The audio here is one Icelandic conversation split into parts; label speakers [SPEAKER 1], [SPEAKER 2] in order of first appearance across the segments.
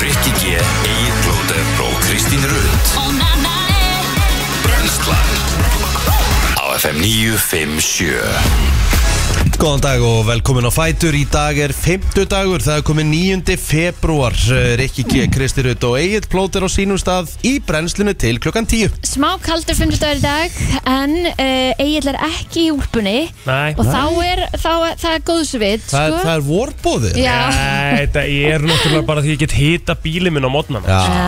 [SPEAKER 1] Rikki G, Egil Blóter og Kristín Rund Brenslan Á FM 957
[SPEAKER 2] Góðan dag og velkomin á Fætur Í dag er 50 dagur, það er komið 9. februar Eh, Rikki G, Kristi Rutt og Egil Plóter á sínum stað Í brennslinu til klukkan 10
[SPEAKER 3] Smá kaldur 50 dagur í dag En uh, Egil er ekki í úlpunni
[SPEAKER 4] Nei,
[SPEAKER 3] Og þá er þá, það er góðsvit
[SPEAKER 2] Það, er-
[SPEAKER 3] sko.
[SPEAKER 2] það er vorbóðið
[SPEAKER 3] Já,
[SPEAKER 4] Nei, þetta er náttúrulega bara því ég get hita bílið minn á mótnana
[SPEAKER 3] Já.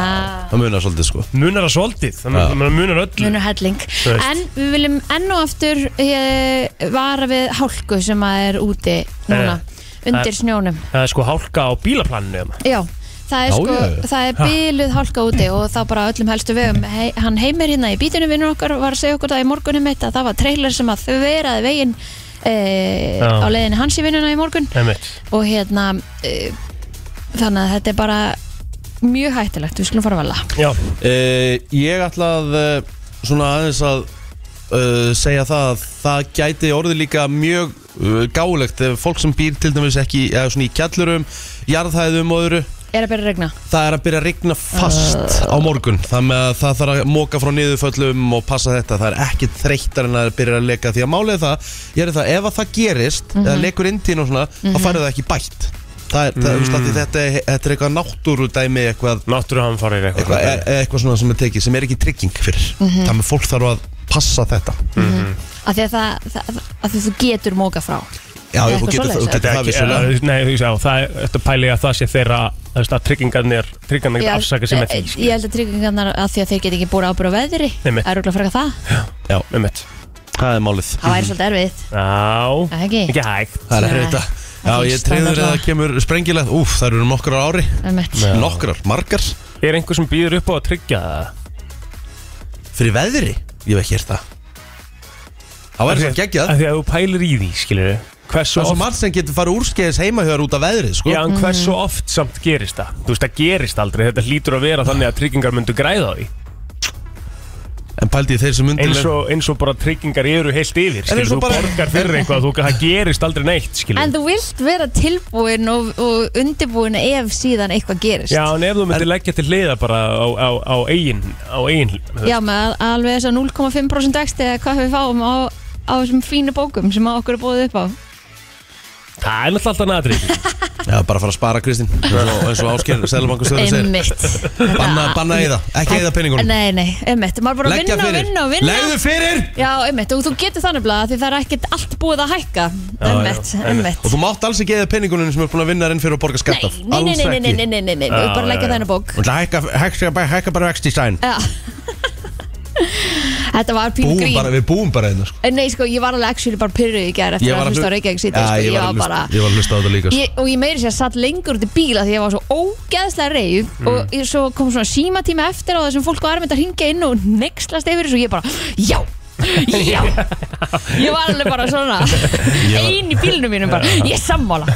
[SPEAKER 2] Það munar svolítið sko
[SPEAKER 4] Munar það svolítið,
[SPEAKER 2] Já.
[SPEAKER 4] þannig að munar öllu
[SPEAKER 3] munur helling
[SPEAKER 4] veist.
[SPEAKER 3] En við viljum enn og aftur uh, vara við hálku sem að er úti núna
[SPEAKER 2] Eh,
[SPEAKER 3] Undir snjónum
[SPEAKER 4] Það er sko hálka á bílaplaninu hérna.
[SPEAKER 3] Já, það er,
[SPEAKER 2] Já,
[SPEAKER 3] sko,
[SPEAKER 2] já, já.
[SPEAKER 3] það er bíluð hálka úti og þá bara á öllum helstu vegum Hei, Hann heimir hérna í bítinu vinnur okkar var að segja okkur það í morgunum mitt að það var trailer sem að þau veraði veginn uh,
[SPEAKER 4] Já.
[SPEAKER 3] á leiðinni hans í vinnuna í morgun
[SPEAKER 4] Einmitt.
[SPEAKER 3] og hérna uh, þannig að þetta er bara mjög hættilegt, við skulum fara að velja
[SPEAKER 4] Já,
[SPEAKER 2] uh, Ég ætla að uh, svona aðeins að uh, segja það að það gæti orðið líka mjög uh, gálegt ef fólk sem býr til dæmis ekki eða svona í kjallurum, jarðhæðum og öðru
[SPEAKER 3] er að byrja að regna
[SPEAKER 2] það er að byrja að rigna fast á morgun þannig að það þarf að móka frá niðurföllum og passa þetta, það er ekki þreyttar en að það byrja að leka því að málið er það ég er það, ef að það gerist, eða
[SPEAKER 4] Mhm.
[SPEAKER 2] lekur inn tíðin og svona, þá færðu það ekki bætt það er, það, mm. stati, þetta, er, þetta er eitthvað náttúrudæmi eitthvað,
[SPEAKER 4] náttúruhamfarir eitthvað
[SPEAKER 2] eitthvað, e- eitthvað svona sem er tekið sem er ekki trygging fyrir
[SPEAKER 4] Mhm.
[SPEAKER 2] þannig að fólk þarf að passa þetta
[SPEAKER 3] af því að, það, það, að því þú getur móka frá
[SPEAKER 2] já,
[SPEAKER 3] Eitthvað
[SPEAKER 2] þú getur það,
[SPEAKER 3] svoleiðis,
[SPEAKER 2] þú getur
[SPEAKER 3] eða?
[SPEAKER 4] Þetta
[SPEAKER 2] það
[SPEAKER 4] er ekki,
[SPEAKER 2] vissulega
[SPEAKER 4] eh, nei, þú veist, já, það er þetta pæli að það sé þeirra þú veist, að tryggingarnir, tryggingarnir
[SPEAKER 3] Já,
[SPEAKER 4] afsaka sem með því sko.
[SPEAKER 3] eh, ég held að tryggingarnar að því að þeir get ekki búið ábyrð á veðri
[SPEAKER 4] Nei, mitt.
[SPEAKER 3] er rúglega frekar það,
[SPEAKER 2] já,
[SPEAKER 4] Einmitt.
[SPEAKER 2] það er málið
[SPEAKER 3] það væri svolítið erfitt
[SPEAKER 4] Já,
[SPEAKER 3] Það ekki?
[SPEAKER 4] ekki hægt
[SPEAKER 2] það er
[SPEAKER 3] Nei.
[SPEAKER 2] þetta Já,
[SPEAKER 3] Það er
[SPEAKER 2] ég
[SPEAKER 3] ekki
[SPEAKER 2] treyður að
[SPEAKER 3] standard.
[SPEAKER 2] það kemur sprengilegt Úf, það eru nokkrar á ári
[SPEAKER 3] Einmitt.
[SPEAKER 4] Já.
[SPEAKER 2] Nokkrar, margar
[SPEAKER 4] Er einhver sem býður upp á að tryggja það?
[SPEAKER 2] Fyrir veðri? Ég hef ekki hér það Það væri svo geggjað
[SPEAKER 4] Af Því að þú pælir í því, skilur Hversu
[SPEAKER 2] Það er svo
[SPEAKER 4] oft
[SPEAKER 2] margt sem getur farið úrskeiðis heima hér út af veðrið sko.
[SPEAKER 4] Já, en hversu
[SPEAKER 3] Mm.
[SPEAKER 4] oft samt gerist það? Þú veist, það gerist aldrei, þetta hlýtur að vera þannig að tryggingar myndu græða á því
[SPEAKER 2] En pældi ég þeir sem undir
[SPEAKER 4] eins og, eins og bara tryggingar eru heilt yfir
[SPEAKER 2] eins
[SPEAKER 4] skilur,
[SPEAKER 2] og
[SPEAKER 4] þú
[SPEAKER 2] bara-
[SPEAKER 4] borgar fyrir eitthvað, þú, það gerist aldrei neitt skilur
[SPEAKER 3] en þú vilt vera tilbúin og, og undirbúin ef síðan eitthvað gerist
[SPEAKER 4] Já, en ef þú myndir leggja til hliða bara á, á, á eigin, á eigin
[SPEAKER 3] Já, með al- alveg þess að 0,5% vexti eða hvað við fáum á, á þessum fínu bókum sem að okkur er búið upp á
[SPEAKER 4] Það er náttúrulega alltaf natrið
[SPEAKER 2] Já, bara fara að spara Kristín Eins og- eins og ásker Sælubankastöður segir
[SPEAKER 3] Einmitt
[SPEAKER 2] Banna, banna eða, ekki eða peningunum
[SPEAKER 3] Nei, nei, einmitt, maður er bara að
[SPEAKER 2] Leggja
[SPEAKER 3] vinna og
[SPEAKER 2] fyrir
[SPEAKER 3] vinna og vinna
[SPEAKER 2] Legðu fyrir
[SPEAKER 3] Já, einmitt, og þú getur þannig blað því það er ekkert allt búið að hækka
[SPEAKER 4] Já,
[SPEAKER 3] Einmitt,
[SPEAKER 4] já,
[SPEAKER 3] einmitt
[SPEAKER 2] Og þú mátt alls ekki eða peningunum sem er búin að vinna þér inn fyrir að borga skatt af
[SPEAKER 3] Nei, nei, nei, nei, nei, nei, nei, nei, nei,
[SPEAKER 4] Já,
[SPEAKER 3] bara
[SPEAKER 4] já,
[SPEAKER 3] leggja
[SPEAKER 4] já.
[SPEAKER 3] þennan bók
[SPEAKER 2] Og það hækka, hækka, bara- hækka bara vext í sæn
[SPEAKER 3] Já Þetta var pínu
[SPEAKER 2] Búum
[SPEAKER 3] grín
[SPEAKER 2] bara, við búum bara einna sko.
[SPEAKER 3] En Nei, sko, ég var alveg actually bara pyrruð í gær eftir
[SPEAKER 2] var
[SPEAKER 3] að
[SPEAKER 2] að
[SPEAKER 3] hlusta á
[SPEAKER 2] hlu-
[SPEAKER 3] Reykjavík
[SPEAKER 2] Já,
[SPEAKER 3] sítið sko.
[SPEAKER 2] ég
[SPEAKER 3] Ég
[SPEAKER 2] var að
[SPEAKER 3] var bara
[SPEAKER 2] hlusta- ég var að hlusta á þetta líka sko.
[SPEAKER 3] ég, og ég meiri sér að satt lengur út í bíl af því ég var svo ógeðslega reyð
[SPEAKER 2] Mm.
[SPEAKER 3] og ég, svo kom svona símatíma eftir á þessum fólk var erfitt að ringja inn og nexlast yfir þessu og ég bara, já Já, ég var alveg bara svona
[SPEAKER 2] var-
[SPEAKER 3] Einn í bílnum mínum bara Ég er sammála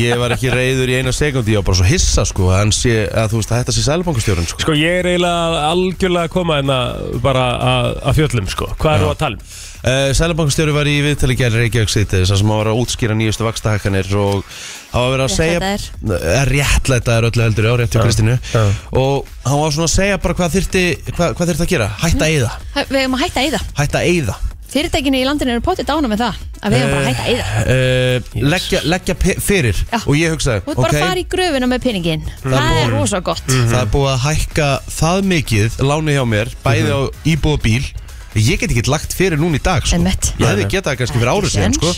[SPEAKER 2] Ég var ekki reyður í eina sekundi Ég var bara svo hissa sko En sé, að, þú veist að þetta sé sælubankastjórun sko.
[SPEAKER 4] Sko, ég er eiginlega algjörlega að koma hérna bara að, að fjöllum, sko Hvað er þú að tala um?
[SPEAKER 2] Uh, Sælabankastjóri var í viðtali gerð Reykjavík sýtið þar sem hann var að útskýra nýjustu vakstahakkanir og hann var verið að segja Eh, réttlæta er öllu heldur á rétt hjá
[SPEAKER 4] Já,
[SPEAKER 2] Kristínu
[SPEAKER 4] já.
[SPEAKER 2] og hann var svona að segja bara hvað þyrfti hvað, hvað þyrfti að gera, hætta að eyða
[SPEAKER 3] Við hefum að hætta að eyða
[SPEAKER 2] hætta að eyða
[SPEAKER 3] Fyrirtækinu í landinu eru potið dána með það að við hefum bara að hætta að eyða
[SPEAKER 2] uh, leggja, leggja pe- fyrir
[SPEAKER 3] Já.
[SPEAKER 2] og ég hugsaði,
[SPEAKER 3] Þú ert
[SPEAKER 2] ok,
[SPEAKER 3] bara að fara í gröfina með peningin Það er rosa gott
[SPEAKER 2] það er búið að hækka það mikið, láni hjá mér bæði
[SPEAKER 4] Mhm.
[SPEAKER 2] á íbúð og bíl ég get ekki lagt fyrir núna í dag sko.
[SPEAKER 3] Einmitt.
[SPEAKER 2] ég hefði getað það kannski fyrir
[SPEAKER 3] Ekki
[SPEAKER 2] árið síðan
[SPEAKER 3] séns.
[SPEAKER 2] sko.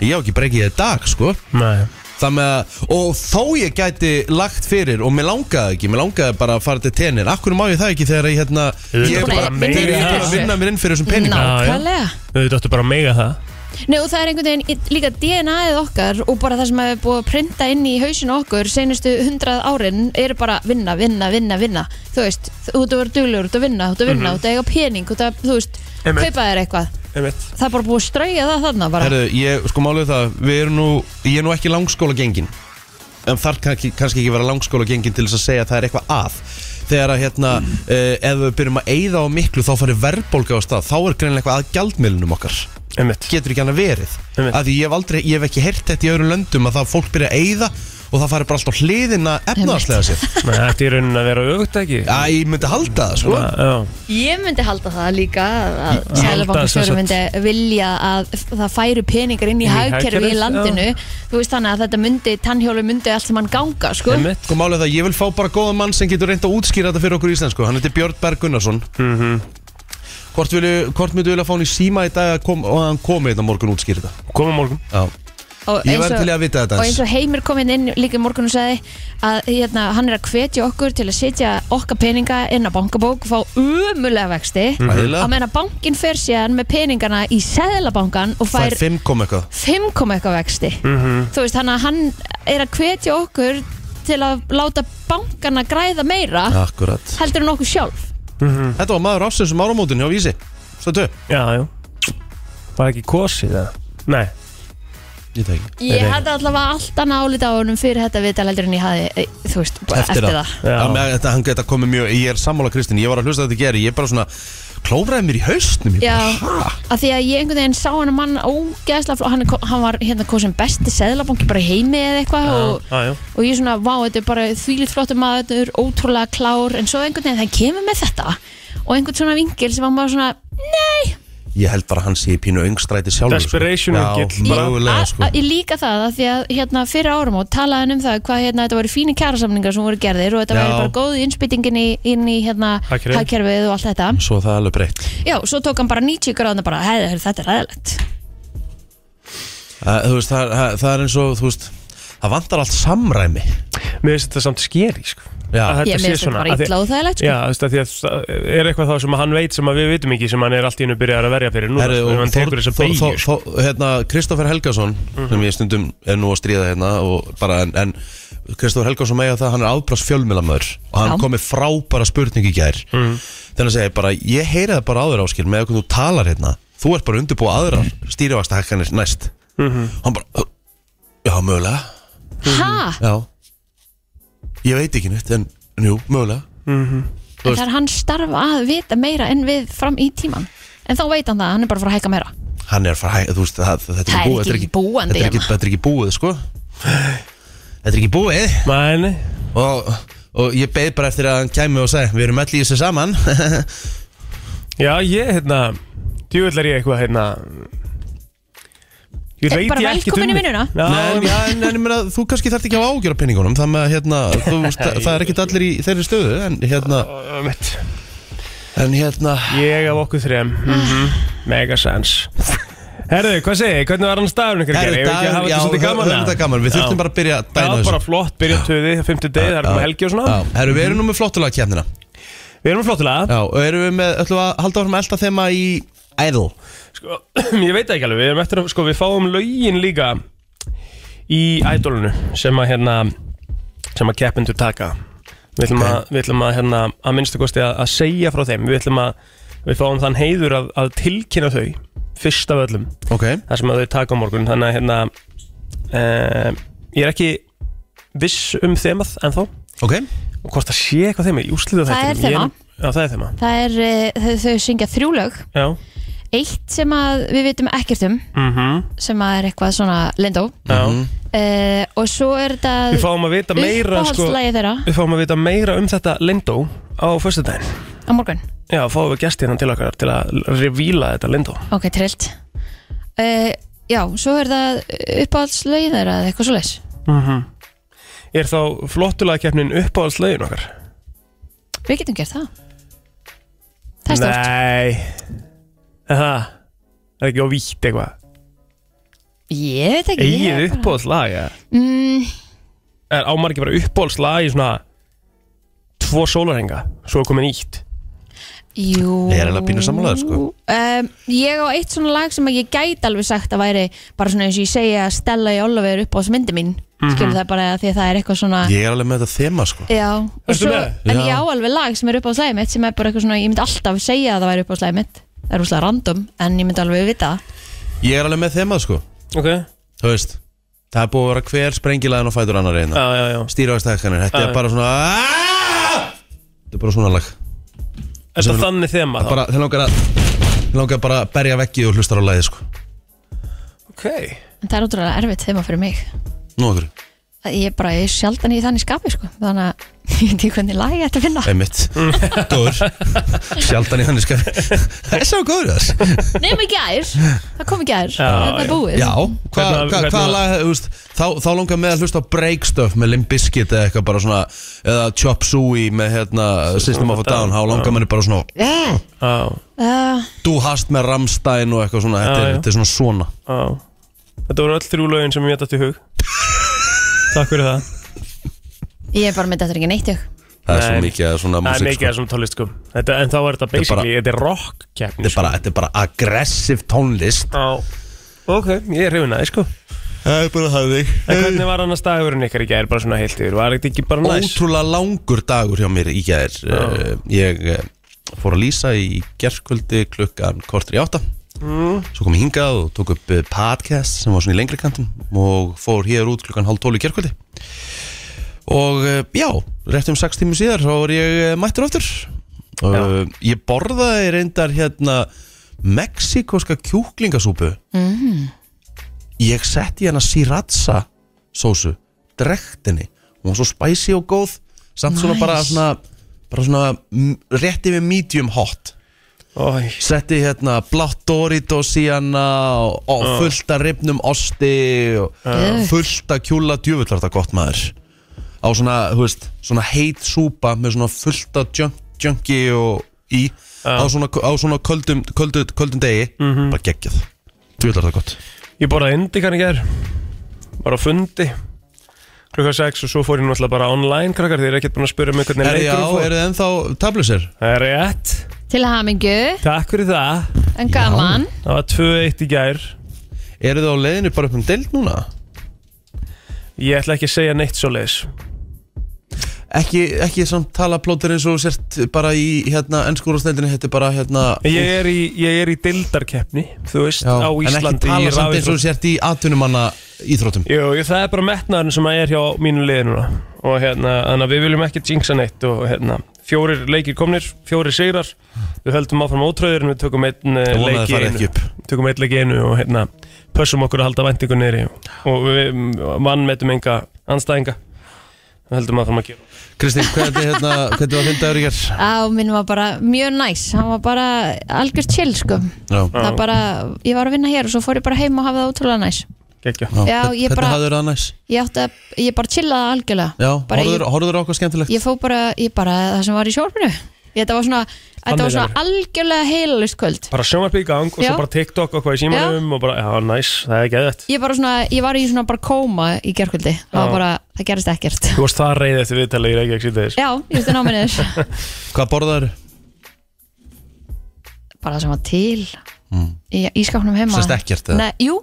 [SPEAKER 2] ég hef ekki breykið það í dag sko.
[SPEAKER 4] Nei
[SPEAKER 2] Það með að, og þó ég gæti lagt fyrir og mér langaði ekki, mér langaði bara að fara til tenir Akkur má ég það ekki þegar ég hérna
[SPEAKER 4] Auðvitað
[SPEAKER 2] Ég er
[SPEAKER 4] bara
[SPEAKER 2] bara
[SPEAKER 4] meira
[SPEAKER 2] meira
[SPEAKER 4] í
[SPEAKER 2] að
[SPEAKER 4] þessu.
[SPEAKER 2] vinna mér inn fyrir þessum peningum
[SPEAKER 4] já.
[SPEAKER 3] Nákvæmlega
[SPEAKER 4] Þú dóttu bara að meiga það
[SPEAKER 3] Nei og það er einhvern veginn í- líka DNA-ið okkar og bara það sem hefur búið að printa inn í hausinu okkur senustu hundrað árin er bara vinna, vinna, vinna, vinna þú veist, þú ert að vera duglur, þú ert að vinna þú ert að vinna, þú ert að eiga pening, þú ert að, þú veist
[SPEAKER 4] Einmitt.
[SPEAKER 3] kaupa þér eitthvað,
[SPEAKER 4] Einmitt
[SPEAKER 3] það er bara búið að strauja það þarna bara,
[SPEAKER 2] Herðu, ég, sko málið er það, við erum nú, ég er nú ekki langskóla gengin En þar kannski, kannski ekki vera langskóla gengin til þess að segja að það er eitthvað að Þegar að hérna, uh, ef við byrjum að eyða á miklu þá farir verðbólga á stað Þá er greinlega eitthvað að gjaldmiðlunum okkar
[SPEAKER 4] Einmitt
[SPEAKER 2] getur ekki hann að verið
[SPEAKER 4] Einmitt.
[SPEAKER 2] að því ég hef aldrei, ég hef ekki heyrt þetta í öðrum löndum að það fólk byrja að eyða og það fari bara allt á hliðina efnaðarslega sér
[SPEAKER 4] Nei, Þetta er í rauninni að vera öfugt ekki
[SPEAKER 2] Já, ég myndi halda það, sko
[SPEAKER 4] Já,
[SPEAKER 3] Ég myndi halda það líka að
[SPEAKER 4] sem
[SPEAKER 3] Sælabankastjóri
[SPEAKER 4] sagt-
[SPEAKER 3] myndi vilja að það færu peningar inn í
[SPEAKER 4] Inn í
[SPEAKER 3] hagkerfi
[SPEAKER 4] hagkerfið,
[SPEAKER 3] í landinu Þú veist þannig að þetta myndi, tannhjólu myndi allt sem hann ganga sko
[SPEAKER 4] einmitt
[SPEAKER 2] Sko málið er það, ég vil fá bara góða mann sem getur reynd að útskýra þetta fyrir okkur íslensku Hann heitir Björn Berg Gunnarsson Mhm. Hvort, vilju, hvort myndu vilja fá hann í síma í dag að kom, og að hann komi þetta morgun útskýra þetta
[SPEAKER 4] Komum morgun
[SPEAKER 2] Já,
[SPEAKER 3] og
[SPEAKER 2] Ég
[SPEAKER 3] eins
[SPEAKER 2] væri
[SPEAKER 3] og-
[SPEAKER 2] til í að vita þetta
[SPEAKER 3] Og
[SPEAKER 2] aðeins.
[SPEAKER 3] eins og Heimir kom inn, inn líka í morgun og sagði að hérna, hann er að hvetja okkur til að setja okkar peninga inn á bankabók og fá umulega vexti
[SPEAKER 2] Ægilega.
[SPEAKER 3] á meðan að bankin fer síðan með peningana í seðlabankan og
[SPEAKER 2] það
[SPEAKER 3] fær Mm.
[SPEAKER 2] er fimm kom eitthvað
[SPEAKER 3] 5 kom eitthvað vexti
[SPEAKER 4] Mhm.
[SPEAKER 3] þú veist þannig að hann er að hvetja okkur til að láta bankana græða meira
[SPEAKER 2] Akkurat
[SPEAKER 3] heldur en okkur sjálf
[SPEAKER 2] Þetta var maður ásins um áramótin hjá Vísi Stötu
[SPEAKER 4] Já, já Var ekki kosið það? Nei
[SPEAKER 2] Ég teki
[SPEAKER 4] Nei,
[SPEAKER 3] ég
[SPEAKER 4] nei.
[SPEAKER 3] hætti alltaf allt annað álita á honum fyrir þetta viðtal heldur en ég hafi e, þú veist, bara eftir, það,
[SPEAKER 4] Já.
[SPEAKER 2] Já, með, þetta, hann geta komið mjög Ég er sammála Kristín, ég var að hlusta þetta gera Ég bara svona klóraði mér í haustnum Ég
[SPEAKER 3] Já,
[SPEAKER 2] bara, "Ha?"
[SPEAKER 3] af því að ég einhvern veginn sá hann að mann ógeðslega fló, hann, er ko- hann var hérna kosin besti seðlabanki bara í heimi eða eitthvað og,
[SPEAKER 4] Já, já
[SPEAKER 3] og ég svona, vá, þetta er bara þvílitt flottur maður, þetta er ótrúlega klár en svo einhvern veginn það kemur með þetta og einhvern svona vingil sem var bara svona nei,
[SPEAKER 2] Ég held bara að hann sé í pínu öngstræti sjálfur sko.
[SPEAKER 4] Desperation
[SPEAKER 2] Já,
[SPEAKER 4] engill, bara.
[SPEAKER 2] mögulega sko
[SPEAKER 3] Ég líka það að því að hérna, fyrir árum og talaði hann um það hvað hérna, þetta voru fíni kjærasamningar sem voru gerðir og þetta
[SPEAKER 2] Já.
[SPEAKER 3] væri bara góð innspyttingin í, inn í hérna,
[SPEAKER 4] Hagkerfið.
[SPEAKER 3] hagkerfið og allt þetta
[SPEAKER 2] Svo er það er alveg breytt
[SPEAKER 3] Já, svo tók hann bara 90 gráðan bara, hei, heyrðu, þetta er ræðilegt
[SPEAKER 2] Það, þú veist, það, það, það er eins og, þú veist, það vantar allt samræmi
[SPEAKER 4] Mér finnst þetta samt skeri, sko
[SPEAKER 2] Já.
[SPEAKER 4] Að
[SPEAKER 3] Ég
[SPEAKER 4] þetta sé
[SPEAKER 3] meðist þetta
[SPEAKER 4] svona
[SPEAKER 3] bara
[SPEAKER 4] að því-
[SPEAKER 3] illa sko. og það er legt
[SPEAKER 4] Já, þú veist að því að það er eitthvað þá sem að hann veit sem að við vitum ekki sem hann er allt í hennu byrjar að verja fyrir núna
[SPEAKER 2] Herri,
[SPEAKER 4] sko, ef
[SPEAKER 2] og
[SPEAKER 4] hann tekur sko. þess að
[SPEAKER 2] Þór- Þór-
[SPEAKER 4] beigju
[SPEAKER 2] Þór- Þór- hérna, Kristoffer Helgason
[SPEAKER 4] Mhm.
[SPEAKER 2] sem ég stundum er nú að stríða hérna og bara, en, en Kristoffer Helgason meða það hann er afbrás fjölmilamöður og hann
[SPEAKER 3] Já.
[SPEAKER 2] kom með frábæra spurning í gær mm.
[SPEAKER 4] Mhm.
[SPEAKER 2] þannig að segja bara, ég heyri það bara áður áskil með hvernig þú talar hérna þú ert bara að undirbúa aðrar stýrivaksta hækkanir næst
[SPEAKER 4] Mhm.
[SPEAKER 2] hann bara, "Ö, já mögulega
[SPEAKER 3] Hæ?
[SPEAKER 2] já. ég veit ekki neitt en, en jú, mögulega
[SPEAKER 3] En það er hann starfa að vita meira en við fram í tíman En þá veit hann það, hann er bara að fara að hækka meira
[SPEAKER 2] hann er frá, þú veist, það, þetta
[SPEAKER 3] Það
[SPEAKER 2] er
[SPEAKER 3] er
[SPEAKER 2] ekki búið
[SPEAKER 3] ekki
[SPEAKER 2] þetta er
[SPEAKER 3] búandi
[SPEAKER 2] þetta er ekki,
[SPEAKER 3] hérna.
[SPEAKER 2] þetta er ekki búið, sko þetta er ekki búið
[SPEAKER 4] sko. Mæni,
[SPEAKER 2] og, og ég beið bara eftir að hann kæmi og segi við erum öll í þessu saman
[SPEAKER 4] já ég, hérna Djúvill er ég eitthvað, hérna Ég
[SPEAKER 3] Er
[SPEAKER 4] veit
[SPEAKER 3] bara
[SPEAKER 4] ég ekki
[SPEAKER 3] velkomin í
[SPEAKER 4] dugleg.
[SPEAKER 3] vinnuna.
[SPEAKER 4] Já,
[SPEAKER 2] en, já, en, en ég meina, þú kannski þarft ekki að hafa ágjör á peningunum þannig að hérna, þú, veist, það, það er ekkit allir í þeirri stöðu en hérna,
[SPEAKER 4] já, mitt.
[SPEAKER 2] en hérna
[SPEAKER 4] Ég af okkur þrem mm Megasens Herðu, hvað segið, þið? hvernig var annars dagurinn ykkur
[SPEAKER 2] Herðu,
[SPEAKER 4] gerði? Ég vil ekki að hafa
[SPEAKER 2] já,
[SPEAKER 4] þetta svolítið gaman
[SPEAKER 2] höfum þetta gaman, við þurftum bara að byrja að dæna
[SPEAKER 4] Já, bara
[SPEAKER 2] þessu
[SPEAKER 4] flott, byrja töði, fymti degi, það er komið helgi og svona
[SPEAKER 2] Já, Herru, við erum nú með flottulega kemnina
[SPEAKER 4] Við erum flottulega,
[SPEAKER 2] Já, og erum við með, ætlum við að halda áfram að elda þema í Idol
[SPEAKER 4] sko, ég veit það ekki alveg, við erum eftir að, sko, við fáum lögin líka í ædolunu sem að, hérna, sem að keppendur taka Við ætlum að, við ætlum að, hérna, að minnstakosti að, að segja frá þeim Við ætlum að, við fáum þann heiður að, að tilkynna þau, fyrst af öllum
[SPEAKER 2] Ok,
[SPEAKER 4] þar sem að þau taka á morgun þannig að hérna uh, ég er ekki viss um þemað ennþá og
[SPEAKER 2] ok,
[SPEAKER 4] hvort það sé eitthvað þemað, ég úslita þetta
[SPEAKER 3] Það er þemað.
[SPEAKER 4] Já, það er þemað
[SPEAKER 3] Það er, eh, þau, þau syngja þrjúlög
[SPEAKER 4] Já,
[SPEAKER 3] Eitt sem að við vitum ekkert um
[SPEAKER 4] mhm,
[SPEAKER 3] sem að er eitthvað svona lindó
[SPEAKER 4] já
[SPEAKER 3] uh, og svo er
[SPEAKER 4] Við
[SPEAKER 3] þetta
[SPEAKER 4] fáum að vita meira sko,
[SPEAKER 3] uppáhaldslægi þeirra
[SPEAKER 4] við fáum að vita meira um þetta Lindó á föstudaginn
[SPEAKER 3] á morgun
[SPEAKER 4] Já, fáum við gestið hann til okkar til að revíla þetta Lindó
[SPEAKER 3] Ok, trillt uh, Já, svo er það uppáhaldslægi þeirra eða eitthvað svo leis
[SPEAKER 4] Er þá flottulega keppnin uppáhaldslögin okkar?
[SPEAKER 3] Við getum gert það Það er stort
[SPEAKER 4] Nei Er Það það er ekki óvítt eitthvað
[SPEAKER 3] Ég veit ekki ég
[SPEAKER 4] Egið
[SPEAKER 3] er bara-
[SPEAKER 4] uppáhaldslag, já
[SPEAKER 3] mm,
[SPEAKER 4] er ámar ekki bara uppbólslag í svona tvo sólarhenga, svo er komið nýtt
[SPEAKER 3] Jú
[SPEAKER 2] Ég er eiginlega pínu sammála þér, sko.
[SPEAKER 3] um, Ég á eitt svona lag sem að ég gæti alveg sagt að væri bara svona eins og ég segja að Stella í Oliver er upp á þessu myndi mín
[SPEAKER 4] Mhm.
[SPEAKER 3] skilur það bara því að það er eitthvað svona
[SPEAKER 2] ég er alveg með þetta þema sko
[SPEAKER 3] Já, og
[SPEAKER 4] Ertu
[SPEAKER 3] svo,
[SPEAKER 4] með?
[SPEAKER 3] en
[SPEAKER 2] Já.
[SPEAKER 3] ég á alveg lag sem er upp á slæðið mitt sem er bara eitthvað svona, ég myndi alltaf segja að það væri upp á slæðið mitt það er úslega random, en ég myndi alveg vita það.
[SPEAKER 2] Ég er alveg með þema sko
[SPEAKER 4] Ok,
[SPEAKER 2] þú veist það er búið að vera hver sprengilaðin og fætur annar reyna
[SPEAKER 4] já, já, já
[SPEAKER 2] stýrvægstækkanir, þetta er
[SPEAKER 4] Já.
[SPEAKER 2] bara svona þetta er bara svona lag
[SPEAKER 4] Er það þannig þema þá?
[SPEAKER 2] bara, þeir langar að þeir langar bara að berja veggi og hlustar á lagið sko
[SPEAKER 4] Ok
[SPEAKER 3] en það er útrúlega erfitt þeim að fyrir mig
[SPEAKER 2] nú okkur,
[SPEAKER 3] að ég bara, ég er sjaldan í þannig skapi sko. þannig að ég veit ekki hvernig lag ég ætti að finna
[SPEAKER 2] Einmitt, góður Sjaldan í hann skaf Þessi var góður þess
[SPEAKER 3] nema í gær, það kom í gær
[SPEAKER 4] Já,
[SPEAKER 3] þetta er
[SPEAKER 4] já.
[SPEAKER 3] búið
[SPEAKER 2] Já, hvað
[SPEAKER 4] Hvernig-
[SPEAKER 2] hva,
[SPEAKER 4] hvernig-
[SPEAKER 2] hva lag, þú veist Þá, þá langar mig að hlusta á Break Stuff með Limp Bizkit eða eitthvað bara svona Eða Chop Suey með hérna System of a Down Þá langar manni bara svona
[SPEAKER 4] á,
[SPEAKER 3] Uh,
[SPEAKER 2] Du hast með Rammstein og eitthvað svona Þetta
[SPEAKER 4] Já,
[SPEAKER 2] er,
[SPEAKER 4] já.
[SPEAKER 2] þetta er svona svona
[SPEAKER 4] á. Þetta voru öll þrjú lögin sem ég dætt í hug Takk fyrir það
[SPEAKER 3] ég er bara með þetta er ekki neitt ég
[SPEAKER 2] Það er svo
[SPEAKER 4] Nei.
[SPEAKER 2] mikið að svona
[SPEAKER 4] Það er
[SPEAKER 2] músík
[SPEAKER 4] mikið
[SPEAKER 2] sko.
[SPEAKER 4] af þessum tónlist sko þetta, En þá er þetta
[SPEAKER 2] er bara-
[SPEAKER 4] basically, þetta er rock
[SPEAKER 2] Þetta
[SPEAKER 4] keppni sko.
[SPEAKER 2] er bara- Þetta er bara aggressiv tónlist
[SPEAKER 4] Á, ok, ég er hrifin aðeins sko
[SPEAKER 2] Það er bara það þig
[SPEAKER 4] En hvernig var annars dagurinn ykkar í gær bara svona heilt yfir? Var þetta ekki bara næs?
[SPEAKER 2] Ótrúlega langur dagur hjá mér í gær uh, Ég uh, fór að lýsa í gerkvöldi klukkan kortur í átta Svo kom ég hingað og tók upp eh, podcast sem var svona í lengri kantum og fór hér út klukkan hálf tólu í gerkvöldi Og uh, já, rétt um sex tímum síðar þá var ég eh, mættur aftur uh, Ég borðaði reyndar hérna mexikoska kjúklingasúpu ég setti hérna sriracha sósu, drektinni hún var svo spicy og góð samt svona
[SPEAKER 3] Nice.
[SPEAKER 2] bara svona, bara svona m- rétt yfir medium hot
[SPEAKER 4] Ói,
[SPEAKER 2] setti hérna blátt Doritos í hana og, og fullt af ribnum osti og
[SPEAKER 3] Geðveikt.
[SPEAKER 2] fullt af kjúla djöfullar þetta gott maður á svona, þú veist, svona heit súpa með svona fullt af junk, junki og í á svona, á svona köldum, köldum, köldum degi bara geggjað, djöfullar þetta gott
[SPEAKER 4] ég borðaði indikan í gær Var á fundi Klukka 6 og svo fór ég náttúrulega bara online krakkar Þið er ekkert búin að spyrja mig hvernig
[SPEAKER 2] Er, já,
[SPEAKER 4] leikur
[SPEAKER 2] eru þið ennþá tablusir?
[SPEAKER 4] Það er rétt
[SPEAKER 3] til hamingju,
[SPEAKER 4] Takk fyrir það
[SPEAKER 3] en gaman
[SPEAKER 4] Það var 2-1 í gær
[SPEAKER 2] Eru þið á leiðinu bara upp um deild núna?
[SPEAKER 4] Ég ætla ekki að segja neitt svo leis
[SPEAKER 2] Ekki, ekki samt tala plótir eins og þú sért bara í hérna ennskúrastendinni Þetta er bara hérna
[SPEAKER 4] Ég er í, ég er í dildarkeppni Þú veist,
[SPEAKER 2] Já,
[SPEAKER 4] á
[SPEAKER 2] En ekki
[SPEAKER 4] Íslandi í
[SPEAKER 2] tala samt eins og
[SPEAKER 4] rafíþrótt.
[SPEAKER 2] þú sért í atvinnumanna íþrótum
[SPEAKER 4] Jú, ég, það er bara metnaðurinn sem að er hjá mínu liði núna og hérna, þannig að við viljum ekki jinxa neitt og hérna, fjórir leikir komnir, fjórir sigrar við höldum áfram ótröður en við tökum einn eh,
[SPEAKER 2] Ég vona að
[SPEAKER 4] leik
[SPEAKER 2] það
[SPEAKER 4] í
[SPEAKER 2] fari ekki
[SPEAKER 4] einu
[SPEAKER 2] upp
[SPEAKER 4] tökum einn leik í einu og hérna pössum okkur að halda vendingu niðri og við vannmetum enga anstæðinga við höldum áfram að gera
[SPEAKER 2] Kristín, hvernig, hérna, hvernig var þinn dagur í gerð?
[SPEAKER 3] á minn var bara mjög næs hann var bara algjör chill sko
[SPEAKER 2] Já,
[SPEAKER 3] það bara, ég var að vinna hér og svo fór ég bara heim og hafa það ótrúlega næs
[SPEAKER 4] geggja
[SPEAKER 3] Já,
[SPEAKER 2] hvern-
[SPEAKER 3] ég
[SPEAKER 2] Hvernig
[SPEAKER 3] bara-
[SPEAKER 2] hafðu þér það næs?
[SPEAKER 3] ég átti að, ég bara chillaði algjörlega
[SPEAKER 2] Já,
[SPEAKER 3] bara ég,
[SPEAKER 2] horfður þér okkur skemmtilegt?
[SPEAKER 3] ég fó bara, ég bara það sem var í sjórfinu þetta var svona, þetta var svona algjörlega heilalust kvöld
[SPEAKER 4] bara sjónvarpið í gang og
[SPEAKER 3] Já.
[SPEAKER 4] svo bara TikTok og hvað í símanum og bara, já, næs, það er geðvægt
[SPEAKER 3] ég bara svona, ég var í svona bara kóma í gerkvöldi, það var
[SPEAKER 4] Já.
[SPEAKER 3] bara, það gerist ekkert
[SPEAKER 4] Þú varst það reyð eftir viðtalið í Reykjavík síðdeis
[SPEAKER 3] já, ég veist það náminnir
[SPEAKER 2] Hvað borðaður?
[SPEAKER 3] bara það sem var til í, í skápnum heima
[SPEAKER 2] Sérst Mm. ekkert eða?
[SPEAKER 3] Nei, jú,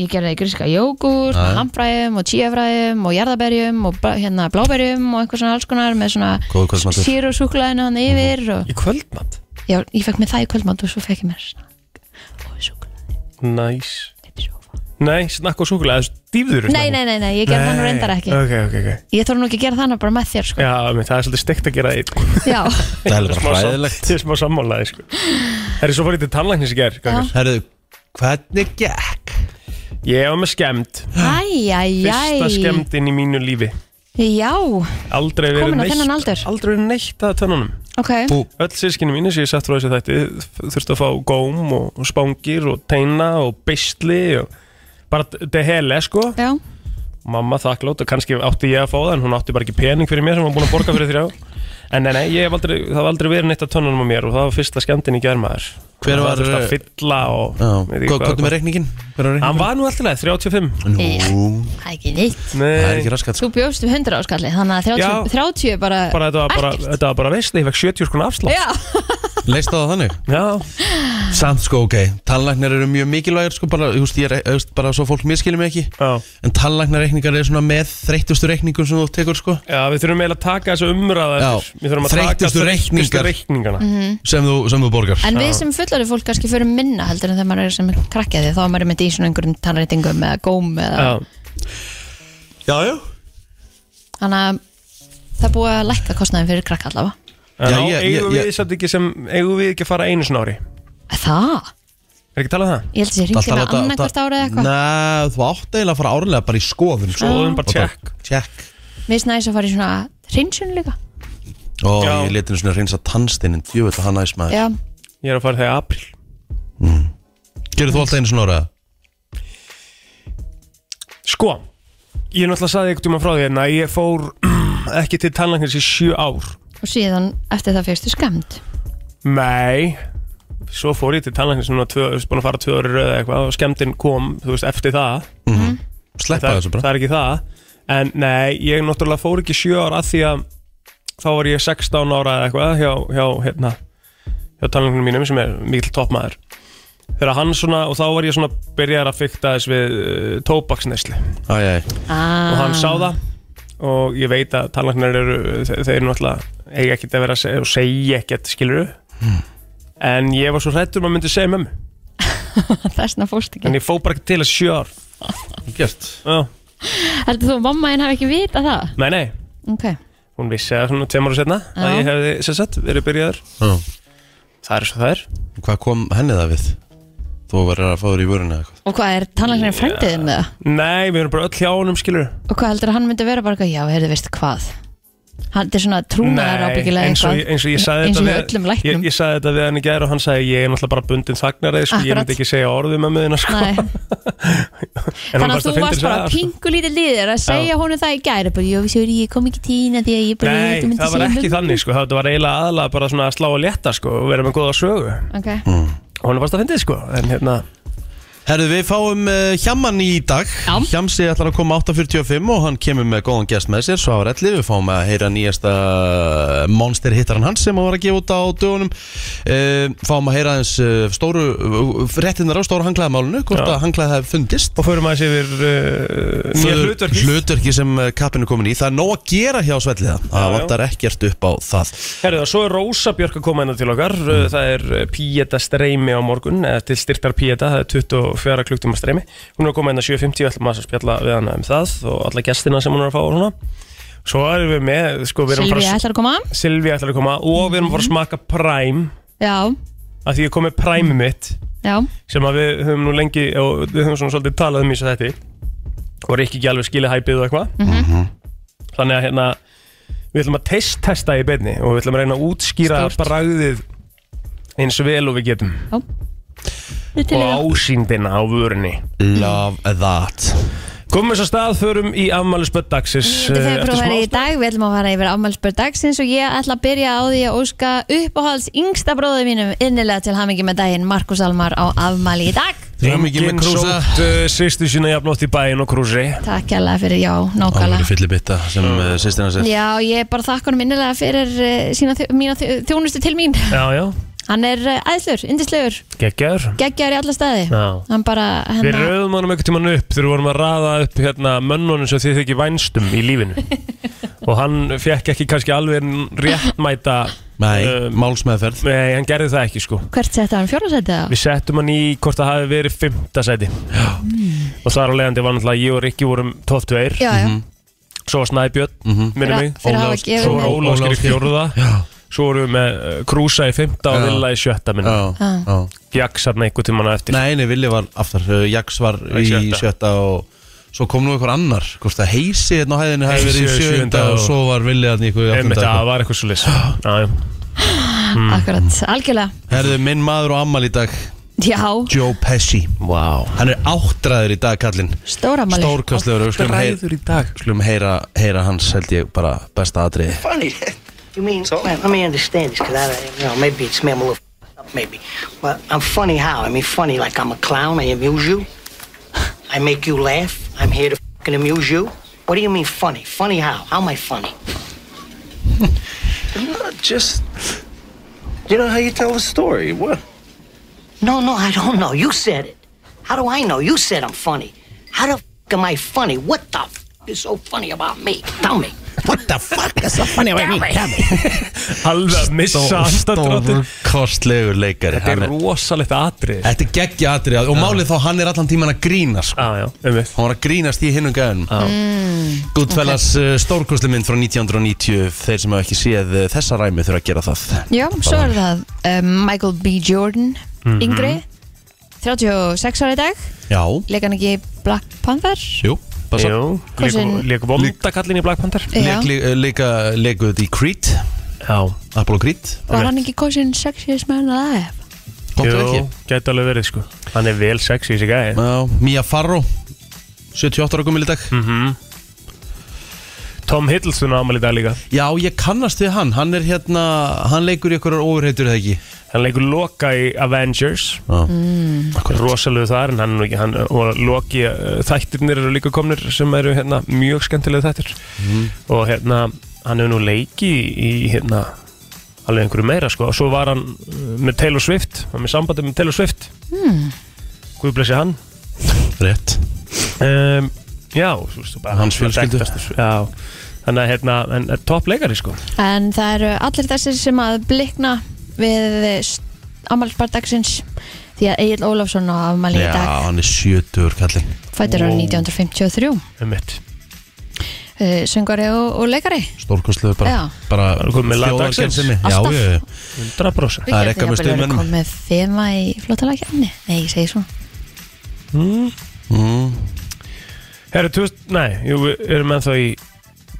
[SPEAKER 3] ég gerði gríska jógúrt
[SPEAKER 2] Já, já.
[SPEAKER 3] með hamfræjum og tíafræjum og jarðaberjum og bla- hérna, bláberjum og einhver svona alls konar með
[SPEAKER 2] Góður
[SPEAKER 3] svona
[SPEAKER 2] kvöldmatur.
[SPEAKER 3] sírusúklaðinu
[SPEAKER 2] Mhm.
[SPEAKER 3] hann yfir og
[SPEAKER 4] Í kvöldmatt?
[SPEAKER 3] já, ég fekk mér það í kvöldmátt og svo fekk ég mér snakk og súklaði
[SPEAKER 4] Næs
[SPEAKER 3] upp í sófa
[SPEAKER 4] Nei, snakk og súkulega, dýfður
[SPEAKER 3] Nei, nei, nei, nei, ég gerði það nú reyndar ekki
[SPEAKER 4] Ok, ok, ok
[SPEAKER 3] Ég þarf nú ekki að gera þannig bara með þér sko.
[SPEAKER 4] Já, menn, það er svolítið steikt að gera það einn.
[SPEAKER 3] Já,
[SPEAKER 2] Það er
[SPEAKER 4] Smá
[SPEAKER 2] bara
[SPEAKER 4] sam-
[SPEAKER 2] fræðilegt
[SPEAKER 4] Ég er smá sammálaði, sko Það er svo fór ég til tannlæknis í ger
[SPEAKER 2] Herðu, hvernig gekk?
[SPEAKER 4] Ég var með skemmt Fyrsta
[SPEAKER 3] æjæjæj
[SPEAKER 4] skemmtin í mínu lífi
[SPEAKER 3] Já,
[SPEAKER 4] Aldrei verið
[SPEAKER 3] Komin á
[SPEAKER 4] neitt
[SPEAKER 3] þennan aldur.
[SPEAKER 4] Aldrei verið neitt að tönnunum
[SPEAKER 3] ok
[SPEAKER 2] Bú,
[SPEAKER 4] Öll sískinu mínu sem ég sett frá þessu þætti Þurfti að fá góm og, og spangir og teina og beisli og Bara de hele, sko
[SPEAKER 3] Já,
[SPEAKER 4] mamma þakklátt og kannski átti ég að fá það en hún átti bara ekki pening fyrir mér sem hún var búin að borga fyrir þrjá en nei, nei, ég hef aldrei, það var aldrei verið neitt að tönnunum á mér og það var fyrsta skemmtin í germaður
[SPEAKER 2] Hver var- eh,
[SPEAKER 4] það þurfti að fylla og
[SPEAKER 2] já,
[SPEAKER 4] veit ekki
[SPEAKER 2] hvað hvað er með reikningin? Hver er
[SPEAKER 4] hann
[SPEAKER 2] reikningin?
[SPEAKER 4] var nú alltaf leið, 35
[SPEAKER 2] Nú,
[SPEAKER 3] það er ekki neitt
[SPEAKER 2] það er
[SPEAKER 4] nei,
[SPEAKER 2] ekki raskat
[SPEAKER 3] Þú bjóst um 100 áskalli, þannig að 30,
[SPEAKER 4] Já.
[SPEAKER 3] 30 er bara,
[SPEAKER 4] bara þetta var bara,
[SPEAKER 3] Ekkert.
[SPEAKER 4] þetta var bara veist ég fekk 70 skona afslátt
[SPEAKER 3] Já,
[SPEAKER 2] Leist það á þannig?
[SPEAKER 4] já,
[SPEAKER 2] Samt sko, ok, tannlæknar eru mjög mikilvægir sko, bara, þú veist, ég er, þú veist, bara svo fólk miskilur mig ekki
[SPEAKER 4] já.
[SPEAKER 2] En tannlæknarreikningar eru svona með þreytustu reikningum sem þú tekur sko
[SPEAKER 4] já við þurfum eiginlega að taka þessu umræða
[SPEAKER 2] Já,
[SPEAKER 4] eftir. við þurfum að taka
[SPEAKER 2] þreyttustu reikningar.
[SPEAKER 4] reikningana
[SPEAKER 2] sem, þú, sem þú borgar
[SPEAKER 3] Mm. En við sem fullari fólk kannski fyrir minna heldur en þegar maður er sem krakkja því þá er maður með í svona einhverjum tannreitingum eða góm eða
[SPEAKER 4] já,
[SPEAKER 2] Já, já
[SPEAKER 3] þannig að það er búið að lækka kostnaðin fyrir krakka allavega
[SPEAKER 4] en
[SPEAKER 2] Já,
[SPEAKER 4] já,
[SPEAKER 2] ég-
[SPEAKER 4] eigum
[SPEAKER 2] ég-
[SPEAKER 4] við samt ekki sem eigum við ekki að fara einu snári
[SPEAKER 3] Það?
[SPEAKER 4] Er ekki talað um það?
[SPEAKER 3] Ég held að ég ringi
[SPEAKER 2] Alltaf
[SPEAKER 3] hana
[SPEAKER 2] láta-
[SPEAKER 3] annarkvart ára eða eitthvað
[SPEAKER 2] Nei, þú átt eiginlega að fara árlega bara í skoðun sko.
[SPEAKER 4] Skoðun, bara
[SPEAKER 2] Og
[SPEAKER 4] check.
[SPEAKER 2] Check
[SPEAKER 3] Mér finnst næst að fara í svona hreinsun líka
[SPEAKER 2] Ó,
[SPEAKER 4] Já.
[SPEAKER 2] ég leti henni svona reynsa tannstinin Djöfull að hann næs maður
[SPEAKER 3] Já,
[SPEAKER 4] Ég er að fara þegar april
[SPEAKER 2] Gerðu þú alltaf einu svona ára?
[SPEAKER 4] Sko, ég náttúrulega saði einhvern tíma frá því hérna að Ég fór ekki til tannlæknis í sjö ár
[SPEAKER 3] og síðan eftir það fyrstu skamd
[SPEAKER 4] Nei Svo fór ég til tannlæknis núna tvö, þú veist, búin að fara tvö öru röð eða eitthvað og skemmtinn kom, þú veist, eftir það
[SPEAKER 2] Sleppa
[SPEAKER 4] það,
[SPEAKER 2] þessu
[SPEAKER 4] það
[SPEAKER 2] bara
[SPEAKER 4] er ekki það En nei, ég náttúrulega fór ekki sjö ára að því að þá var ég 16 ára eða eitthvað hjá, hjá, hérna, hjá talningunum mínum sem er mikill toppmaður Þegar hann svona, og þá var ég svona byrjar að fykta þess við uh, tóbaksnesli
[SPEAKER 2] Æ, æ,
[SPEAKER 3] ah.
[SPEAKER 4] og hann sá það og ég veit að talangnar eru þe- þeir eru náttúrulega eiga ekkert að vera að segja og segja ekkert, skilur Hmm. en ég var svo hrættur maður myndi segja mömmu
[SPEAKER 3] Þessna fórst ekki
[SPEAKER 4] en ég fó bara ekki til að sjö ár
[SPEAKER 2] gert
[SPEAKER 4] Já.
[SPEAKER 3] Heldur þú að mamma einn hafi ekki vita það?
[SPEAKER 4] Nei, nei,
[SPEAKER 3] Ok,
[SPEAKER 4] hún vissi það svona tveim ára setna að
[SPEAKER 3] Já.
[SPEAKER 4] ég hefði sem sagt verið byrjaður
[SPEAKER 2] Já.
[SPEAKER 4] það er svo það er
[SPEAKER 2] Hvað kom henni það við? Þú verður að fá þér í vöruna eða eitthvað
[SPEAKER 3] og hvað er tannlæknir frændiðin með það?
[SPEAKER 4] nei, við erum bara öll hjá honum skilur
[SPEAKER 3] Og hvað heldur að hann myndi vera bara eitthvað, já, heyrðu, veistu hvað Hann þetta er svona trúnaðar ábyggilega
[SPEAKER 4] eins og,
[SPEAKER 3] eitthvað
[SPEAKER 4] eins og ég sagði
[SPEAKER 3] Eins og
[SPEAKER 4] þetta
[SPEAKER 3] í öllum læknum.
[SPEAKER 4] ég, ég sagði þetta við hann í gær og hann sagði ég er náttúrulega bara bundin þagnar sko, ég
[SPEAKER 3] Akkurat.
[SPEAKER 4] myndi ekki segja orðum með möðina sko.
[SPEAKER 3] Nei,
[SPEAKER 4] En hún
[SPEAKER 3] þannig að
[SPEAKER 4] fannst
[SPEAKER 3] þú
[SPEAKER 4] það fyndin
[SPEAKER 3] varst bara
[SPEAKER 4] saga, sko.
[SPEAKER 3] pingu lítið liðir að segja honum það í gæri bara, jú, sorry, ég kom ekki tína því að ég bara
[SPEAKER 4] Nei,
[SPEAKER 3] þú myndir
[SPEAKER 4] það var
[SPEAKER 3] segja
[SPEAKER 4] ekki
[SPEAKER 3] mömmu."
[SPEAKER 4] þannig sko, það var eiginlega aðalega bara svona að slá að létta sko og vera með góða sögu
[SPEAKER 3] Ok.
[SPEAKER 4] og hún varst að fyndið sko, en hérna
[SPEAKER 2] Herðu, við fáum uh, Hjamman í dag
[SPEAKER 3] Já.
[SPEAKER 2] Hjamsi ætlar að koma 8.45 og hann kemur með góðan gest með sér Svo á relli, við fáum að heyra nýjasta monster hittaran hans sem hann var að gefa út á dögunum uh, Fáum að heyra hans uh, stóru uh, réttinnar á stóru hanglaðamálinu Hvort
[SPEAKER 4] Já.
[SPEAKER 2] að hanglaði hefði fundist
[SPEAKER 4] og förum aðeins yfir uh, nýja
[SPEAKER 2] Föður-
[SPEAKER 4] hlutverki
[SPEAKER 2] hlutverki sem eh, kappinn er komin í Það er nóg að gera hjá Svelliða Það
[SPEAKER 4] já.
[SPEAKER 2] vantar ekkert upp á það
[SPEAKER 4] Herðu það, svo er Rósa Björk að koma hérna til okkar mm. það er uh, Píeta streymi á morgun eða til styrktar Píeta, það er 24 klukktum að streymi, hún er að koma hérna 7.50 og ætlum að spjalla við hana um það og alla gestina sem hún er að fá og svona svo erum við með, sko, við erum
[SPEAKER 3] Silvi
[SPEAKER 4] bara
[SPEAKER 3] ætlar að koma
[SPEAKER 4] Silvi ætlar að koma og við erum að fara að smaka Prime
[SPEAKER 3] Já,
[SPEAKER 4] að því ég kom með Prime mitt
[SPEAKER 3] já,
[SPEAKER 4] sem að við höfum nú lengi og við höfum svona svolítið talað um í þessu þetta og er ekki alveg skilið hæpið og eitthvað
[SPEAKER 2] Mhm.
[SPEAKER 4] þannig að hérna við ætlum að test testa í beinni og við ætlum að reyna að útskýra
[SPEAKER 3] Stórt.
[SPEAKER 4] bragðið eins vel og við getum
[SPEAKER 3] við til í það
[SPEAKER 4] og ásýndina á vörunni
[SPEAKER 2] Love that
[SPEAKER 4] komum þess að stað, förum í afmælisböld dagsins eh,
[SPEAKER 3] Þetta er
[SPEAKER 4] eftir
[SPEAKER 3] fyrirbrúðar
[SPEAKER 4] smá
[SPEAKER 3] í dag, við ætlum að fara yfir afmælspörð dagsins og ég ætla að byrja á því að óska uppáhalds yngsta bróðu mínum innilega til hamingi með daginn Markus Almar á afmæli í dag
[SPEAKER 2] Hamingju
[SPEAKER 4] Engin
[SPEAKER 2] með Krúsa.
[SPEAKER 4] sótt uh, sýstu sína jafnótt í bæin og krúsi
[SPEAKER 3] Takk hérlega fyrir, já,
[SPEAKER 2] Áhverju
[SPEAKER 3] nákvæmlega
[SPEAKER 2] fyllibitta sem uh, sýstina sér
[SPEAKER 3] Já, ég bara þakka honum innilega fyrir uh, sína, þjó- mína þjó- þjónustu til mín
[SPEAKER 4] Já, já,
[SPEAKER 3] Hann er uh, æðslur, yndislegur,
[SPEAKER 4] geggjaður
[SPEAKER 3] geggjar í alla staði
[SPEAKER 4] Já.
[SPEAKER 3] Hann bara, hérna,
[SPEAKER 4] Við
[SPEAKER 3] hennar,
[SPEAKER 4] rauðum honum einhvern tímann upp þegar við vorum að raða upp hérna mönnunum sem þið þykir vænstum í lífinu og hann fekk ekki kannski alveg réttmæta
[SPEAKER 2] Nei,
[SPEAKER 4] um,
[SPEAKER 2] málsmeðferð
[SPEAKER 4] Nei, hann gerði það ekki sko
[SPEAKER 3] hvert setja hann fjórðasætti það?
[SPEAKER 4] Við settum hann í hvort það hafi verið fymta sæti mm.
[SPEAKER 3] Hmm.
[SPEAKER 4] og þar á leiðandi var náttúrulega ég og Rikki vorum 22
[SPEAKER 3] Já, já,
[SPEAKER 4] svo var Snæbjörn,
[SPEAKER 3] fyrir,
[SPEAKER 4] minnum
[SPEAKER 3] að-
[SPEAKER 4] mig
[SPEAKER 3] fyrir að hafa
[SPEAKER 2] Mhm. Ólafs-
[SPEAKER 3] gefið
[SPEAKER 4] svo
[SPEAKER 2] Ólafs-
[SPEAKER 4] var
[SPEAKER 3] mér
[SPEAKER 4] Óláskir í
[SPEAKER 2] Ólafsgeir.
[SPEAKER 4] fjórða
[SPEAKER 2] Já.
[SPEAKER 4] svo vorum við með uh, Krúsa í fymta og
[SPEAKER 2] Já.
[SPEAKER 4] Villa í sjötta minna
[SPEAKER 2] Já,
[SPEAKER 3] Já.
[SPEAKER 2] já.
[SPEAKER 4] Jaksarna einhvern tímann á eftir
[SPEAKER 2] Nei, nei, Vili var aftar uh, Jax var í
[SPEAKER 4] sjötta.
[SPEAKER 2] sjötta og Svo kom nú einhver annar Hvort það heisi hérna á hæðinni hefði verið í
[SPEAKER 4] Heisi í
[SPEAKER 2] sjöunda
[SPEAKER 4] sjöunda
[SPEAKER 2] og
[SPEAKER 4] og-
[SPEAKER 2] svo var Vili hérna í ykkur
[SPEAKER 4] Einmitt,
[SPEAKER 2] áttunda
[SPEAKER 4] það var eitthvað svo leys
[SPEAKER 3] Akkurat, algjörlega
[SPEAKER 2] Herðu minn maður og ammal í dag
[SPEAKER 3] Já,
[SPEAKER 2] Joe Pesci
[SPEAKER 4] Vá
[SPEAKER 2] Hann er áttræður í dag kallinn
[SPEAKER 3] stóramæli
[SPEAKER 2] Stórkastlegur Við skulum, heyra,
[SPEAKER 4] Dræður í dag
[SPEAKER 2] skulum heyra, heyra hans held ég bara besta atriði
[SPEAKER 5] funny.
[SPEAKER 6] You mean, well, let me understand this, because I, don't- you know, maybe it's me, I'm a little f***ed up, maybe. But I'm funny how? I mean, funny like I'm a clown, I amuse you. I make you laugh. I'm here to fucking amuse you. What do you mean funny? Funny how? How am I funny?
[SPEAKER 5] Not just. You know how you tell a story. What?
[SPEAKER 6] No, no, I don't know. You said it. How do I know? You said I'm funny. How the fuck am I funny? What the f is so funny about me? Tell me.
[SPEAKER 2] What the fuck is so funny about me?
[SPEAKER 4] Alveg að missa andadráttin
[SPEAKER 2] Stórkastlegur leikari
[SPEAKER 4] Þetta
[SPEAKER 2] Hann
[SPEAKER 4] er
[SPEAKER 2] er-
[SPEAKER 4] rosalegt atrið
[SPEAKER 2] Þetta er geggja atrið Og málið þá hann er allan tíman að grína sko.
[SPEAKER 4] Já, já, um við
[SPEAKER 2] Hann var að grínast í hinnum gæðunum
[SPEAKER 3] Mm.
[SPEAKER 2] Goodfellas okay. stórkosli mynd frá 1990 Þeir sem hafa ekki séð uh, þessa ræmi þurfa að gera það
[SPEAKER 3] eh, Já, svo er það um, Michael B. Jordan yngri 36 ára í dag
[SPEAKER 2] Já,
[SPEAKER 3] Leik hann ekki í Black Panther
[SPEAKER 2] jú, bara svo
[SPEAKER 4] Jú,
[SPEAKER 3] Kosin-
[SPEAKER 4] líka vondakallin í Black Panther
[SPEAKER 3] Já.
[SPEAKER 2] Leik, lí- Líka leikuð þetta í Creed
[SPEAKER 4] Já,
[SPEAKER 2] Apollo Creed
[SPEAKER 3] Var hann ekki kosin sexiest man alive
[SPEAKER 2] Komt það
[SPEAKER 4] Jú,
[SPEAKER 2] ekki?
[SPEAKER 4] gæti alveg verið sko Hann er vel sexy þessi gæði
[SPEAKER 2] Já, Mia Farrow 78 ára gummil í dag
[SPEAKER 4] Tom Hiddleston á ámæli í dag líka
[SPEAKER 2] Já, ég kannast við hann Hann er hérna, hann leikur í einhverjar ofurheitur eða ekki Mm.
[SPEAKER 4] Hann leikur Loka í Avengers Rosalegu þar en hann, er nú ekki- hann og Loki uh, þættirnir eru líka komnir sem eru hérna mjög skemmtilega þættir
[SPEAKER 2] Mhm.
[SPEAKER 4] og hérna hann hefur nú leiki í hérna alveg einhverju meira sko og svo var hann uh, með Taylor Swift hann var með sambandi með Taylor Swift mm. Guð blessi hann
[SPEAKER 2] Rétt
[SPEAKER 4] um, Já, þú veist þú bara
[SPEAKER 2] Hans
[SPEAKER 4] hann var
[SPEAKER 2] fjölskyldu.
[SPEAKER 4] þekktastur, sko. Já, þannig að hérna en, en topp leikari sko
[SPEAKER 3] En það eru allir þessir sem að blikna við afmælsbardagsins því að Egil Ólafsson á afmæli í dag
[SPEAKER 2] Já, hann er 70 kallinn
[SPEAKER 3] fættur
[SPEAKER 4] Wow.
[SPEAKER 3] árið 1953
[SPEAKER 4] um mitt
[SPEAKER 3] uh, söngari og, og leikari
[SPEAKER 2] Stórkostlegur
[SPEAKER 3] Já.
[SPEAKER 2] bara, bara
[SPEAKER 4] Bara komið með lag dagsins.
[SPEAKER 2] þjóðarkennsemi Já,
[SPEAKER 3] Alltaf.
[SPEAKER 2] já, já
[SPEAKER 4] 100%
[SPEAKER 2] Það er ekki að með stuðmönnum.
[SPEAKER 3] Við getum jafnvel verið komið þema í flottala kjarni Nei, ég segi svona
[SPEAKER 2] Mm.
[SPEAKER 4] Herru, þú veist, nei, jú, við erum ennþá í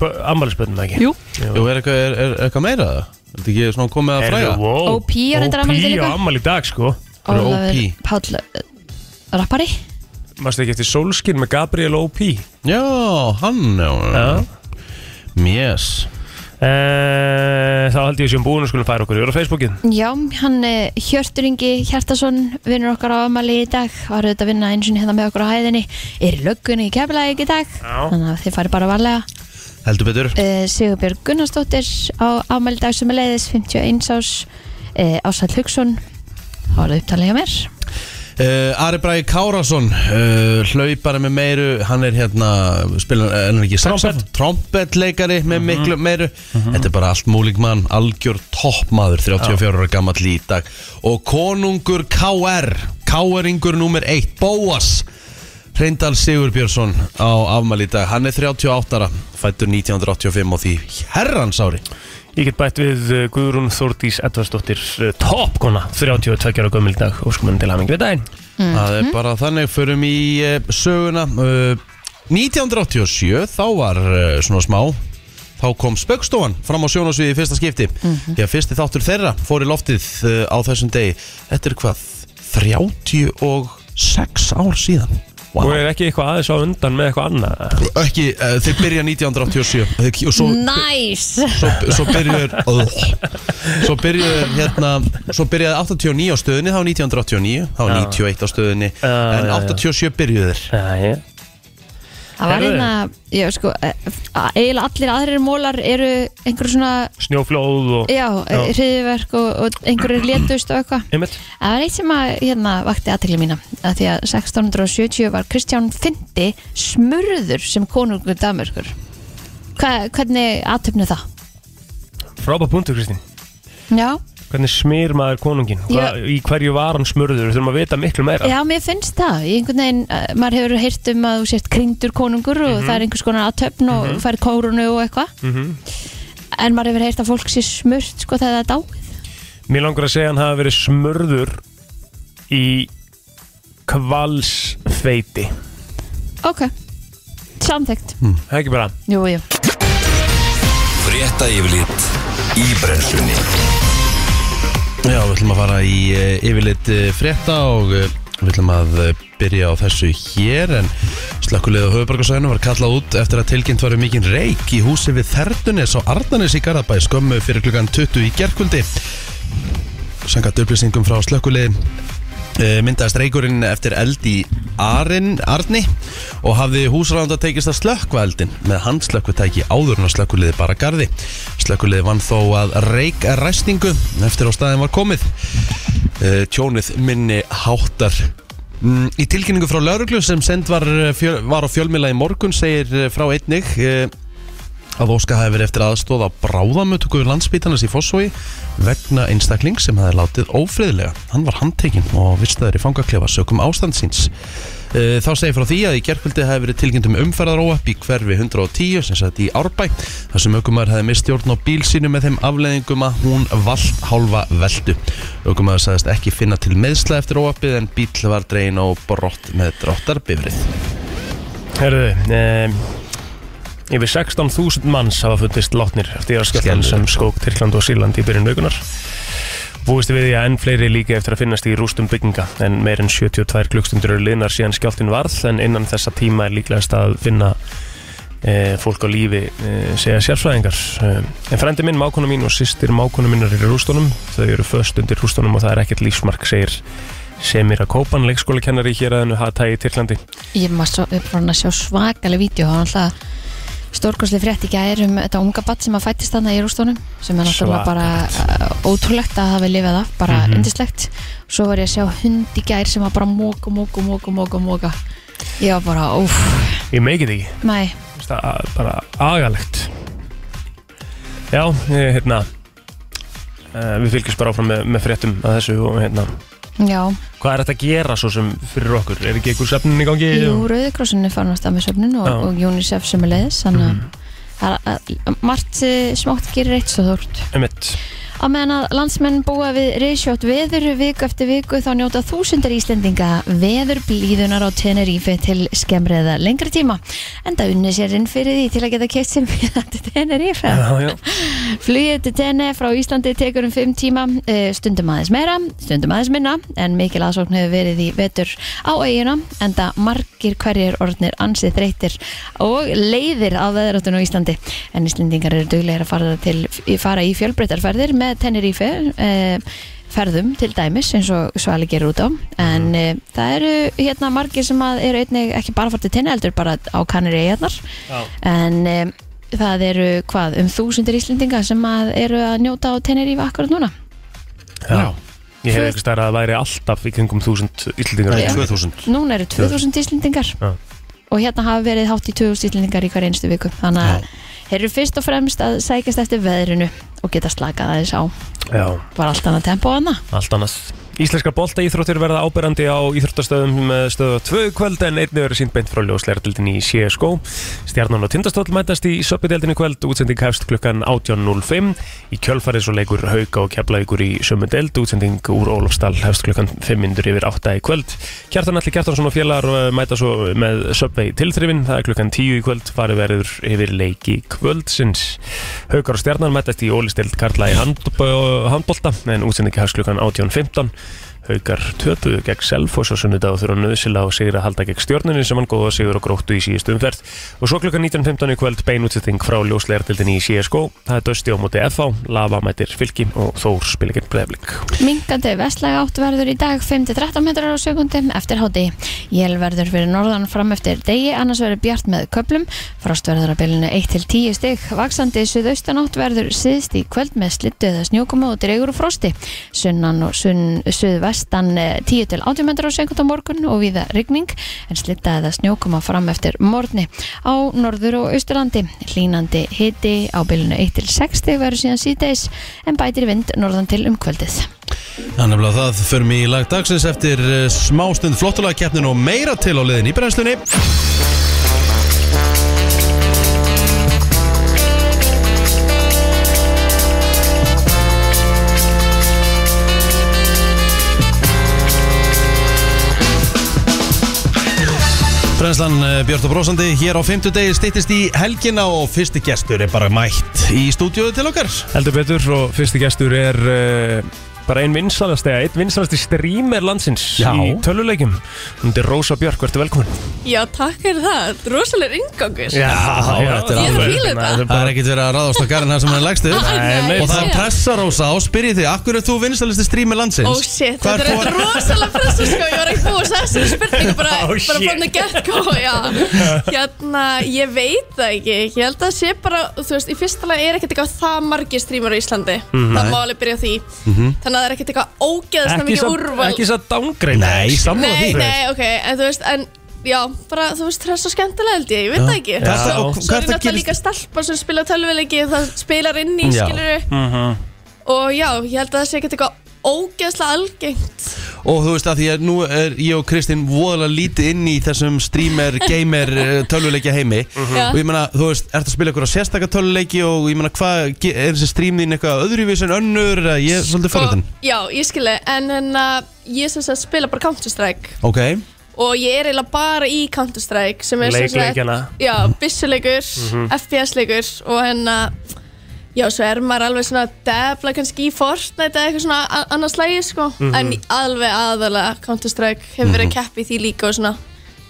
[SPEAKER 4] ammælisböndum, ekki?
[SPEAKER 7] Jú.
[SPEAKER 2] Jú, er eitthvað, er, er eitthvað meira það? Er þetta ekki svona komið að fræga?
[SPEAKER 4] wow.
[SPEAKER 3] OP á reyndar afmæli
[SPEAKER 4] OP á
[SPEAKER 3] líka.
[SPEAKER 4] ammæli í dag, sko.
[SPEAKER 2] Hver er
[SPEAKER 3] Ólafur
[SPEAKER 2] OP?
[SPEAKER 3] Páll uh, Rappari
[SPEAKER 4] Mástu ekki eftir Solskin með Gabriel OP?
[SPEAKER 2] Já, hann, já,
[SPEAKER 4] Já.
[SPEAKER 2] Yes
[SPEAKER 4] Eh, þá held ég sem búin og skulum færa okkur yfir á Facebookin.
[SPEAKER 3] Já, hann eh, Hjörtur Ingi Hjartason vinnur okkar á afmæli í dag var auðvitað að vinna eins og hérna með okkur á hæðinni er í löggunni í keflaðið í dag
[SPEAKER 4] Já.
[SPEAKER 3] þannig að þið farið bara varlega
[SPEAKER 2] Heldur betur
[SPEAKER 3] uh, Sigurbjörg Gunnarsdóttir á afmæli í dag sem er leiðis 51 ás uh, Ásall Hugson þá er það upptalið hjá mér
[SPEAKER 2] Uh, Ari Bragi Kárasson uh, hlaupari með meiru hann er hérna spilar, eh, hann er ekki saxaf, trompetleikari með miklu meiru þetta er bara allt múlík mann algjör toppmaður 34 ára gammal í dag og konungur KR KR-ingur nummer 1 Bóas Reyndal Sigurbjörnsson á afmæli í dag hann er 38 ára fættur 1985 og því herrans ári
[SPEAKER 4] Ég get bætt við eh, Guðrún Þórdís Edvarsdóttir, eh, toppkona, 32 ára gömul í dag, óskum henni til hamingi við daginn.
[SPEAKER 2] Það er bara þannig, förum í uh, söguna uh, 1987, þá var uh, svona smá Þá kom Spöggstofan fram á sjónasviði í fyrsta skipti Því að fyrsti þáttur þeirra fór í loftið uh, á þessum degi Þetta er hvað, 36 ár síðan Vá.
[SPEAKER 4] Og er ekki eitthvað aðeins á undan með eitthvað annað?
[SPEAKER 2] Ekki, uh, þeir byrja 1987 þeir, og svo,
[SPEAKER 3] Nice!
[SPEAKER 2] svo, svo byrjuður Svo byrjuður hérna Svo byrjaði 89 á stöðinni, þá 1989 Þá
[SPEAKER 4] Já.
[SPEAKER 2] 91 á stöðinni
[SPEAKER 4] Já,
[SPEAKER 2] En
[SPEAKER 4] já, já.
[SPEAKER 2] 87 byrjuður
[SPEAKER 4] Æ,
[SPEAKER 3] Það var
[SPEAKER 4] Herðu.
[SPEAKER 3] hérna, já sko, eh, að- eiginlega allir aðrir mólar eru einhverju svona,
[SPEAKER 4] snjóflóð og...
[SPEAKER 3] já,
[SPEAKER 4] Já.
[SPEAKER 3] hriðiverk og, og einhverju létust og eitthvað.
[SPEAKER 4] Einmitt.
[SPEAKER 3] Það var eitt sem að hérna vakti aðtekli mína, að því að 1670 var Kristján Fyndi smurður sem konungur Danmörkur. Hva, hvernig aðtöfnu það?
[SPEAKER 4] Frábær punktur, Kristín.
[SPEAKER 3] Já,
[SPEAKER 4] Hvernig smýr maður konungin? Hva, í hverju var hann smurður? Við þurfum að vita miklu meira.
[SPEAKER 3] já, mér finnst það. Í einhvern veginn, eh, maður hefur heyrt um að þú sért kringdur konungur og það er einhvers konar aðtöfn og mm fær kórunu og eitthvað. En maður hefur heyrt að fólk sé smurt sko þegar það er dáið.
[SPEAKER 4] Mér langar að segja að hann hafi verið smörður í kvalsfeiti.
[SPEAKER 3] Ok, samþygt
[SPEAKER 4] Það er ekki bara.
[SPEAKER 3] Jú, jú
[SPEAKER 1] Frétta yfirlit í brennslunni
[SPEAKER 2] Já, við ætlum að fara í uh, yfirleitt uh, frétta og uh, við ætlum að uh, byrja á þessu hér en slökkulega höfubarkasæðinu var kallað út eftir að tilkynnt var um mikinn reik í húsi við Þerdunes á Ardanes í Garðabæ skömmu fyrir klukkan 20 í gerkvöldi Sangat upplýsingum frá slökkulega Eh, myndaðist reykurinn eftir eld í Arin, Arni og hafði húsránda tekist að slökkva eldin með hans slökkutæki áður en að slökkuliði bara gardi. Slökkuliði vann þó að reik ræstingu eftir á staðin var komið. Eh, Tjónið minni háttar Mm, Í tilkynningu frá lauruglu sem send var, eh, fjö, var á fjölmila í morgun segir eh, frá einnig eh, að Óska hafi verið eftir aðstóð á bráðamötuku landsbítarnas í Fossói vegna einstakling sem hafi látið ófriðlega. Hann var handtekinn og vistaður í fangaklefa sökum ástand síns. Eh, Þá segir frá því að í gerkvöldi hafi verið tilkynnt um umferðaróapp í hverfi 110 sem sagt í Árbæ þar sem aukumar hafi mist stjórn á bíl sínu með þeim afleðingum að hún vald hálfa veldu. Aukumar sagðist ekki finna til meðsla eftir óappið en bíl var dregin á brott með drottarbifrið.
[SPEAKER 4] Herðu, um, yfir 16.000 manns hafa fundist látnir eftir jarðskjálftan sem skók Tyrkland og Sýrland í byrjun aukunar. Búist er við því að enn fleiri líka eftir að finnast í rústum bygginga en meir en 72 klukkstundur eru liðnar síðan skjálftin varð en innan þessa tíma er líklegast að finna e, fólk á lífi e, segja sérfræðingar. E, en frendi minn, mákona mín og sýstir mákona mín eru í rústunum. Þau eru föst undir rústunum og það er ekkert lífsmark, segir Semir að Kópan, leikskólakennari hér að hennu Hatay í Tyrklandi.
[SPEAKER 3] Ég var svo upprann að sjá svakaleg vídeo og alltaf stórkursli frétt í gær um þetta unga batt sem að fættist þarna í rústónum sem er náttúrulega bara uh, ótrúlegt að hafa lifað af, bara mm
[SPEAKER 4] Mhm.
[SPEAKER 3] indislegt svo var ég að sjá hund í gær sem var bara móka, móka, móka, móka, móka ég var bara, óf,
[SPEAKER 4] Ég meikið ekki.
[SPEAKER 3] mæ
[SPEAKER 4] Finnst það a- bara agalegt já, eh, hérna eh, við fylgjumst bara áfram með, með fréttum að þessu og hérna
[SPEAKER 3] já,
[SPEAKER 4] hvað er þetta að gera svo sem fyrir okkur er ekki einhver svefnin í gangi
[SPEAKER 3] jú, Rauðikrossinu fann að stað með söfnun og,
[SPEAKER 4] Já.
[SPEAKER 3] og UNICEF sem er leiðis þannig að það er að- margt eh, smátt gerir eitt svo þórt
[SPEAKER 4] emitt
[SPEAKER 3] Á meðan að landsmenn búa við reysjótt veður viku eftir viku þá njóta þúsundar Íslendinga veður blíðunar á Tenerife til skemmriða lengri tíma. Enda unni sér inn fyrir því til að geta keitt sem við til Tenerife.
[SPEAKER 4] já, já.
[SPEAKER 3] Flugið til Tene frá Íslandi tekur um 5 tíma, eh, stundum aðeins meira, stundum aðeins minna, en mikil aðsókn hefur verið í vetur á eiguna, enda margir hverjir orðnir ansið þreytir og leiðir á veðráttun á Íslandi. En Íslendingar eru duglegir að fara, til, fara í fjölbreytarferðir með Tenerife, eh, ferðum til dæmis eins og Svali gerur út á en e, það eru hérna margir sem að eru einnig ekki bara fartið tinni heldur bara á kannir eigarnar
[SPEAKER 4] Já.
[SPEAKER 3] en e, það eru hvað um þúsundir Íslendinga sem að eru að njóta á Tenerife akkurat núna
[SPEAKER 4] Já. ég hef ekki stærra að væri alltaf í kringum þúsund ylltingar
[SPEAKER 2] Nei,
[SPEAKER 3] Já.
[SPEAKER 2] 2000.
[SPEAKER 3] núna eru 2000 Íslendingar
[SPEAKER 4] Já.
[SPEAKER 3] og hérna hafa verið hátt í 2000 Íslendingar í hver einstu viku þannig að þeir eru fyrst og fremst að sækjast eftir veðrinu og geta slakað aðeins á
[SPEAKER 4] já,
[SPEAKER 3] bara allt annað tempo hana
[SPEAKER 4] allt annað Íslenskar bolta verða áberandi á íþróttastöðum með stöðu 2 í kvöld en einnig verður sínt beint frá ljósleirdeldin í CSGO. Stjarnan og Tindastóll mætast í söpjadeldin í kvöld, útsending hefst klukkan 18.05. Í kjölfarið svo leikur Hauka og Keflavíkur í sömu deld, útsending úr Ólafsdal hefst klukkan 5.00 yfir 8 í kvöld. Kjartan Alli Kjartansson og félagar eh, mæta svo með söpvei tilþrifin, það er klukkan 10 í kvöld, farið verður yfir leiki kvöldsins. Haukar og Stjarnan mætast í ólisteld Karla í handbo- handbolta en útsendingi hefst klukkan 18.15 Haukar töpuðu gegn Selfoss á sunnudag og þurfa nöðsila og sigur að halda gegn stjórnunni sem hann góða sigur og gróttu í síðustu umferð og svo klukkan 19.15 í kvöld bein útsetting frá ljósleirtildin í CSGO það er dösti á móti FH, Lava mætir Fylki og Þór spila gegn Breiðblik
[SPEAKER 3] Minkandi vestlæga átt verður í dag 5-13 metrar á sekundum eftir háti. Jél verður fyrir norðan fram eftir degi, annars verður bjart með köplum. Frost verður að bylunu 1-10 stig. Vaksandi suðaustan átt verður síðst í kvöld með slittu eða snjókomu og dregur og frosti. Sunnan og sunn, suðvestan eh, 10-18 metrar á sekundum morgun og viða rigning en slitta eða snjókoma fram eftir morgni á norður og austurlandi. Hlínandi hiti á bylunu 1-6 stig verður síðan síðdeis en bætir í vind norðan til um kvöldið.
[SPEAKER 2] Þannig að það förum í lag dagsins eftir eh, smástund flottulega keppnin og meira til á liðin í brennslunni Brennslan eh, Björt og Brósandi hér á fimmtudegi styttist í helgina og fyrsti gestur er bara mætt í stúdíóðu til okkar
[SPEAKER 4] Heldur betur og fyrsti gestur er uh, bara ein vinsalast eða einn vinsalasti streamer landsins
[SPEAKER 2] Já.
[SPEAKER 4] í töluleikjum hún er Rósa Björk, verður velkomin
[SPEAKER 7] Já, takk fyrir það. Þetta er Rosalegur inngangur.
[SPEAKER 2] þetta er hérna
[SPEAKER 7] Ég er að
[SPEAKER 2] alveg-
[SPEAKER 7] fíla þetta.
[SPEAKER 2] Það er ekkert verið að ráðast á garðin það sem hann er lægstu
[SPEAKER 7] Nei, nei.
[SPEAKER 2] Og það er
[SPEAKER 7] Nei.
[SPEAKER 2] pressa rosa og spyrja þig Akkur er þú vinstalisti strími landsins?
[SPEAKER 7] Ó Oh, shit,
[SPEAKER 2] Hvað
[SPEAKER 7] þetta er
[SPEAKER 2] þú-
[SPEAKER 7] eitthvað rosalega pressa sko, ég var ekki búið að þessu spurningu bara,
[SPEAKER 4] Ó,
[SPEAKER 7] oh, bara
[SPEAKER 4] shit.
[SPEAKER 7] fann að gett go, já. Hérna, ég veit það ekki, ég held að það sé bara, þú veist, í fyrsta lag er ekkert eitthvað það margir strímar á Íslandi,
[SPEAKER 2] Mhm.
[SPEAKER 7] það má alveg byrja á því, þannig að það er ekkert eitthvað ógeðslega mikið úrval.
[SPEAKER 4] ekki svo downgrade
[SPEAKER 2] Nei,
[SPEAKER 4] sammála
[SPEAKER 7] Nei,
[SPEAKER 4] því.
[SPEAKER 7] nei, ok, en þú veist, en já, bara, þú veist, það er svo skemmtilega held ég, ég veit það ekki
[SPEAKER 2] Hvað er það- og hvað er
[SPEAKER 7] Svo er
[SPEAKER 2] það
[SPEAKER 7] náttúrulega
[SPEAKER 2] gerist
[SPEAKER 7] líka stelpa sem spila tölvuleiki, það spilar inn í,
[SPEAKER 2] Já.
[SPEAKER 7] skiluru
[SPEAKER 4] Mhm.
[SPEAKER 7] Og já, ég held að það sé ekkert eitthvað ógeðslega algengt
[SPEAKER 2] Og þú veist að því að nú er ég og Kristinn voðalega lítið inn í þessum streamer, gamer, eh, tölvuleikja heimi
[SPEAKER 7] Já.
[SPEAKER 2] Og ég meina, þú veist, ertu að spila ykkur á sérstaka tölvuleiki og ég meina, hvað, ge- er þessi stream þín eitthvað öðruvís en önnur? eða Ég er svolítið
[SPEAKER 7] Og-
[SPEAKER 2] forðin
[SPEAKER 7] Já, ég skilji, en en að ég sem sagt spila bara Counter-Strike
[SPEAKER 2] Ok,
[SPEAKER 7] Og ég er eiginlega bara í Counter-Strike sem er sem sagt-
[SPEAKER 4] Leikleikjana.
[SPEAKER 7] Já, byssuleikur, FPS-leikur og hennar Já, svo er maður alveg svona að debla kannski í Fortnite eða eitthvað svona a- annars lægi sko En alveg aðalega Counter-Strike hefur verið að keppa í því líka og svona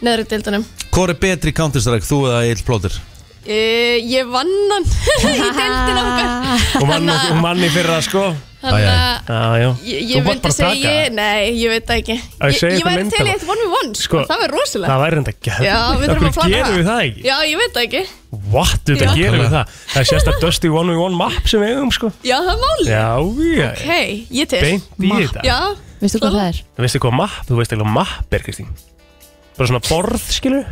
[SPEAKER 7] neðri deildunum
[SPEAKER 2] hvað er betri Counter-Strike, þú eða Egil Plóter?
[SPEAKER 7] uh, Ég vann hann í deildin okkar
[SPEAKER 4] Hún vann,
[SPEAKER 7] Þannig að-
[SPEAKER 4] hún vann í fyrra sko
[SPEAKER 7] Þannig að
[SPEAKER 4] Já, já
[SPEAKER 7] ég,
[SPEAKER 4] Þú
[SPEAKER 7] ég
[SPEAKER 4] mátt
[SPEAKER 7] vildi
[SPEAKER 4] bara taka
[SPEAKER 7] segja
[SPEAKER 4] það.
[SPEAKER 7] ég, Nei, ég veit það ekki
[SPEAKER 4] Að
[SPEAKER 7] Ég,
[SPEAKER 4] segja
[SPEAKER 7] ég
[SPEAKER 4] eitthvað
[SPEAKER 7] væri til í
[SPEAKER 4] myndarlega.
[SPEAKER 7] eitt one v one
[SPEAKER 4] Sko,
[SPEAKER 7] sko, Það væri rosalega
[SPEAKER 4] Það væri enda gæð
[SPEAKER 7] Já, við þurfum að plana
[SPEAKER 4] gerum við það ekki?
[SPEAKER 7] Já, ég veit það ekki
[SPEAKER 4] What, þetta
[SPEAKER 7] Já.
[SPEAKER 4] gerum við það Það er sérst að Dusty 1v1 map sem við eigum sko
[SPEAKER 7] Já, það er máli
[SPEAKER 4] Já, já,
[SPEAKER 7] Hei, ég til
[SPEAKER 4] Eh, beint í þetta
[SPEAKER 7] Já,
[SPEAKER 3] Veistu hvað það er?
[SPEAKER 4] Þú veist eitthvað mapp, þú veist eitthvað mapp er Kristín Bara svona borð, skilur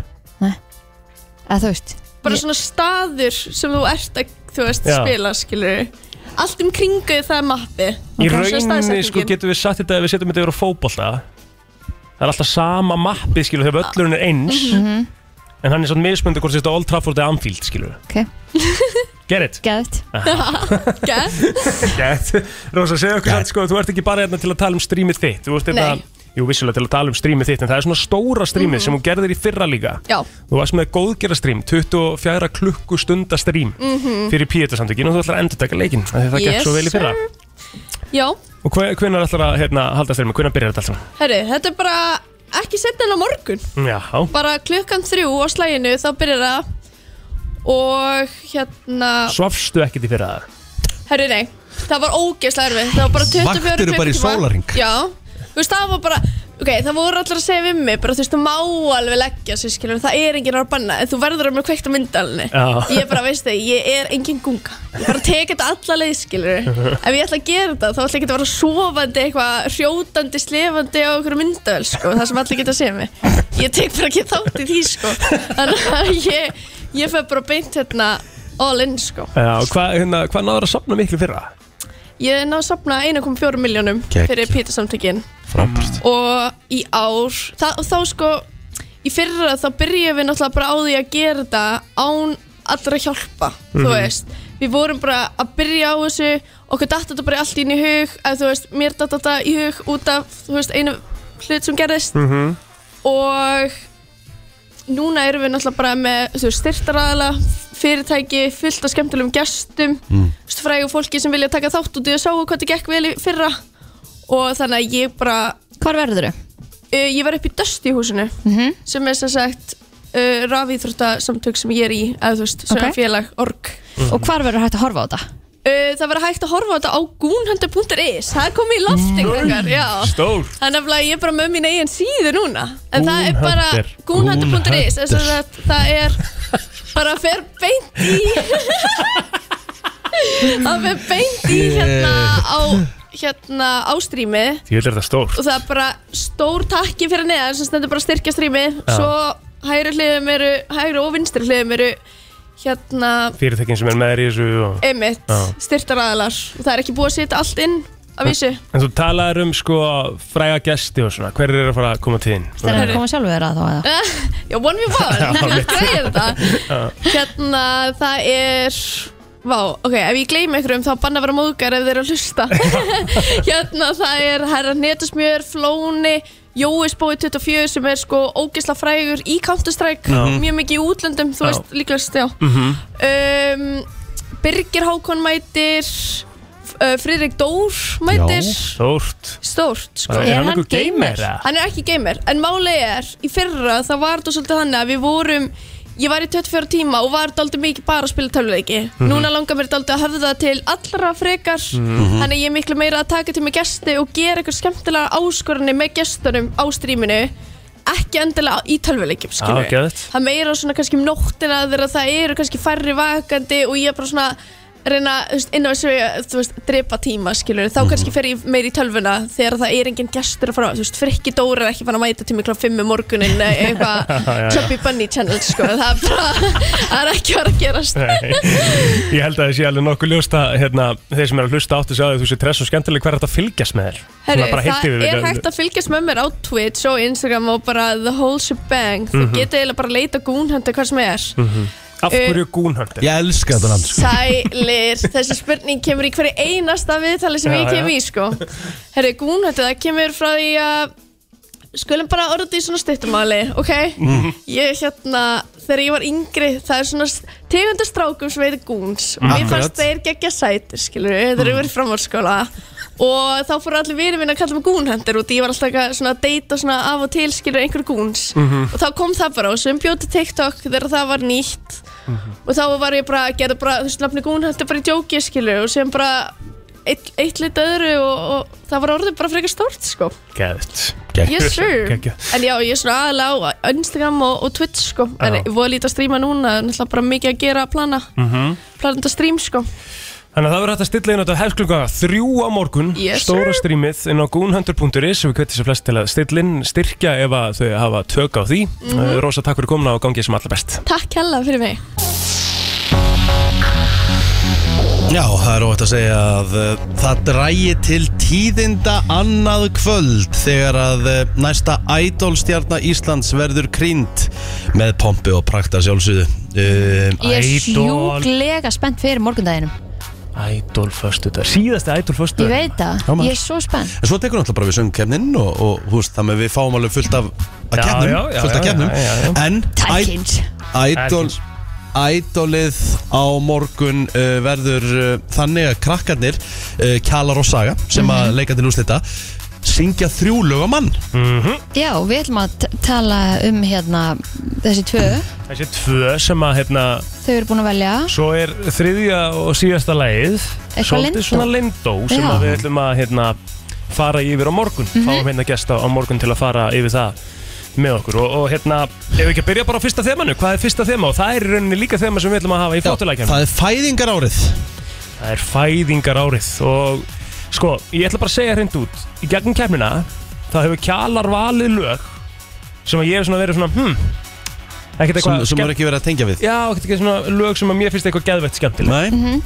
[SPEAKER 3] Að þú veist
[SPEAKER 7] bara svona staður sem þú ert að þú veist,
[SPEAKER 4] Já.
[SPEAKER 7] spila, skilur Allt um kringu það er mappi
[SPEAKER 4] Í
[SPEAKER 7] Og það er svona
[SPEAKER 4] rauninni sko
[SPEAKER 7] staðsetningin.
[SPEAKER 4] getum við sagt þetta ef við setjum þetta yfir á fótbolta Það er alltaf sama mappið skilur þegar öllurinn er eins
[SPEAKER 7] Mhm.
[SPEAKER 4] En hann er svona mismöndu hvort þetta er Old Trafford eða Anfield skilur
[SPEAKER 3] Ok.
[SPEAKER 4] Get it?
[SPEAKER 3] Gæðt
[SPEAKER 7] Geð.
[SPEAKER 4] Get Rósa, segðu okkur samt sko, þú ert ekki bara hérna til að tala um strímið þitt Þú veist
[SPEAKER 7] Nei. Mhm.
[SPEAKER 4] þetta Jú, vissulega til að tala um strímið þitt En það er svona stóra strímið sem hún gerðir í fyrra líka
[SPEAKER 7] Já,
[SPEAKER 4] Þú varst með góðgerra strím, 24 klukkustunda strím Fyrir E Pétursamtökin og þú ætlar að endur taka leikin Það gekk
[SPEAKER 7] Mhm. Yes,
[SPEAKER 4] svo vel í fyrra
[SPEAKER 7] já
[SPEAKER 4] Og hvernig ætlar að hérna, halda strými? Hvernig byrjar þetta alltaf?
[SPEAKER 7] Herri, þetta er bara ekki setna en á morgun
[SPEAKER 4] Já,
[SPEAKER 7] Bara klukkan þrjú á slæginu þá byrjar það Og hérna
[SPEAKER 4] Svafstu ekkert í fyrra það?
[SPEAKER 7] Herri, nei, það var ógeðslega erfið Það var bara 24
[SPEAKER 2] Vaktirðu bara í
[SPEAKER 7] klukkutíma.
[SPEAKER 2] sólarhring?
[SPEAKER 7] Já, þú veist, það var bara Ok, það voru allir að segja við mig Bara þú veist, þú má alveg leggja sig, skilur Það er enginn að banna En þú verður að mér kveikt á myndalni
[SPEAKER 4] Já.
[SPEAKER 7] Ég bara, veist það, ég er engin gunga Ég bara tek þetta alla leið, skilur Ef ég ætla að gera þetta, þá ætla ég ekki að vera sofandi Eitthvað hrjótandi, slefandi á einhverju myndavel, sko Það sem allir geta að segja mig Ég tek bara ekki þátt í því, sko Þannig að ég, ég fer bara beint hérna All in, sko
[SPEAKER 4] Já, hvað hérna, hva náður að sopna miklu fyrra?
[SPEAKER 7] Ég náðu að safna 1,4 miljónum
[SPEAKER 2] Kekk.
[SPEAKER 7] fyrir pítasamtökin
[SPEAKER 2] Frábært
[SPEAKER 7] og í ár það, og þá sko í fyrra þá byrjuðum við náttúrulega bara á því að gera þetta án allra hjálpa þú veist, við vorum bara að byrja á þessu, okkur datt þetta bara allt inn í hug, að þú veist, mér datt þetta í hug út af, þú veist, einu hlut sem gerðist
[SPEAKER 4] Mhm.
[SPEAKER 7] og núna erum við náttúrulega bara með þú veist, styrtaraðala, fyrirtæki fullt af skemmtilegum gestum mm. frægu fólki sem vilja taka þátt út í að sjá hvað þetta gekk vel í fyrra og þannig að ég bara
[SPEAKER 3] Hvar verður þau?
[SPEAKER 7] Uh, ég var upp í Dusty húsinu
[SPEAKER 3] Mhm.
[SPEAKER 7] sem er sem sagt uh, rafíþrótta samtök sem ég er í eða þú veist, sem
[SPEAKER 3] Ok.
[SPEAKER 7] er félag org
[SPEAKER 3] Og hvar verður hægt að horfa á þetta?
[SPEAKER 7] uh, Það verður hægt að horfa á þetta á goonhunter.is það er komið í lofting þegar, já
[SPEAKER 4] Stór
[SPEAKER 7] Það er nefnilega, ég er bara með mín eigin síðu núna En það er bara
[SPEAKER 4] Goonhunter.
[SPEAKER 7] goonhunter.is þess að það- Það er bara fer beint í Það fer beint í hérna á hérna ástrímið
[SPEAKER 4] Ég vil þetta stór
[SPEAKER 7] og það er bara stór takki fyrir neðan sem stendur bara að styrkja strími svo hægri hliðum eru hægri og vinstri hliðum eru hérna
[SPEAKER 4] Fyrirtekin sem er með þér í þessu og...
[SPEAKER 7] emitt,
[SPEAKER 4] Já.
[SPEAKER 7] styrtaraðalar og það er ekki búið að setja allt inn af vísu
[SPEAKER 4] En þú talaðir um sko fræga gesti og svona Hver er að fara að koma til þín?
[SPEAKER 3] Það er að koma sjálfur þeirra þá eða?
[SPEAKER 7] Eh, já, one v one, greið þetta hérna, það er vá, ok, ef ég gleymi einhverjum þá banna að vera móðgar ef þeir eru að hlusta hérna, það er herra netusmjör, flóni Jóis bói 24 sem er sko ógisla frægur í Counter-Strike mjög mikið í útlöndum, þú
[SPEAKER 4] Já.
[SPEAKER 7] veist líklegast já.
[SPEAKER 4] Mhm.
[SPEAKER 7] um, Birgir Hákon mætir uh, Friðrik Dór mætir
[SPEAKER 4] Stórt
[SPEAKER 7] stórt sko.
[SPEAKER 4] Er hann
[SPEAKER 3] hann
[SPEAKER 4] einhver
[SPEAKER 3] gamer?
[SPEAKER 4] gamer? eða?
[SPEAKER 7] Hann er ekki gamer, en málið er í fyrra það var þetta svolítið þannig að við vorum ég var í 24 tíma og var daldið mikið bara að spila töluleiki
[SPEAKER 4] Mhm.
[SPEAKER 7] núna langar mér daldið að höfða til allra frekar
[SPEAKER 4] Mhm.
[SPEAKER 7] þannig að ég er miklu meira að taka til mig gesti og gera eitthvað skemmtilega áskorunni með gestunum á stríminu ekki endilega í tölvuleikjum
[SPEAKER 4] Ah,
[SPEAKER 7] skilur
[SPEAKER 4] Já, geðvægt.
[SPEAKER 7] það meira svona kannski um nóttina þegar það eru kannski færri vakandi og ég er bara svona reyna þú veist, inn á þessu þú veist, drepa tíma skilur
[SPEAKER 4] Mhm.
[SPEAKER 7] þá kannski fer ég meir í tölvuna þegar það er engin gestur að fara þú veist, frikki Dóra er ekki fann að mæta til mig klá 5 um morgunin eða eitthvað Chubby Bunny Channel sko, það er bara það er ekki að vera að gerast
[SPEAKER 4] Nei, ég held að það sé alveg nokkuð ljóst að hérna, þeir sem er að hlusta áttu sig á því að þú sé tress og skemmtileg hver er þetta að fylgjast með þér
[SPEAKER 7] Herru,
[SPEAKER 4] Svona bara heilt
[SPEAKER 7] það
[SPEAKER 4] yfir
[SPEAKER 7] er
[SPEAKER 4] við-
[SPEAKER 7] hægt að fylgjast með mér á Twitch og Instagram og bara the whole shebang þú
[SPEAKER 4] Mhm.
[SPEAKER 7] mm -hmm. getur eiginlega bara að leita gúnhönda hvað sem er
[SPEAKER 4] Af hverju gúnhöndir?
[SPEAKER 2] Ég elska þetta land sko.
[SPEAKER 7] Sælir, þessi spurning kemur í hverju einasta viðtali sem
[SPEAKER 4] Já,
[SPEAKER 7] ég kem
[SPEAKER 4] já.
[SPEAKER 7] í sko Herri, gúnhættu, það kemur frá því að Skulum bara orða þetta í svona stuttumáli, ok? Ég hérna, þegar ég var yngri Það er svona tegundar strákum sem heitir gúns Og mér
[SPEAKER 2] Akkurat.
[SPEAKER 7] fannst þeir geggja sætir, skilur við Þeir eru verið framhaldsskóla Og þá fóru allir vinir minna að kalla mig gúnhendur og ég var alltaf eitthvað svona að deyta svona af og til skilur einhver gúns og þá kom það bara og sem bjóti TikTok þegar það var nýtt og þá var ég bara að gera bara, þú veist, nafni gún þetta er bara í djóki, skilur, og sem bara eitt, eitt lit öðru og, og það var orðið bara frekar stórt, sko
[SPEAKER 4] Gæðt
[SPEAKER 7] yes sir,
[SPEAKER 4] Gekkja.
[SPEAKER 7] en já, ég er svona aðalega á Instagram og, og Twitch, sko en
[SPEAKER 4] Já.
[SPEAKER 7] ég voru lítið að stríma núna, það er náttúrulega bara mikið að gera að plana, mm -hmm. plana þetta strím, sko
[SPEAKER 4] Þannig að það verður hægt að stilla inn á þetta hefsklunga þrjú á morgun
[SPEAKER 7] Yes,
[SPEAKER 4] Stóra
[SPEAKER 7] sir.
[SPEAKER 4] strímið inn á gúnhöndur.is og við kvettum sér flest til að stilla inn styrkja ef að þau hafa tök á því
[SPEAKER 3] Mhm.
[SPEAKER 4] mm Rósa, takk fyrir komuna og gangið sem allra best
[SPEAKER 7] Takk hella fyrir mig
[SPEAKER 2] Já, það er óvægt að segja að uh, það drægi til tíðinda annað kvöld þegar að uh, næsta idolstjarnar Íslands verður krýnd með pompi og prakta sjálfsögðu uh,
[SPEAKER 3] Ég er
[SPEAKER 4] Idol.
[SPEAKER 3] sjúklega spennt fyrir morgundaginum
[SPEAKER 4] Ædol föstu dag Síðasta ædol föstu
[SPEAKER 3] Ég veit það,
[SPEAKER 4] Já, maður.
[SPEAKER 3] ég er svo spennt
[SPEAKER 2] En svo tekur náttúrulega bara við söngkefnin og, og þú veist, þannig að við fáum alveg fullt af að
[SPEAKER 4] Já,
[SPEAKER 2] keppnum,
[SPEAKER 4] já, já,
[SPEAKER 2] fullt af
[SPEAKER 4] já,
[SPEAKER 2] keppnum
[SPEAKER 4] já, já, já.
[SPEAKER 2] en
[SPEAKER 3] Tækins
[SPEAKER 2] Idol Idolið á morgun uh, verður uh, þannig að krakkarnir uh, Kjalar og Saga sem að leika til úrslita syngja þrjú lög á mann
[SPEAKER 3] Já, við ætlum að t- tala um hérna þessi tvö
[SPEAKER 4] Þessi tvö sem að hérna
[SPEAKER 3] Þau eru búin að velja
[SPEAKER 4] Svo er þriðja og síðasta lagið
[SPEAKER 3] Eitthvað
[SPEAKER 4] Svolítið
[SPEAKER 3] Lindó.
[SPEAKER 4] svona lindó sem
[SPEAKER 3] Já. Mhm.
[SPEAKER 4] að við ætlum að hérna, fara yfir á morgun Fáum hérna gesta á morgun til að fara yfir það með okkur og, og hérna, ef við ekki að byrja bara á fyrsta þemanu hvað er fyrsta þema og það er í rauninni líka þema sem við ætlum að hafa í flottulækjum það...
[SPEAKER 2] Það er fæðingar árið
[SPEAKER 4] það er fæðingar árið og sko, ég ætla bara að segja hreint út í gegnum kemina, þá hefur kjalar valið lög sem að ég hef svona verið svona, hm ekkert
[SPEAKER 2] sem,
[SPEAKER 4] eitthvað
[SPEAKER 2] sem er
[SPEAKER 4] skemmt-
[SPEAKER 2] ekki verið að tengja við
[SPEAKER 4] Já, ekkert eitthvað svona lög sem að mér finnst eitthvað geðveitt skemmtileg
[SPEAKER 2] Nei, Mhm.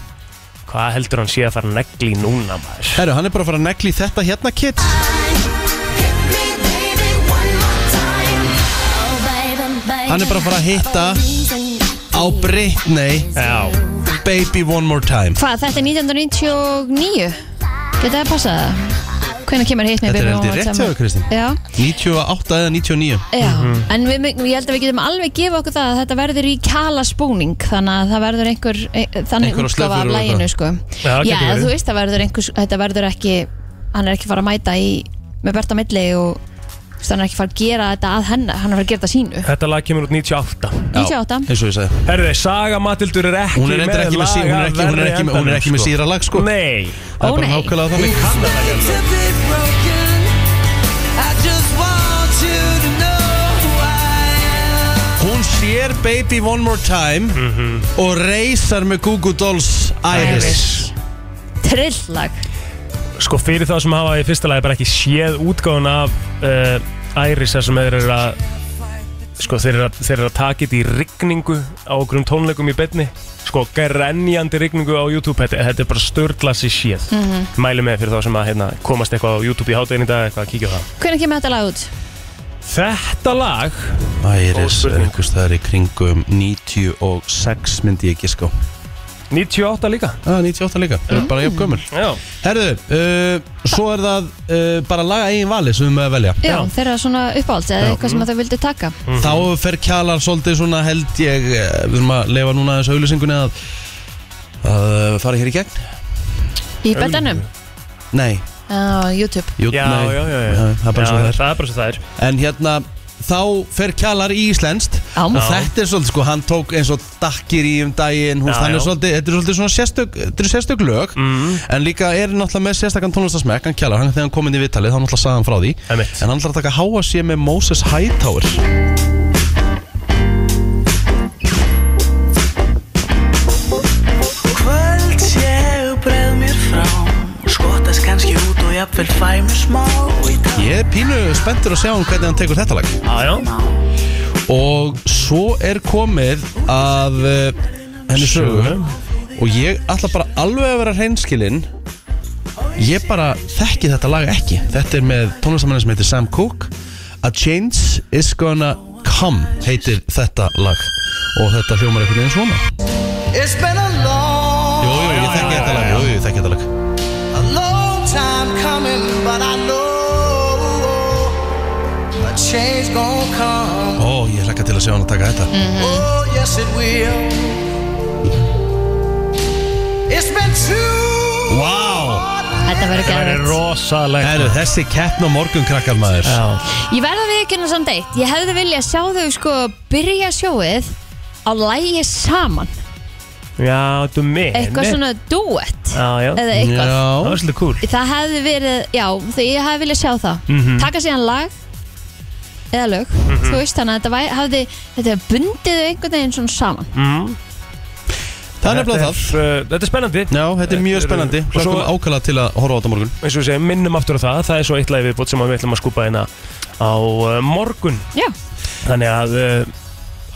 [SPEAKER 4] Hvað heldur hann sé að fara negli núna maður?
[SPEAKER 2] herru, hann er bara að fara að negli þetta hérna kid Hann er bara að fara að hitta á Britney
[SPEAKER 4] Já,
[SPEAKER 2] Baby One More Time
[SPEAKER 3] Hvað, þetta er 1999? Geta það passað það? Hvenær kemur hitt með
[SPEAKER 2] Þetta er
[SPEAKER 3] Baby
[SPEAKER 2] held ég
[SPEAKER 3] One More
[SPEAKER 2] rétt hjá
[SPEAKER 3] Time?
[SPEAKER 2] þér, Kristín
[SPEAKER 3] Já,
[SPEAKER 2] 98 eða 99
[SPEAKER 3] já, en við, mig- ég held að við getum alveg gefa okkur það að þetta verður í kala spúning þannig að það verður einhver e, þannig
[SPEAKER 2] Einhver á
[SPEAKER 3] útgáfa
[SPEAKER 2] slefur
[SPEAKER 3] af
[SPEAKER 2] og
[SPEAKER 3] læginu
[SPEAKER 2] eitthvað.
[SPEAKER 3] sko.
[SPEAKER 4] Já, getur
[SPEAKER 3] já
[SPEAKER 4] verið.
[SPEAKER 3] þú veist það verður einhver, þetta verður ekki hann er ekki fara að mæta í með Berta Milli og þú veist, hann er ekki fara að gera þetta að hennar, hann er fara að gera þetta sínu
[SPEAKER 4] þetta lag kemur út 98
[SPEAKER 2] Já,
[SPEAKER 3] 98.
[SPEAKER 2] eins og ég sagði
[SPEAKER 4] Herði, Saga Matildur er ekki
[SPEAKER 2] Hún er reyndar ekki með sí- hún er ekki- hún er ekki með- hún er ekki með síra lag, sko.
[SPEAKER 4] Nei
[SPEAKER 2] Það er
[SPEAKER 3] Ó,
[SPEAKER 2] bara
[SPEAKER 3] nei.
[SPEAKER 2] nákvæmlega þannig Hún sér Baby One More Time og reysar með Google Dolls Mhm. Iris,
[SPEAKER 3] trillag
[SPEAKER 4] Sko fyrir þá sem hafa í fyrsta lagi bara ekki séð útgáðun af uh, Iris þar sem þeir eru að Sko þeir eru að, þeir eru að taka þetta í rigningu á okkurum tónleikum í betni Sko grenjandi rigningu á YouTube Þetta, þetta er bara störglasi séð mm
[SPEAKER 3] Mhm.
[SPEAKER 4] Mælu með fyrir þá sem að hérna, komast eitthvað á YouTube í hátæðin í dag eitthvað að kíkja á það
[SPEAKER 3] hvernig kemur þetta lag út?
[SPEAKER 4] Þetta lag
[SPEAKER 2] Iris
[SPEAKER 4] Góð
[SPEAKER 2] er
[SPEAKER 4] spurning.
[SPEAKER 2] einhvers staðar í kringum 96 myndi ég giska á
[SPEAKER 4] 98 líka
[SPEAKER 2] ah, 98 líka, það
[SPEAKER 4] Mm.
[SPEAKER 2] er bara jafn gömul
[SPEAKER 4] Já
[SPEAKER 2] Herðu, uh, svo er það uh, bara laga eigin valið sem við með að velja
[SPEAKER 3] já, Mhm.
[SPEAKER 4] Já.
[SPEAKER 3] þeirra svona uppáhalds eða eitthvað sem að þau vildu taka
[SPEAKER 4] Mhm.
[SPEAKER 2] Þá fer kjalar svolítið svona held ég eh, Við erum að lefa núna þessu auðlýsingunni að, að eh, fara hér í gegn
[SPEAKER 3] í betanum
[SPEAKER 2] Nei,
[SPEAKER 3] á YouTube
[SPEAKER 2] jú,
[SPEAKER 4] Já,
[SPEAKER 2] nei
[SPEAKER 4] já, já, já.
[SPEAKER 2] Það er bara svo það er
[SPEAKER 4] það er bara svo það er
[SPEAKER 2] En hérna, þá fer kjalar í íslenskt
[SPEAKER 3] Já.
[SPEAKER 2] Og
[SPEAKER 3] Já.
[SPEAKER 2] þetta er svolítið sko, hann tók eins og dakkir í um daginn hús,
[SPEAKER 4] Já, já. Mhm.
[SPEAKER 2] Þannig er svolítið, þetta er svolítið svona sérstök, þetta er sérstök lög mm. En líka er náttúrulega með sérstakann tónlistasmekk Hann kjalar, hann þegar hann kom inn í viðtalið, þá náttúrulega sagði hann frá því
[SPEAKER 4] Einmitt.
[SPEAKER 2] En hann ætlar að taka háa sér með Moses Hightower
[SPEAKER 5] Kvöld
[SPEAKER 2] Ég er pínu spenntur að sjá um hvernig hann tekur þetta lag
[SPEAKER 4] Aðjá
[SPEAKER 2] Og svo er komið að uh, henni sögu
[SPEAKER 4] Sögu.
[SPEAKER 2] Og ég ætla bara alveg að vera hreinskilinn Ég bara þekki þetta lag ekki Þetta er með tónlistamannin sem heitir Sam Cooke A Change Is Gonna Come heitir þetta lag Og þetta hljómar einhvern veginn svona
[SPEAKER 8] It's been a long,
[SPEAKER 2] Jú, jú, ég þekki þetta lag Jú, jú, ég þekki þetta lag
[SPEAKER 8] a long time coming, but I know a change gonna come.
[SPEAKER 2] Ó, ég hlakka til að sjá hann að taka þetta
[SPEAKER 8] Oh, yes, it will. It's been too
[SPEAKER 2] Vá!
[SPEAKER 3] Þetta verður
[SPEAKER 4] Það er
[SPEAKER 3] gæðið
[SPEAKER 4] rosalegt
[SPEAKER 2] Herru, þessi keppn á morgun krakkar maður
[SPEAKER 3] Ég verða við ekki samt eitt Ég hefði viljað sjá þau sko byrja sjóið á lægi saman
[SPEAKER 4] Já, þú með
[SPEAKER 3] eitthvað svona duett
[SPEAKER 4] Já, já
[SPEAKER 3] eða eitthvað
[SPEAKER 4] Það
[SPEAKER 2] Já,
[SPEAKER 4] var svolítið cool
[SPEAKER 3] Það hefði verið, já, því ég hefði viljað sjá það
[SPEAKER 2] Mhm.
[SPEAKER 3] Taka síðan lag eða lög, þú veist þannig að þetta væ- hafði, þetta bundið þau einhvern veginn svona saman
[SPEAKER 2] Mhm. það er nefnilega það
[SPEAKER 4] Þetta er, uh, Þetta er spennandi
[SPEAKER 2] Já, þetta er mjög
[SPEAKER 4] Þetta eru-
[SPEAKER 2] spennandi
[SPEAKER 4] og svo-
[SPEAKER 2] Hlakkum ákala til að horfa á þetta á morgun
[SPEAKER 4] eins og við segjum, minnum aftur á það það er svo eitt lagi viðbútt sem við ætlum að skúpa hérna á uh, morgun
[SPEAKER 3] Já,
[SPEAKER 4] þannig að uh,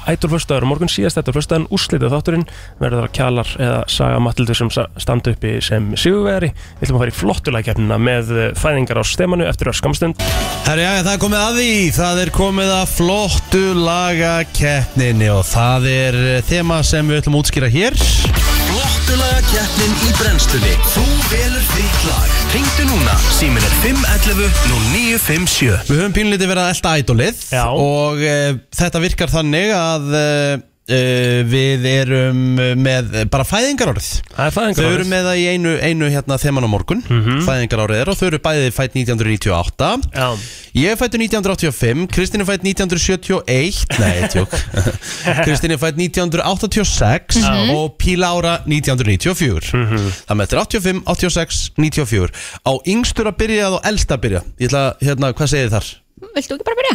[SPEAKER 4] ættur fyrstaður og morgun síðast þetta fyrstaðan úrslitað þátturinn verður það kjalar eða saga Matildur sem sa- standa uppi sem sigurveri við ætlum að fara í flottulækjafnina með uh, fæðingar á stemanu eftir öskamstund
[SPEAKER 2] Herri, já, það er komið að því, það er komið að flottu lagakeppninni og það er eh, þema sem við ætlum að útskýra hér
[SPEAKER 1] Flottulaga keppnin í brennslunni Þú velur þitt lag Ringdu núna, símin er 511 0957
[SPEAKER 2] Við höfum pínlítið verið að elta ædolið
[SPEAKER 4] Já.
[SPEAKER 2] og e, þetta virkar þannig að e, e, við erum með bara fæðingarorð
[SPEAKER 4] það er
[SPEAKER 2] Þau
[SPEAKER 4] fæðingar
[SPEAKER 2] eru með það í einu, einu hérna þeman á morgun fæðingarárið er og þau eru bæði fætt 1998
[SPEAKER 4] Mhm. já,
[SPEAKER 2] Ég er fættur 1985, Kristín er fætt 1971 Nei, tjók Kristín er fætt 1986 Og Píla Ára 1994 Það með þetta er 85, 86, 94 Á yngstur að byrja eða á elsta að byrja Ég ætla að, hérna, hvað segir þar?
[SPEAKER 3] viltu ekki bara byrja?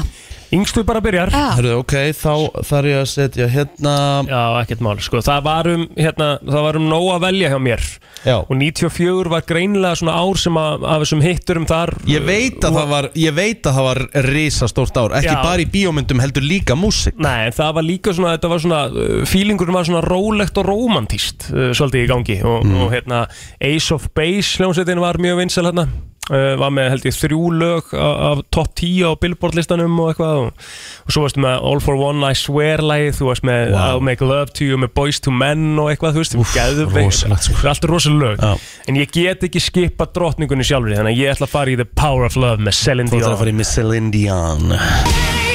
[SPEAKER 4] yngstu bara byrjar
[SPEAKER 3] Já,
[SPEAKER 2] Hörðu, ok, þá þarf ég að setja hérna
[SPEAKER 4] já, ekkert mál, sko, það var um hérna, það var um nóg að velja hjá mér
[SPEAKER 2] Já,
[SPEAKER 4] og 94 var greinlega svona ár sem að, af þessum hitturum þar
[SPEAKER 2] ég veit að það var Ég veit að það var risastórt ár Ekki
[SPEAKER 4] Já.
[SPEAKER 2] bara í bíómyndum, heldur líka músik
[SPEAKER 4] Nei, en það var líka svona, þetta var svona, uh, feelingurinn var svona rólegt og rómantíst uh, svolítið í gangi og,
[SPEAKER 2] Mm.
[SPEAKER 4] og hérna Ace of Base hljómsveitin var mjög vinsal hérna, uh, var með held ég þrjú lög af, af topp 10 á Billboard listanum og eitthvað og, og svo varstu með All for One, I Swear lagið, þú varst með
[SPEAKER 2] Vá.
[SPEAKER 4] I'll Make Love to You, með Boys to Men og eitthvað, þú veist,
[SPEAKER 2] Úff,
[SPEAKER 4] geðveikt.
[SPEAKER 2] rosalegt, sko.
[SPEAKER 4] Það er alltaf rosalega lög,
[SPEAKER 2] Já.
[SPEAKER 4] en ég get ekki skipa drottningunni sjálfri, þannig að ég ætla að fara í The Power of Love með Celine
[SPEAKER 2] Þú ætlar að
[SPEAKER 4] Dion
[SPEAKER 2] fara í Miss Celine Dion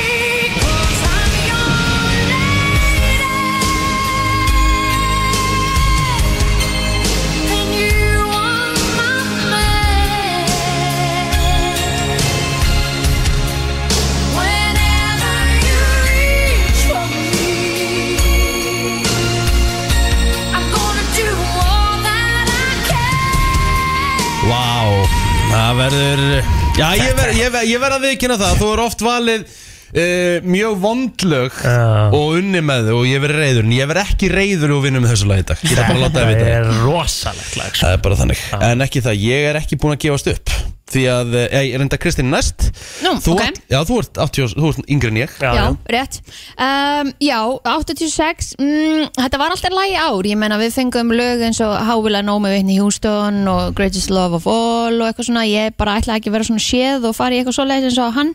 [SPEAKER 2] Vá, það verður Já, ég verð ég ver, ég ver að viðkynna það Þú er oft valið uh, mjög vondlög
[SPEAKER 4] Já.
[SPEAKER 2] og unni með þau og ég verð reyður en ég verð ekki reyður og vinna með þessu lag í dag Ég ætla bara að láta það vita
[SPEAKER 4] Það
[SPEAKER 2] það
[SPEAKER 4] er rosalegt lag, sko
[SPEAKER 2] Það er bara þannig En ekki það, ég er ekki búin að gefast upp Því að, eh, ég er enda Kristín næst
[SPEAKER 3] Nú,
[SPEAKER 2] þú
[SPEAKER 3] ok.
[SPEAKER 2] ert, Já, þú ert, 80, og- þú ert yngri en ég
[SPEAKER 3] já, rétt um, Já, 86 mm, Þetta var alltaf lægi ár Ég meina við fengum lög eins og How Will I Know Me Whitney Houston og Greatest Love of All og eitthvað svona, ég bara ætlaði ekki að vera svona séð og fara í eitthvað svoleiðis eins og hann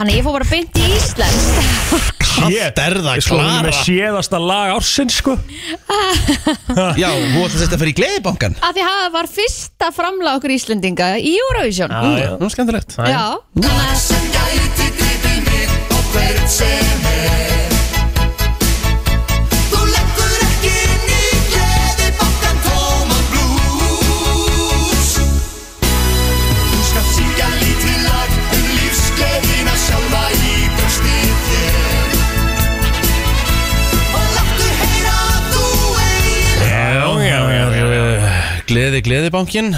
[SPEAKER 3] Þannig að ég fór bara beint í Íslands
[SPEAKER 2] Allt er það,
[SPEAKER 4] Sko, hún er með séðasta lag ársins sko
[SPEAKER 2] Já, þú ert að setja að fyrir í gleðibankan
[SPEAKER 3] að því það var fyrsta framlag okkur Íslendinga í Eurovision
[SPEAKER 4] Já, já.
[SPEAKER 2] Nú, skemmtilegt
[SPEAKER 3] já.
[SPEAKER 5] um
[SPEAKER 4] Já, já, já, já, já.
[SPEAKER 2] Eh, Gleði, gleðibankin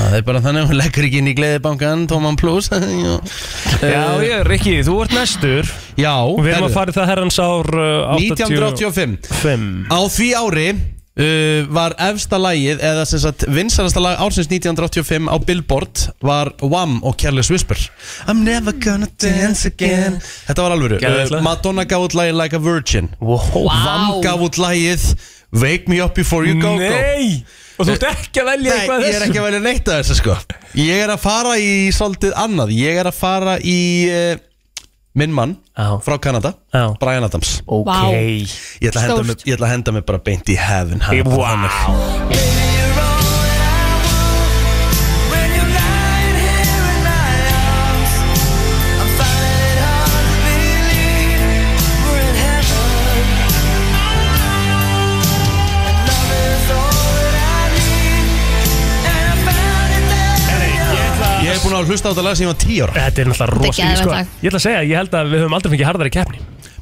[SPEAKER 2] Það er bara þannig að hún leggur ekki inn í gleðibankan Tóman Plus Já,
[SPEAKER 4] já
[SPEAKER 2] Eh,
[SPEAKER 4] ég, Rikki, þú ert næstur
[SPEAKER 2] já
[SPEAKER 4] og við erum
[SPEAKER 2] herðu,
[SPEAKER 4] að fara í það herrans ár uh,
[SPEAKER 2] 1985
[SPEAKER 4] 85
[SPEAKER 2] Á því ári uh, var efsta lagið eða sem sagt vinsalasta lag ársins 1985 á Billboard var Wham og Careless Whisper I'm never gonna dance again Þetta var alvöru
[SPEAKER 4] Geðveikt
[SPEAKER 2] uh,
[SPEAKER 4] lag.
[SPEAKER 2] Madonna gaf út lagið Like a Virgin
[SPEAKER 4] wow.
[SPEAKER 2] Wham gaf út lagið Wake me up before you go go
[SPEAKER 4] Nei, og þú ert ekki að velja
[SPEAKER 2] Nei,
[SPEAKER 4] eitthvað af
[SPEAKER 2] ég er
[SPEAKER 4] þessu
[SPEAKER 2] ekki að velja neitt að þessu sko Ég er að fara í svolítið annað Ég er að fara í uh, minn mann
[SPEAKER 4] Já.
[SPEAKER 2] frá Kanada
[SPEAKER 4] Já.
[SPEAKER 2] Brian Adams
[SPEAKER 4] Ok
[SPEAKER 3] Vá.
[SPEAKER 2] Ég ætla að henda mig- ég ætla að henda mig bara beint í heaven hann er bara þannig.
[SPEAKER 4] Wow
[SPEAKER 2] Ég hef búin að hlusta á þetta lag sem ég var 10 ára
[SPEAKER 4] Þetta er náttúrulega
[SPEAKER 3] Þetta er
[SPEAKER 4] rosalega
[SPEAKER 3] geðveikt
[SPEAKER 4] sko.
[SPEAKER 3] lag.
[SPEAKER 4] Ég ætla að segja, ég held að við höfum aldrei fengið harðari keppni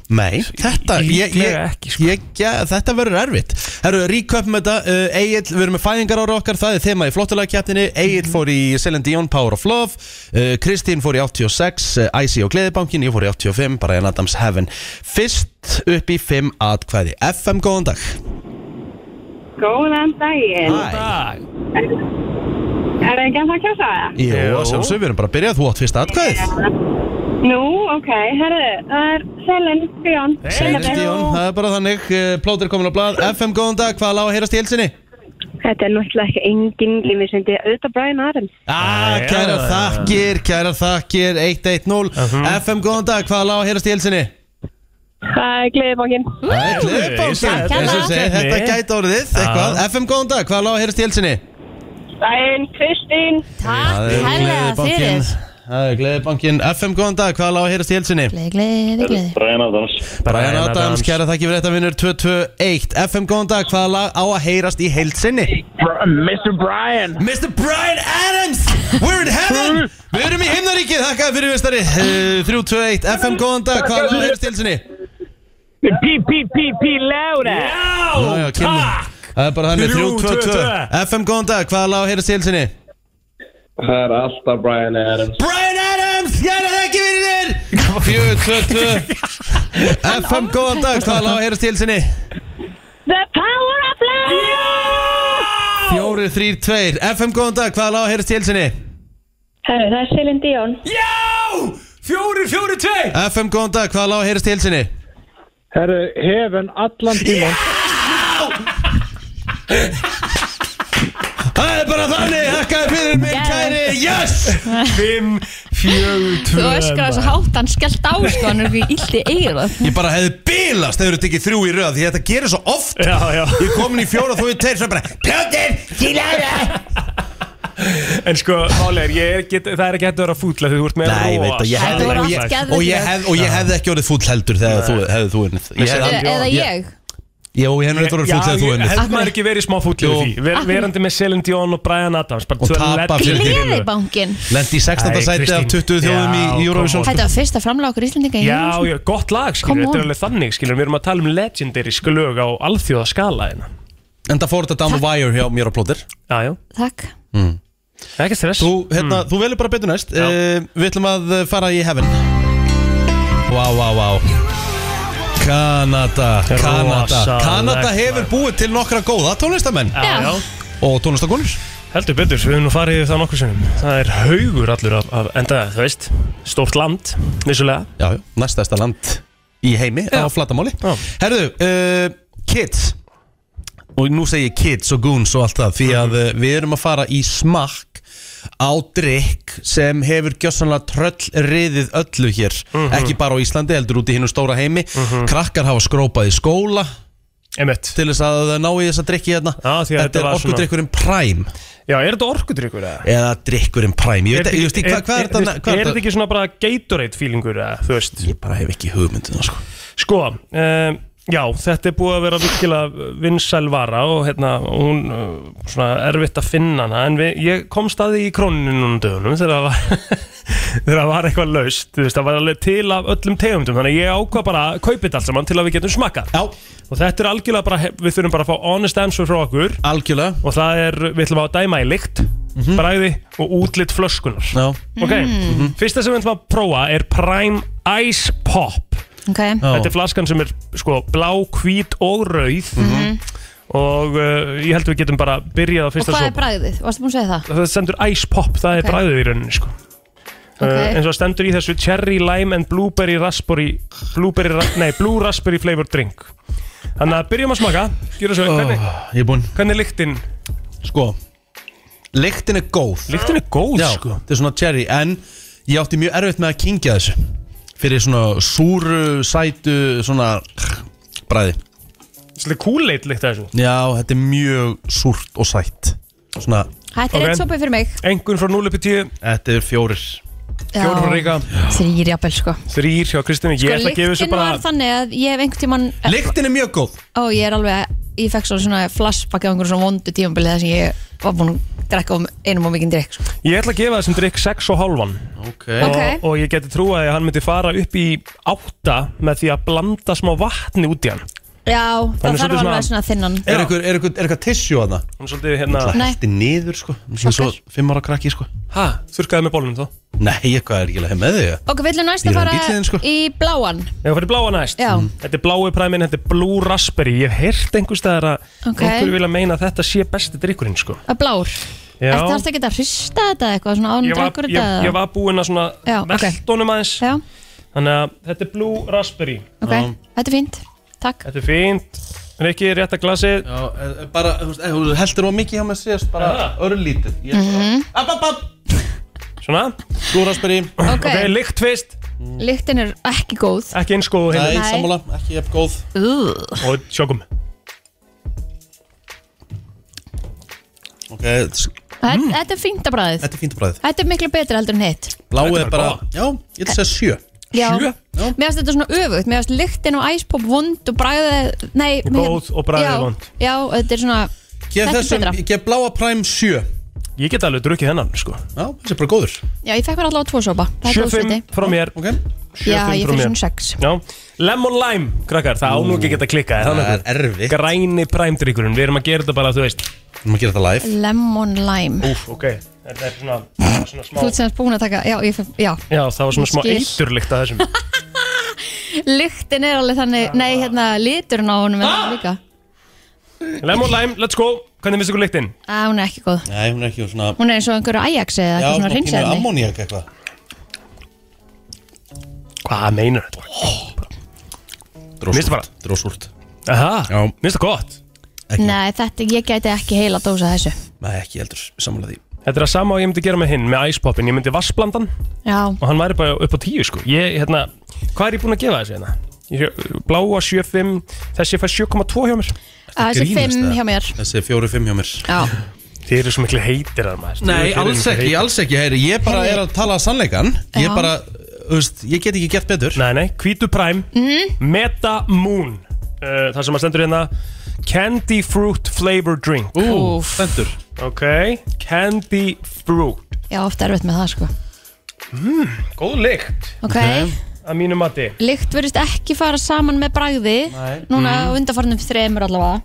[SPEAKER 2] Nei, þetta, ég, ég,
[SPEAKER 4] Líklega ekki, sko.
[SPEAKER 2] ég, ja, þetta verður erfitt Herru, recap með þetta uh, Egil, við erum með fæðingar ára okkar Það er þema í flottalagkjæftinni Egil
[SPEAKER 4] Mhm.
[SPEAKER 2] fór í Celine Dion, Power of Love uh, Kristín fór í 86, uh, IC og Gleðibankin Ég fór í 85, Brian Adams Heaven Fyrst upp í 5 atkvæði FM, góðan dag
[SPEAKER 9] Góðan daginn.
[SPEAKER 2] Hæ,
[SPEAKER 4] Dag
[SPEAKER 9] Er það ekki að það kjósa það?
[SPEAKER 2] jú,
[SPEAKER 4] Jú.
[SPEAKER 2] sem sem við erum bara að byrja Þú átt fyrsta atkvæðið
[SPEAKER 9] Nú, ok, herðu, það er Selin Björn.
[SPEAKER 2] Celine Dion, það er bara þannig uh, Plóter komin á blad, FM, góðan dag Hvað lág að heyrast í helsinni?
[SPEAKER 9] Þetta er náttúrulega ekki engin lífisundi, auðvitað Brian Adams.
[SPEAKER 2] Ah,
[SPEAKER 4] Ah,
[SPEAKER 2] kæra
[SPEAKER 4] já.
[SPEAKER 2] þakkir, kæra þakkir 110
[SPEAKER 4] Mhm.
[SPEAKER 2] FM, góðan dag, hvaða lág að heyrast í helsinni?
[SPEAKER 9] Það er Gleðibókin.
[SPEAKER 2] Það er
[SPEAKER 4] ég sagði
[SPEAKER 2] Gleðibókin
[SPEAKER 4] þetta.
[SPEAKER 2] Eins og ég segi,
[SPEAKER 4] Keppni.
[SPEAKER 2] Þetta gæti orðið eitthvað FM, góðan dag, hvaða lág að heyrast í helsinni?
[SPEAKER 9] Daginn, Kristín.
[SPEAKER 3] Takk hella fyrir
[SPEAKER 2] Það er Gleðibankin FM, góðan dag, hvaða lág að heyrast í helsinni?
[SPEAKER 3] Gleði, gleði, gleði
[SPEAKER 2] Brian Adams, kæra þakkir fyrir þetta vinnur 221 FM, góðan dag, hvaða lág á að heyrast í helsinni?
[SPEAKER 5] Mr. Brian.
[SPEAKER 2] Mr. Brian Adams, we're in heaven Við erum í himnaríkið, þakkaði fyrir Eh, vestari 321 FM, góðan dag, hvaða lág að heyrast í helsinni?
[SPEAKER 5] P, P, P, P, louder.
[SPEAKER 2] Já, já,
[SPEAKER 4] Já,
[SPEAKER 2] kemur.
[SPEAKER 4] takk
[SPEAKER 2] Það er bara þannig
[SPEAKER 4] Þrjú,
[SPEAKER 2] 3,
[SPEAKER 4] tvö,
[SPEAKER 2] 2, 2
[SPEAKER 4] tvö.
[SPEAKER 2] FM, góðan dag, hvaða lág heyrðast í helsinni?
[SPEAKER 10] Það er alltaf Brian Adams
[SPEAKER 2] Brian Adams, ég er það ekki fyrir þér 4, 2, 2 FM, góðan dag, hvaða lág heyrðast í helsinni?
[SPEAKER 9] The Power of Love.
[SPEAKER 2] 4, 3, 2 FM, góðan dag, hvaða lág heyrðast í helsinni?
[SPEAKER 9] Herðu, það er Selin Dion.
[SPEAKER 4] Já, fjóri, fjóri, tvei
[SPEAKER 2] FM, góðan dag, hvaða lág heyrðast í helsinni?
[SPEAKER 10] Herru, hefn allan tíman
[SPEAKER 2] Það er bara þannig, þakkaði fyrir mig, kæri Yes!
[SPEAKER 4] Fimm, fjóri, tvei
[SPEAKER 3] Þú öskar þess að hátt hann skellt á sko hann er ekki illt í eigið
[SPEAKER 2] Ég bara hefði bilast ef þú tekið þrjú í röð Því þetta gerir svo oft
[SPEAKER 4] Já, já,
[SPEAKER 2] Ég komin í fjóra þú í tveir Svo bara, Plóter, kílæra
[SPEAKER 4] en sko, málegar, ég er get, það er ekki hægt að vera fútla því þú ert með sko.
[SPEAKER 2] Nei, ég veit að ég
[SPEAKER 3] Þetta
[SPEAKER 2] hefði
[SPEAKER 3] voru
[SPEAKER 2] og
[SPEAKER 3] allt
[SPEAKER 2] ég,
[SPEAKER 3] geðveikt
[SPEAKER 2] og ég,
[SPEAKER 3] lög.
[SPEAKER 2] hef, og ég hefði ekki orðið fúll heldur þegar þú hefði þú unnið Ég hefði
[SPEAKER 3] Eða,
[SPEAKER 2] aldrei
[SPEAKER 3] eða ég
[SPEAKER 2] Jó, ég hefði orðið fúll þegar
[SPEAKER 4] Já,
[SPEAKER 2] þú
[SPEAKER 4] ég
[SPEAKER 2] unnið
[SPEAKER 4] held maður ekki verið í smá fútli
[SPEAKER 2] Jú.
[SPEAKER 4] því Ver, Verandi með Celine Dion og Brian Adams bara
[SPEAKER 2] Og
[SPEAKER 4] tvö
[SPEAKER 2] tapa
[SPEAKER 4] legend-
[SPEAKER 2] fyrir Gleði.
[SPEAKER 3] Gleðibankin
[SPEAKER 2] Lendi í 16.
[SPEAKER 4] Æ,
[SPEAKER 2] sæti af
[SPEAKER 4] Kristín.
[SPEAKER 2] 20 þjóðum í, í
[SPEAKER 4] Já,
[SPEAKER 2] Eurovision
[SPEAKER 4] come
[SPEAKER 3] Þetta var fyrsta framlag okkur Íslendinga í
[SPEAKER 4] Já,
[SPEAKER 3] Eurovision.
[SPEAKER 4] já, gott lag, skilur,
[SPEAKER 3] Come
[SPEAKER 4] þetta er
[SPEAKER 3] on.
[SPEAKER 4] alveg þannig, skilur, við erum að tala um legendary sklög á alþjóðaskala hérna.
[SPEAKER 2] En það fór þetta down the wire hjá mér og plóter
[SPEAKER 4] Já, já,
[SPEAKER 3] Takk
[SPEAKER 4] ekki stress.
[SPEAKER 2] Þú, hérna, þú velur bara betur næst uh, Við ætlum að eh, fara í heaven Vá, vá, vá Kanada, Kanada
[SPEAKER 4] Rosalegt,
[SPEAKER 2] Kanada hefur
[SPEAKER 4] maður.
[SPEAKER 2] búið til nokkra góða tónlistamenn
[SPEAKER 4] já,
[SPEAKER 3] Já.
[SPEAKER 4] já,
[SPEAKER 2] og tónlistakonur
[SPEAKER 4] heldur betur, við höfum nú farið yfir það nokkur sinnum. Það er haugur allur af, af enda, þú veist, stórt land, vissulega.
[SPEAKER 2] Já, já, næstæsta land í heimi á flatamáli
[SPEAKER 4] Já.
[SPEAKER 2] Herðu, uh, kids og nú segi ég kids og goons og allt það því að
[SPEAKER 4] Mhm.
[SPEAKER 2] uh, við erum að fara í smakk á drikk sem hefur gjössanlega tröll riðið öllu hér
[SPEAKER 4] Mhm.
[SPEAKER 2] ekki bara á Íslandi, heldur út í hinn stóra heimi krakkar hafa skrópað í skóla
[SPEAKER 4] Emmett.
[SPEAKER 2] til þess að uh, ná í þessa drikki hérna
[SPEAKER 4] Já, því að
[SPEAKER 2] þetta
[SPEAKER 4] þetta
[SPEAKER 2] er
[SPEAKER 4] var svona-
[SPEAKER 2] orkudrykkurinn Prime
[SPEAKER 4] Já, er þetta orkudrykkur eða?
[SPEAKER 2] eða drikkurinn Prime, ég veit ekki, ég veist ekki, hvað- hvað er þetta hvað
[SPEAKER 4] Er
[SPEAKER 2] er
[SPEAKER 4] þetta
[SPEAKER 2] þetta-
[SPEAKER 4] ekki svona bara Gatorade feelingur eða, þú veist?
[SPEAKER 2] ég bara hef ekki hugmyndina sko
[SPEAKER 4] Sko, um, já, þetta er búið að vera virkilega vinsæl vara og hérna, hún uh, svona erfitt að finna hana en við, ég kom staði í króninu núna um dögunum þegar það var, þegar það var eitthvað laust, þú veist, það var alveg til af öllum tegundum, þannig að ég ákvað bara að kaupa þetta allt saman til að við getum smakkað
[SPEAKER 2] Já,
[SPEAKER 4] og þetta er algjörlega bara, he- við þurfum bara að fá honest answer frá okkur
[SPEAKER 2] algjörlega
[SPEAKER 4] og það er, við ætlum að dæma í lykt, bræði og útlitt flöskunar
[SPEAKER 2] Já.
[SPEAKER 4] ok, fyrsta sem við ætlum að prófa er Prime Ice Pop
[SPEAKER 3] Ok
[SPEAKER 2] Já.
[SPEAKER 4] Þetta er flaskan sem er sko blá, hvít og rauð og uh, ég held við getum bara byrjað á
[SPEAKER 3] Mhm. Og
[SPEAKER 4] fyrsta
[SPEAKER 3] hvað er
[SPEAKER 4] sopa
[SPEAKER 3] bragðið? Varstu búin að segja það?
[SPEAKER 4] það stendur Ice Pop, það er
[SPEAKER 3] Ok.
[SPEAKER 4] bræðið í rauninni sko.
[SPEAKER 3] Ok.
[SPEAKER 4] uh, eins og stendur í þessu Cherry, Lime and Blueberry Raspberry, blueberry ra nei, Blue Raspberry Flavored Drink Þannig að byrjum að smaka Gjöra svo, hvernig,
[SPEAKER 2] Ah, Ég er búinn
[SPEAKER 4] hvernig er lyktin?
[SPEAKER 2] Sko Lyktin er góð
[SPEAKER 4] Lyktin er góð,
[SPEAKER 2] Já,
[SPEAKER 4] sko.
[SPEAKER 2] þetta er svona cherry En ég átti mjög erfitt með að kingja þessu Fyrir svona súru, sætu, svona bræði
[SPEAKER 4] Svolítið kúleit lykt af þessu
[SPEAKER 2] Já, þetta er mjög súrt og sætt Svona,
[SPEAKER 3] Þetta er
[SPEAKER 4] Ok.
[SPEAKER 3] eitt sopið fyrir mig
[SPEAKER 4] Engun frá 0 upp í 10,
[SPEAKER 2] þetta er fjórir
[SPEAKER 4] fjórum frá Ríka
[SPEAKER 3] Þrýr jafnvel sko
[SPEAKER 4] Þrýr hjá Kristín Ég
[SPEAKER 3] Sko
[SPEAKER 4] ætla að gefa þessu
[SPEAKER 3] lyktin
[SPEAKER 4] bara
[SPEAKER 3] var þannig að ég hef einhvern tíman
[SPEAKER 2] Lyktin er mjög góð
[SPEAKER 3] Ó ég er alveg Ég fekk svolítið svona flashback af einhverjum svona vondu tímabilið þar sem ég var búin að drekka um einum og mikinn drikk sko.
[SPEAKER 4] Ég ætla að gefa þessum drikk 6 og halvan
[SPEAKER 2] Ok
[SPEAKER 3] Ok.
[SPEAKER 4] og, og ég geti trúið að hann myndi fara upp í 8 með því að blanda smá vatni út í hann
[SPEAKER 3] Já,
[SPEAKER 4] Hann er
[SPEAKER 3] það þarf
[SPEAKER 4] svolítið
[SPEAKER 3] alveg svona þinnan
[SPEAKER 2] Er eitthvað, er eitthvað, er eitthvað tissjú að það?
[SPEAKER 4] Hún er svolítið hérna
[SPEAKER 2] Það
[SPEAKER 3] Nei.
[SPEAKER 2] hætti niður, sko Sem svo fimm ára krakki, sko
[SPEAKER 4] Hæ, þurrkaði með bólunum þá
[SPEAKER 2] Nei, eitthvað er ekki að hef með þig
[SPEAKER 3] Ok, við ætlum næst
[SPEAKER 2] Dýran
[SPEAKER 3] að fara
[SPEAKER 2] bíllinn, sko.
[SPEAKER 3] í bláan
[SPEAKER 4] Ég fyrir bláa næst
[SPEAKER 3] Já.
[SPEAKER 4] Þetta er blái præmin, þetta er Blue Raspberry Ég hef heyrt einhvers staðar að
[SPEAKER 3] Ok. Mm,
[SPEAKER 4] einhver vilja meina að þetta sé besti drikkurinn sko.
[SPEAKER 3] Að blár
[SPEAKER 4] Já.
[SPEAKER 3] Ertu þarst ekki að hrista þetta eitthvað svona ánum
[SPEAKER 4] Ég var,
[SPEAKER 3] drekkur
[SPEAKER 4] ég,
[SPEAKER 3] þetta?
[SPEAKER 4] ég var búinn að svona
[SPEAKER 3] Já, ok.
[SPEAKER 4] veltónum aðeins
[SPEAKER 3] Já,
[SPEAKER 4] Þannig að þetta er Blue Raspberry
[SPEAKER 3] ok, þetta er fínt Takk
[SPEAKER 4] Þetta er fínt Rikki, rétta glasið
[SPEAKER 2] Já, eh, bara, þú veist, þú heldur á mikið hjá mig síðast Bara örlítið Ég er bara, app, app, app
[SPEAKER 4] Svona
[SPEAKER 2] Glúrasperi
[SPEAKER 3] Ok,
[SPEAKER 4] Ok, lykt fyrst
[SPEAKER 3] lyktin er ekki góð
[SPEAKER 4] Ekki eins góð og
[SPEAKER 2] Nei,
[SPEAKER 4] hinn
[SPEAKER 3] Nei.
[SPEAKER 2] sammála, ekki jafn góð
[SPEAKER 3] Ugh.
[SPEAKER 4] Og sjókum
[SPEAKER 2] Ok, þetta
[SPEAKER 3] Þetta þetta er fínt að bræðið
[SPEAKER 2] er fínt bræðið
[SPEAKER 3] Þetta er miklu betra heldur en hitt
[SPEAKER 2] Bláið
[SPEAKER 4] Þetta
[SPEAKER 2] er
[SPEAKER 4] er
[SPEAKER 2] bara,
[SPEAKER 4] bara
[SPEAKER 2] já, ég ætla að segja sjö
[SPEAKER 3] Já.
[SPEAKER 4] Sjö?
[SPEAKER 3] Mér finnst þetta svona öfugt, mér finnst lyktin og æspop vond og bræðið, nei
[SPEAKER 4] Góð og bragðið
[SPEAKER 3] já,
[SPEAKER 4] vond.
[SPEAKER 3] Já, þetta er svona,
[SPEAKER 2] Gef
[SPEAKER 3] Þetta er
[SPEAKER 2] þessum,
[SPEAKER 3] betra.
[SPEAKER 2] ég gef bláa præm sjö Já,
[SPEAKER 4] Ég get alveg drukkið hennan sko.
[SPEAKER 2] þessi er bara góður
[SPEAKER 3] já ég fekk mér allavega tvo sopa Það er
[SPEAKER 4] 7-5
[SPEAKER 3] góðsviti
[SPEAKER 4] frá mér
[SPEAKER 2] Ok,
[SPEAKER 4] 7-5
[SPEAKER 3] Já, ég
[SPEAKER 4] frá
[SPEAKER 3] fyrir
[SPEAKER 4] mér.
[SPEAKER 3] svona sex
[SPEAKER 4] Já, Lemon Lime, krakkar, það á nú ekki að geta klikkað er það
[SPEAKER 2] það er
[SPEAKER 4] nokkuð?
[SPEAKER 2] erfitt
[SPEAKER 4] Græni præmdrykkurinn, við erum að gera þetta bara, þú veist
[SPEAKER 2] Við maður gera þetta live
[SPEAKER 3] Lemon lime
[SPEAKER 4] Úf, ok, þetta er svona, það er svona smá
[SPEAKER 3] Þú ert semst búin að taka, já, ég, fer- já.
[SPEAKER 4] Já, það var svona smá
[SPEAKER 3] Skil.
[SPEAKER 4] eiturlykt að þessum
[SPEAKER 3] Lyktin er alveg þannig, nei, hérna, liturinn á honum er ah! líka
[SPEAKER 4] Lemon lime, let's go, hvernig finnst ykkur lyktin?
[SPEAKER 3] Æ, hún er ekki góð
[SPEAKER 2] Nei, hún er ekki svona
[SPEAKER 3] Hún er eins og einhverju Ajax eða eitthvað svona hreinsaðni
[SPEAKER 2] ammoniak eitthvað
[SPEAKER 4] Hvað meinar þetta? Minnst bara.
[SPEAKER 2] Drósúrt
[SPEAKER 4] Aha,
[SPEAKER 2] Já.
[SPEAKER 4] minnst það gott
[SPEAKER 2] Ekki.
[SPEAKER 3] Nei, þetta, ég gæti ekki heila dósa þessu
[SPEAKER 2] Nei, ekki heldur, sammála því
[SPEAKER 4] Þetta er að sama og ég myndi gera með hinn, með Ice Poppin Ég myndi vassblandan
[SPEAKER 3] Já,
[SPEAKER 4] og hann væri bara upp á tíu sko Ég, hérna, hvað er ég búinn að gefa þessu hérna? Ég- Bláa 7,5, þessi fær 7,2 hjá mér
[SPEAKER 3] að þessi
[SPEAKER 2] grínast,
[SPEAKER 3] fimm
[SPEAKER 2] eða?
[SPEAKER 3] hjá mér
[SPEAKER 2] Þessi er fjóri fimm hjá mér
[SPEAKER 3] Já,
[SPEAKER 4] Þið eru svo miklu heitir að maður
[SPEAKER 2] Nei, alls ekki, alls ekki, heyri Ég bara
[SPEAKER 3] Heyri.
[SPEAKER 2] er að tala að sannleikan Ég
[SPEAKER 3] Já.
[SPEAKER 2] bara, þú veist, ég get ekki gert betur
[SPEAKER 4] Nei, nei, Hvítu Prime
[SPEAKER 3] Mhm.
[SPEAKER 4] Meta Moon uh, Það sem að stendur hérna Candy Fruit Flavor Drink
[SPEAKER 2] Ú,
[SPEAKER 3] Úff.
[SPEAKER 2] fendur
[SPEAKER 4] Ok, Candy Fruit
[SPEAKER 3] já, ofta erfitt með það sko
[SPEAKER 4] Góð lykt
[SPEAKER 3] Ok,
[SPEAKER 4] Að mínu mati
[SPEAKER 3] lykt verðist ekki fara saman með bragði
[SPEAKER 4] Nei.
[SPEAKER 3] Núna á undarfarnum þremur allavega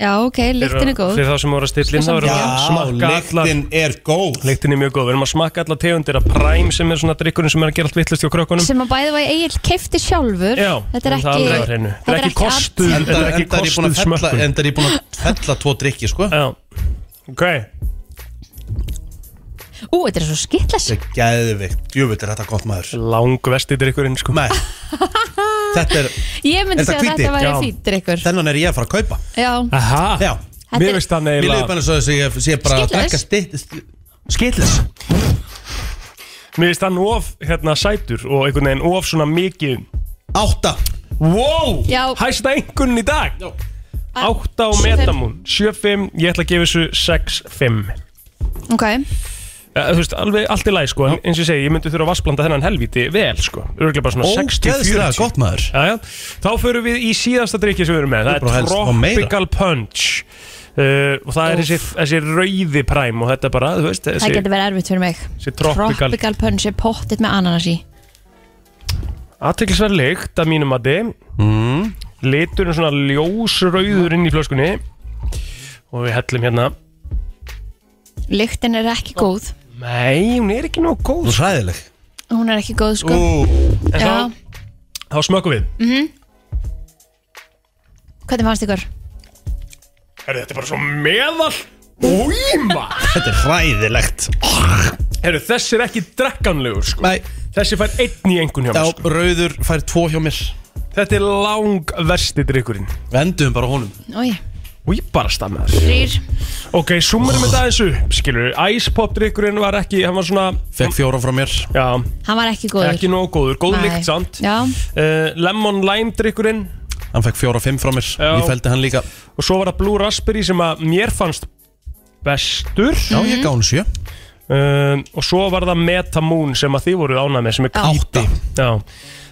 [SPEAKER 3] Já, ok, lyktin er góð
[SPEAKER 4] Fyrir þá sem voru að stilla inn þá erum við að
[SPEAKER 2] Já,
[SPEAKER 4] smakka allar
[SPEAKER 2] lyktin er góð
[SPEAKER 4] Lyktin er mjög góð Við erum að smakka allar tegundir af Prime sem er svona drikkurinn sem er að gera allt vittlust hjá krökkunum
[SPEAKER 3] sem að bæði var Egil keifti sjálfur
[SPEAKER 4] Já,
[SPEAKER 3] þetta er
[SPEAKER 4] en það
[SPEAKER 3] ekki
[SPEAKER 4] alveg á hreinu. Þetta er ekki
[SPEAKER 3] allt-
[SPEAKER 4] kostuð.
[SPEAKER 2] Enda,
[SPEAKER 4] Þetta er ekki
[SPEAKER 2] enda er ég búin að
[SPEAKER 4] kostuð
[SPEAKER 2] fella
[SPEAKER 4] smökkun.
[SPEAKER 2] Enda er ég búin að fella tvo drikki, sko
[SPEAKER 4] Já Ok
[SPEAKER 3] ú, þetta er svo skittless
[SPEAKER 2] Þetta er geðvikt, djöfull er þetta gott maður
[SPEAKER 4] Langvesti drikkurinn sko
[SPEAKER 2] Nei Þetta er,
[SPEAKER 3] ég
[SPEAKER 2] Er
[SPEAKER 3] myndi
[SPEAKER 2] þetta
[SPEAKER 3] segja að
[SPEAKER 2] hvíti?
[SPEAKER 3] þetta væri
[SPEAKER 4] Já.
[SPEAKER 3] fítir ykkur
[SPEAKER 2] þennan er ég að fara að kaupa
[SPEAKER 3] já,
[SPEAKER 4] Aha
[SPEAKER 2] Já,
[SPEAKER 3] Þetta
[SPEAKER 4] Mér
[SPEAKER 3] er-
[SPEAKER 4] veist það
[SPEAKER 2] mér
[SPEAKER 4] neila
[SPEAKER 2] liður bara eins og þess að ég sé bara að drekka
[SPEAKER 3] Skitlaus.
[SPEAKER 2] sti- Skitlis
[SPEAKER 4] Mér veist hann of hérna sætur og einhvern veginn of svona mikið
[SPEAKER 2] Átta
[SPEAKER 4] Wow,
[SPEAKER 3] Já. Ah,
[SPEAKER 4] hæsta einhvern í dag
[SPEAKER 2] Já.
[SPEAKER 4] 8 á metamún 7-5, ég ætla að gefa þessu 6-5
[SPEAKER 3] ok,
[SPEAKER 4] Ja, Eh, þú veist, alveg allt í læg sko, en eins og ég segi, ég myndi þurfa að vassblanda þennan helviti vel sko, örgulega bara svona 60-40
[SPEAKER 2] Ógeðslega gott maður
[SPEAKER 4] Já, já, þá förum við í síðasta drikki sem við erum með,
[SPEAKER 2] Þú bara
[SPEAKER 4] það er
[SPEAKER 2] helst fá meira.
[SPEAKER 4] Tropical Punch uh, og það er þessi, þessi rauði præm og þetta er bara, þú veist,
[SPEAKER 3] það
[SPEAKER 4] þessi,
[SPEAKER 3] getur verið erfitt fyrir mig
[SPEAKER 4] þessi tropical,
[SPEAKER 3] tropical punch er pottit með ananas í
[SPEAKER 4] aðteklisverð lykt að mínum að þið,
[SPEAKER 2] Mm.
[SPEAKER 4] liturinn svona ljósrauður inn í flöskunni og við hellum hérna
[SPEAKER 3] lyktin er ekki góð
[SPEAKER 4] Nei, hún er ekki nóg góð
[SPEAKER 2] Þú er hræðileg
[SPEAKER 3] hún er ekki góð sko
[SPEAKER 4] En
[SPEAKER 3] já,
[SPEAKER 4] þá, sko. þá smökum við
[SPEAKER 3] hvernig fannst ykkur?
[SPEAKER 4] Herru, þetta er bara svo meðal Újma
[SPEAKER 2] Þetta er hræðilegt
[SPEAKER 4] Herru, þessi er ekki drekkanlegur sko Nei Þessi fær einn í engun hjá mér sko.
[SPEAKER 2] Rauður fær tvo hjá mér
[SPEAKER 4] Þetta er lang versti drikkurinn
[SPEAKER 2] Vendum bara honum
[SPEAKER 3] Ói,
[SPEAKER 4] Og ég bara stannar
[SPEAKER 3] þrýr
[SPEAKER 4] Ok, summarum þetta aðeins upp Skilur, Ice Pop drikkurinn var ekki Hann var svona
[SPEAKER 2] Fekk fjóra frá mér
[SPEAKER 4] Já,
[SPEAKER 3] Hann var ekki góður
[SPEAKER 4] ekki nóg góður Góð
[SPEAKER 3] Nei.
[SPEAKER 4] líkt samt
[SPEAKER 3] Já,
[SPEAKER 4] uh, Lemon Lime drikkurinn
[SPEAKER 2] Hann fekk fjóra og fimm frá mér
[SPEAKER 4] Já.
[SPEAKER 2] Ég fældi hann líka
[SPEAKER 4] Og svo var það Blue Raspberry sem að mér fannst bestur
[SPEAKER 2] Já, ég gá hann sjö
[SPEAKER 4] um, Og svo var það Metamoon sem að þið voru ánað með sem er
[SPEAKER 2] Átta.
[SPEAKER 4] hvíti Já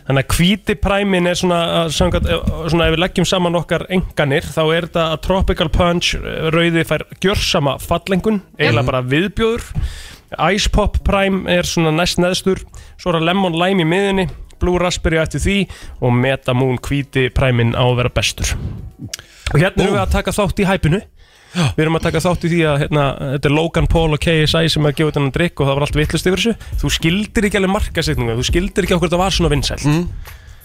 [SPEAKER 4] Þannig að hvíti præmin er svona, að samkvæmt, eh, svona ef við leggjum saman okkar enganir þá er þetta að Tropical Punch eh, rauði fær gjörsama fallengun eiginlega bara viðbjóður Ice Pop Prime er svona næst neðstur svo er að Lemon Lime í miðunni Blue Raspberry eftir því og Metamoon hvíti præmin á að vera bestur Og hérna erum við að taka þátt í hæpinu Við erum að taka þátt í því að hérna, þetta er Logan Paul og KSI sem að gefa þennan drikk og það var allt vittlust yfir þessu Þú skildir ekki alveg markasetninga, þú skildir ekki okkur þetta var svona vinsælt mm.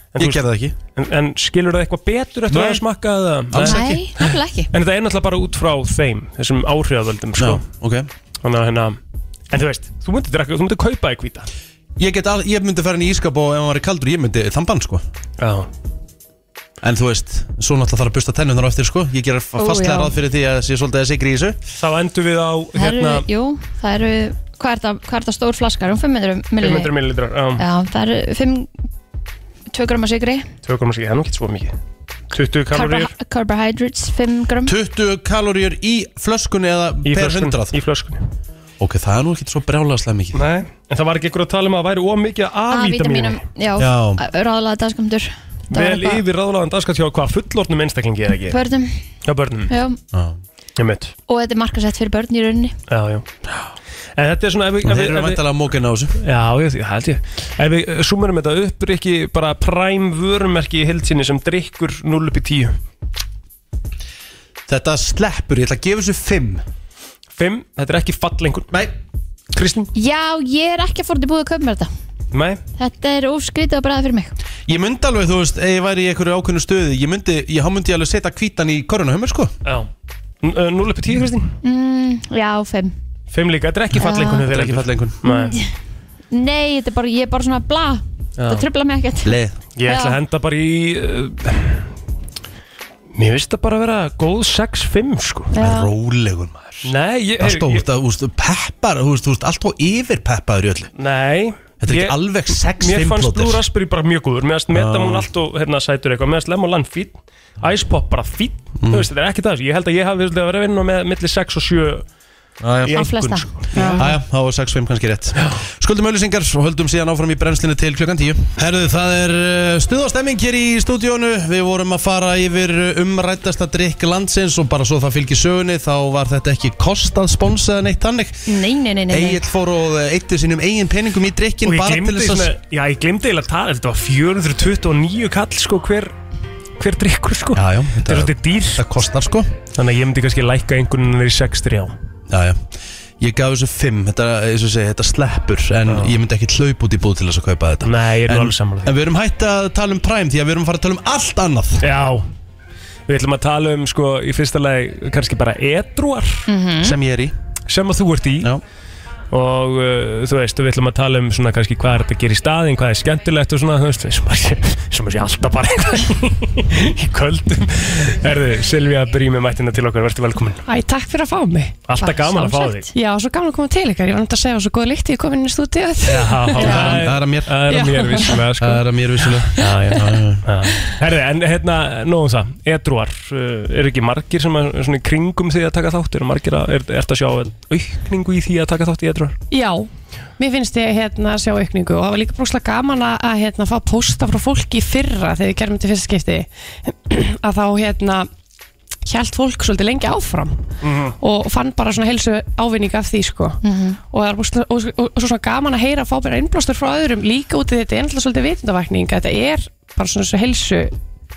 [SPEAKER 4] en,
[SPEAKER 2] Ég
[SPEAKER 4] þú-
[SPEAKER 2] gerði það ekki
[SPEAKER 4] en, en skilur það eitthvað betur eftir
[SPEAKER 2] Nei.
[SPEAKER 4] að það smakka það?
[SPEAKER 2] Alls
[SPEAKER 3] nei, nefnilega ekki
[SPEAKER 4] En þetta er náttúrulega bara út frá þeim, þessum áhrifavöldum
[SPEAKER 2] Já,
[SPEAKER 4] sko.
[SPEAKER 2] ok
[SPEAKER 4] Þannig að hérna En þú veist, þú myndir, drekka, þú myndir kaupa í hvíta
[SPEAKER 2] Ég, get al, ég myndi fara inn í ískap og ef hann var kaldur ég myndi þamban sko
[SPEAKER 4] Já
[SPEAKER 2] En þú veist, svo náttúrulega þarf að busta tennunar á eftir sko Ég gerir
[SPEAKER 3] Ó,
[SPEAKER 2] fastlega
[SPEAKER 3] já.
[SPEAKER 2] ráð fyrir því að sé svolítið að sigri í þessu
[SPEAKER 4] Þá endur við á
[SPEAKER 3] Það eru,
[SPEAKER 4] hérna
[SPEAKER 3] jú, það eru Hvað er það, hvað er það stór flaskar? Um 500 millir
[SPEAKER 4] 500 millilitrar Já,
[SPEAKER 3] Já, það eru 5 2 grömmar sigri
[SPEAKER 4] 2 komast ekki, það er nú ekki svo mikið 20 kaloríur
[SPEAKER 3] Carbohy- Carbohydrates 5 grömm
[SPEAKER 2] 20 kaloríur í flöskunni eða
[SPEAKER 4] í
[SPEAKER 2] per
[SPEAKER 4] flöskunni-
[SPEAKER 2] hundrað
[SPEAKER 4] Í flöskunni
[SPEAKER 2] Ok, það er nú ekkert svo brjálaðslega mikið
[SPEAKER 4] Nei, en það var ekki ykkur að tala um að það væri ómikið A-vítamínum
[SPEAKER 3] A-vítamínum Já,
[SPEAKER 2] Já.
[SPEAKER 3] ráðlega dagskamtur
[SPEAKER 4] Vel yfir ráðlaðan dagskatt hjá hvað fullornum einstaklingi eða ekki
[SPEAKER 3] Börnum,
[SPEAKER 4] Hjá börnum,
[SPEAKER 3] já,
[SPEAKER 4] ég mitt
[SPEAKER 3] og þetta er markasett fyrir börn í rauninni
[SPEAKER 4] Já, já En þetta er svona ef við,
[SPEAKER 2] Og
[SPEAKER 4] ef
[SPEAKER 2] þeir
[SPEAKER 4] við, ef
[SPEAKER 2] eru
[SPEAKER 4] við,
[SPEAKER 2] vantalega mókin á þessu
[SPEAKER 4] Já, ég, ég held ég Ef við eh, summarum þetta upp, Rikki, bara præm vörumerki í hildsinni sem drikkur 0 upp í 10
[SPEAKER 2] Þetta sleppur, ég ætla að gefa þessu 5
[SPEAKER 4] 5, þetta er ekki fallengur
[SPEAKER 2] Nei
[SPEAKER 4] Kristín?
[SPEAKER 3] Já, ég er ekki að fór til búið að kaupa mér þetta
[SPEAKER 4] Nei
[SPEAKER 3] Þetta er óskrítið að bræða fyrir mig
[SPEAKER 2] Ég myndi alveg, þú veist, ef ég væri í einhverju ákveðnu stöði Ég myndi, ég hann myndi ég alveg setja kvítan í koruna hömur sko
[SPEAKER 4] Já 0 upp í 10, Kristín?
[SPEAKER 3] mm, Já, 5
[SPEAKER 4] 5 líka, þetta er ekki fallengur
[SPEAKER 2] Þetta er ekki falla einhvern
[SPEAKER 4] Nei,
[SPEAKER 3] Nei, þetta er bara, ég er bara svona bla
[SPEAKER 4] Já.
[SPEAKER 3] Það tröfla mig ekkert
[SPEAKER 2] Leð
[SPEAKER 4] ég ætla
[SPEAKER 3] Já.
[SPEAKER 4] að henda bara í uh, Mér finnst það bara að vera góð 6-5 sko
[SPEAKER 3] Já,
[SPEAKER 2] Rólegur maður
[SPEAKER 4] Nei, ég,
[SPEAKER 2] Allt á,
[SPEAKER 4] ég-
[SPEAKER 2] úst, úst, peppar, úst, úst, allt á yfir peppaður í öllu
[SPEAKER 4] Nei
[SPEAKER 2] Þetta er
[SPEAKER 4] ég-
[SPEAKER 2] ekki alveg
[SPEAKER 4] Mér
[SPEAKER 2] 6-5
[SPEAKER 4] fannst Blue
[SPEAKER 2] plóter
[SPEAKER 4] Raspberry bara mjög góður Mér fannst Metamon allt og hérna sætur eitthvað Mér fannst Lemon Land fín Ice Pop bara fín
[SPEAKER 2] Mm.
[SPEAKER 4] Þú veist, þetta er ekki það Ég held að ég hafi verið að vera að vinna með milli 6 og 7
[SPEAKER 2] Jæja,
[SPEAKER 3] á flesta
[SPEAKER 4] sko.
[SPEAKER 3] Já.
[SPEAKER 2] þá var 6-5 kannski rétt Skuldum auðlýsingar og höldum síðan áfram í brennslinu til klukkan 10 Herðu, það er uh, stuð og stemming hér í stúdíónu Við vorum að fara yfir uh, umræddasta drikk landsins og bara svo það fylgir sögunni þá var þetta ekki kostað spons eða neitt þannig
[SPEAKER 3] Nei, nei, nei, nei, nei.
[SPEAKER 2] Egil fór og uh, eittu sínum eigin peningum í drikkin
[SPEAKER 4] Og ég
[SPEAKER 2] bara til
[SPEAKER 4] glemdi
[SPEAKER 2] þess að
[SPEAKER 4] svona Já, ég glemdi eiginlega að tala Þetta var 429 kall sko hver Hver drikkur sko
[SPEAKER 2] Já, já,
[SPEAKER 4] Þetta er
[SPEAKER 2] þetta,
[SPEAKER 4] svolítið dýr
[SPEAKER 2] þetta kostar sko
[SPEAKER 4] Þannig að ég myndi kannski lækka einhvern veginn í 6-3
[SPEAKER 2] Já, já Ég gaf þessu 5, þetta, eins og ég segi, þetta sleppur en ég myndi ekki hlaup út í búð til þess að kaupa þetta
[SPEAKER 4] Nei, ég er nú
[SPEAKER 2] En-
[SPEAKER 4] alveg sammála því.
[SPEAKER 2] En við erum hætt að tala um Prime því að við erum að fara að tala um allt annað
[SPEAKER 4] Já Við ætlum að tala um sko í fyrsta lagi kannski bara edruar
[SPEAKER 2] sem ég er í
[SPEAKER 4] sem að þú ert í
[SPEAKER 2] Já.
[SPEAKER 4] og uh, þú veist, við ætlum að tala um svona kannski hvað er þetta að gera í staðin, hvað er skemmtilegt og svona, þú veist, sem að sé, sem að sé alltaf bara eitthvað í köldum Erðu, Silvía Brími mættina til okkar, verður velkomin
[SPEAKER 11] Æ, takk fyrir að fá mig.
[SPEAKER 4] Alltaf
[SPEAKER 3] Takk,
[SPEAKER 4] gaman að fá
[SPEAKER 3] sjálfsagt.
[SPEAKER 4] þig
[SPEAKER 11] Já, svo gaman að koma til ykkar. Ég var nefnt að segja að svo góð líkt ég kom inn í stúdíu.
[SPEAKER 4] Já,
[SPEAKER 2] Það er Uh, að mér
[SPEAKER 4] Það er að mér vissulega, sko
[SPEAKER 2] Það er að mér vissulega
[SPEAKER 4] Já, já, já. Herðu, en hérna, nóðum það, edruar, uh, eru ekki margir sem er svona í kringum því að taka þátt, eru margir að, er, ert að sjá aukningu í því að taka þátt í edruar?
[SPEAKER 11] Já, mér finnst ég hérna að sjá aukningu og það var líka brúkslega gaman að- að hérna fá posta frá fólki í fyrra þegar við gerum þetta í fyrsta skipti að þá hérna hjælt fólk svolítið lengi áfram og fann bara svona heilsu ávinning af því sko og það er brúkslega, og, og, og svo svona gaman að heyra að fá bara innblástur frá öðrum líka út í þetta er ennlega svolítið vitundavækning þetta er bara svona þessu heilsu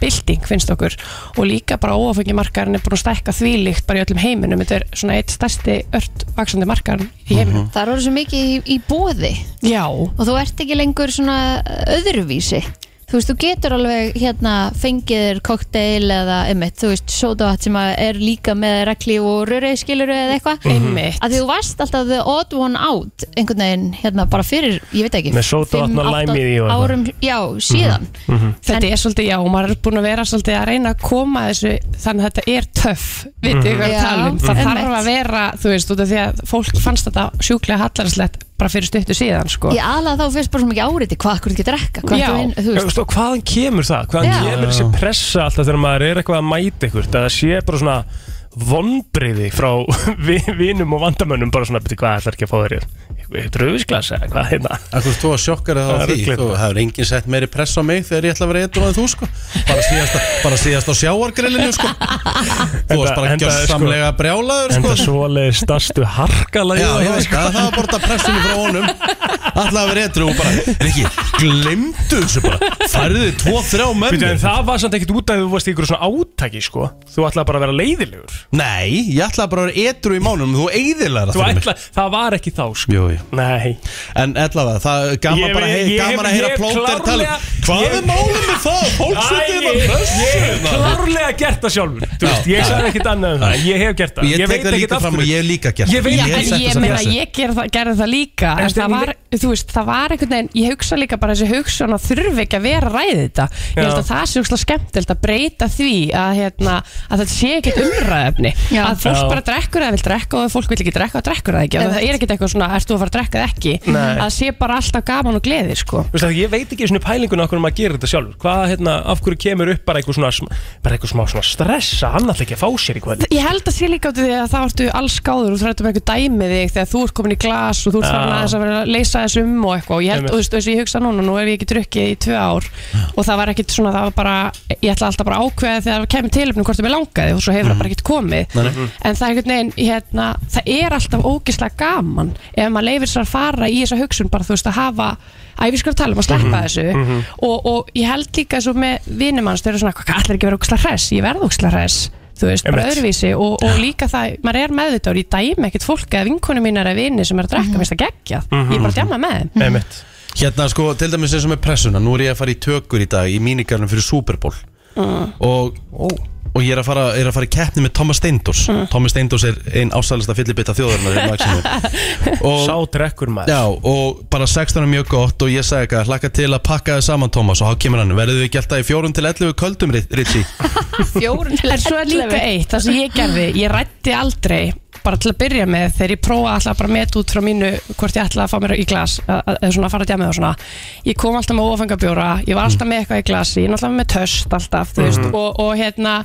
[SPEAKER 11] bylting finnst okkur og líka bara óafengi markaðurinn er búin að stækka þvílíkt bara í öllum heiminum, þetta er svona eitt stærsti ört vaksandi markaðurinn í heiminum
[SPEAKER 3] Það eru svo mikið í, í bóði
[SPEAKER 11] Já,
[SPEAKER 3] og þú ert ekki lengur svona eh, öðruvísi þú veist, þú getur alveg hérna fengiðir kokteil eða einmitt, þú veist, sódavat sem að er líka með regli og röri skiluru
[SPEAKER 4] Mhm.
[SPEAKER 3] eða eitthvað
[SPEAKER 7] Einmitt.
[SPEAKER 3] að því þú varst alltaf the odd one out einhvern veginn, hérna, bara fyrir, ég veit ekki
[SPEAKER 4] Með sódavatn og
[SPEAKER 3] fimm,
[SPEAKER 4] lime í því og
[SPEAKER 3] átta
[SPEAKER 4] eitthvað. Mhm.
[SPEAKER 3] árum, já, síðan
[SPEAKER 7] Þetta er svolítið, já, maður er búin að vera svolítið að reyna að koma að þessu þannig að þetta er töff, vitið mm.
[SPEAKER 3] Mhm. Já,
[SPEAKER 7] hvað við talum það
[SPEAKER 3] einmitt.
[SPEAKER 7] þarf að vera, þú veist, út af því að fólk fannst þetta sjúklega hallarslegt bara fyrir stuttu síðan, sko
[SPEAKER 3] ég aðlað þá fyrst bara sem ekki áriti hvað akkur ekki drekka, hvað
[SPEAKER 7] Já.
[SPEAKER 3] þú inn, þú
[SPEAKER 4] Já,
[SPEAKER 3] veist
[SPEAKER 4] veistu, og hvaðan kemur það? Hvaðan
[SPEAKER 3] Já.
[SPEAKER 4] kemur þessi pressa alltaf þegar maður er eitthvað að mæta ykkur? Það sé bara svona vonbriði frá vi- vinum og vandamönnum bara svona, beti, hvað ætlar ekki að fá þér í- í dröfisglasa eða hvað hérna?
[SPEAKER 2] Akkur þú að sjokkara það á
[SPEAKER 4] Það er
[SPEAKER 2] því
[SPEAKER 4] ruglið.
[SPEAKER 2] Þú hefur enginn sett meiri press á mig þegar ég ætla að vera eitthvað en þú sko Bara síðast, bara síðast á sjáargrillinu sko Þú varst bara gjörsamlega brjálaður
[SPEAKER 4] Enda
[SPEAKER 2] sko
[SPEAKER 4] svoleiði stastu harkalagi
[SPEAKER 2] Já, sko, ég veist það, það var bara þetta pressunni frá honum Ætlaði að vera eitthvað og bara Rikki, glemdu þessu bara Færðu þið tvo, þrjá menn hérna.
[SPEAKER 4] En það var samt ekkert út af því að þú varst í ykkur svona átaki sko Þú ætlaði bara að vera leiðilegur
[SPEAKER 2] Nei, ég ætlaði bara að vera eitthvað í mánum Þú eiðilega
[SPEAKER 4] Þú ætla, Það var ekki þá sko
[SPEAKER 2] Jú, jú.
[SPEAKER 4] Nei
[SPEAKER 2] En allavega, það er gaman
[SPEAKER 4] Ég-
[SPEAKER 2] bara hey,
[SPEAKER 4] ég- ég
[SPEAKER 2] gaman að
[SPEAKER 4] hef-
[SPEAKER 2] heyra
[SPEAKER 4] ég
[SPEAKER 2] plóter tala
[SPEAKER 4] klárlega-
[SPEAKER 2] um- Hvað
[SPEAKER 4] ég-
[SPEAKER 2] er málum með það? Fólk
[SPEAKER 4] Æ,
[SPEAKER 2] setið
[SPEAKER 4] ég-
[SPEAKER 2] það
[SPEAKER 4] Ég hef
[SPEAKER 2] pressu
[SPEAKER 4] klárlega gert það sjálfur Þú veist,
[SPEAKER 2] Já,
[SPEAKER 4] ég
[SPEAKER 2] já.
[SPEAKER 4] sagði ekkert annað um það Ég hef gert
[SPEAKER 2] Og
[SPEAKER 4] það
[SPEAKER 2] ég
[SPEAKER 4] veit
[SPEAKER 2] tek það
[SPEAKER 4] ekkert
[SPEAKER 2] líka
[SPEAKER 4] af
[SPEAKER 2] fram og
[SPEAKER 4] hverju.
[SPEAKER 2] ég hef líka gert
[SPEAKER 4] Ég veit
[SPEAKER 7] Já,
[SPEAKER 2] hef
[SPEAKER 7] en
[SPEAKER 2] sett
[SPEAKER 7] ég
[SPEAKER 2] þessa
[SPEAKER 7] meina,
[SPEAKER 2] pressu.
[SPEAKER 7] ég gerði það, gerði það líka
[SPEAKER 4] En
[SPEAKER 7] en það
[SPEAKER 4] Steini-
[SPEAKER 7] var, þú veist, það var einhvern veginn ég hugsa líka bara þessi hugsun að þurfi ekki að vera að ræði þetta ég held
[SPEAKER 4] Já.
[SPEAKER 7] að það sé úrslega skemmtilegt að breyta því að, hérna, að þetta sé ekkert umræðefni
[SPEAKER 3] Já.
[SPEAKER 7] að fólk
[SPEAKER 4] Já.
[SPEAKER 7] bara drekkur eða vil drekka og ef fólk vil ekki drekka og drekkur það ekki og það er ekkert eitthvað svona, ert þú að fara að drekka eða ekki
[SPEAKER 4] Nei.
[SPEAKER 7] að sé bara alltaf gaman og gleði sko.
[SPEAKER 4] Þú veist að ég veit ekki svona pælinguna okkur um að gera þetta sjálfur Hvað, hérna, af hverju kemur upp bara eitthvað svona sm- bara eitthvað smá svona stressa hann alltaf ekki að fá sér í kvöld
[SPEAKER 7] Ég held að sé líka út af því að það ertu alls gáður og þú ertu með einhver dæmi þig þegar þú ert komin í glas og þú ert
[SPEAKER 4] Já.
[SPEAKER 7] farin aðeins að vera að leysa þessu um og eitthvað og ég held,
[SPEAKER 4] Einmitt.
[SPEAKER 7] og þú veist, og eins og ég hugsa núna, nú hef ég ekki drukkið í tvö ár og það var ekkit svona, það var bara ég ætla alltaf bara að ákveða þegar það kemur tilöfnum hvort það mér langaði og svo hefur það bara ekkit komið
[SPEAKER 2] Nei, nei.
[SPEAKER 7] en það er einhvern veginn, hérna, það er alltaf ógislega gaman ef maður leifir sér að fara í þessa hugsun bara, þú veist, að hafa æ, við skulum tala um að sleppa þessu og, og ég held líka svo með vinnumanns þau eru svona, hvað allir ekki að vera ógislega hress ég verð ógislega hress, þú veist, bara
[SPEAKER 4] Einmitt.
[SPEAKER 7] öðruvísi og, og líka það, maður er meðvitaður ég dæmi ekkert fólk eða vinkonu mínar eða vini sem er að drekka, minnst það geggjað, ég er bara að djama með þeim
[SPEAKER 3] Mm.
[SPEAKER 4] Nei, mitt
[SPEAKER 2] Hérna sko, til dæmis eins og með pressuna Nú er ég að fara í tökur í dag í mínigarnum fyrir Super Bowl
[SPEAKER 4] Mm.
[SPEAKER 2] og, og ég er að fara, er að fara í keppni með Thomas Steindors
[SPEAKER 4] Mm.
[SPEAKER 2] Thomas Steindors er einn ásælista fyllibita þjóðarinnar hérna, Axel. og,
[SPEAKER 4] Sá drekkur maður
[SPEAKER 2] já, og bara 16 er mjög gott og ég sagði eitthvað hlakka til að pakka þið saman Thomas og þá kemur hann verðið við gælt að í fjórun til 11 köldum Ritchie
[SPEAKER 3] fjórun til
[SPEAKER 7] En svo er líka eitt, það sem ég gerði, ég rætti aldrei bara til að byrja með þegar ég prófa alltaf bara að meta út frá mínu hvort ég ætla að fá mér í glas að- að- eða svona að fara að djama og svona ég kom alltaf með ófengabjóra, ég var alltaf með eitthvað í glasi ég er alltaf með töst alltaf þú
[SPEAKER 3] Mhm.
[SPEAKER 7] veist, og, og hérna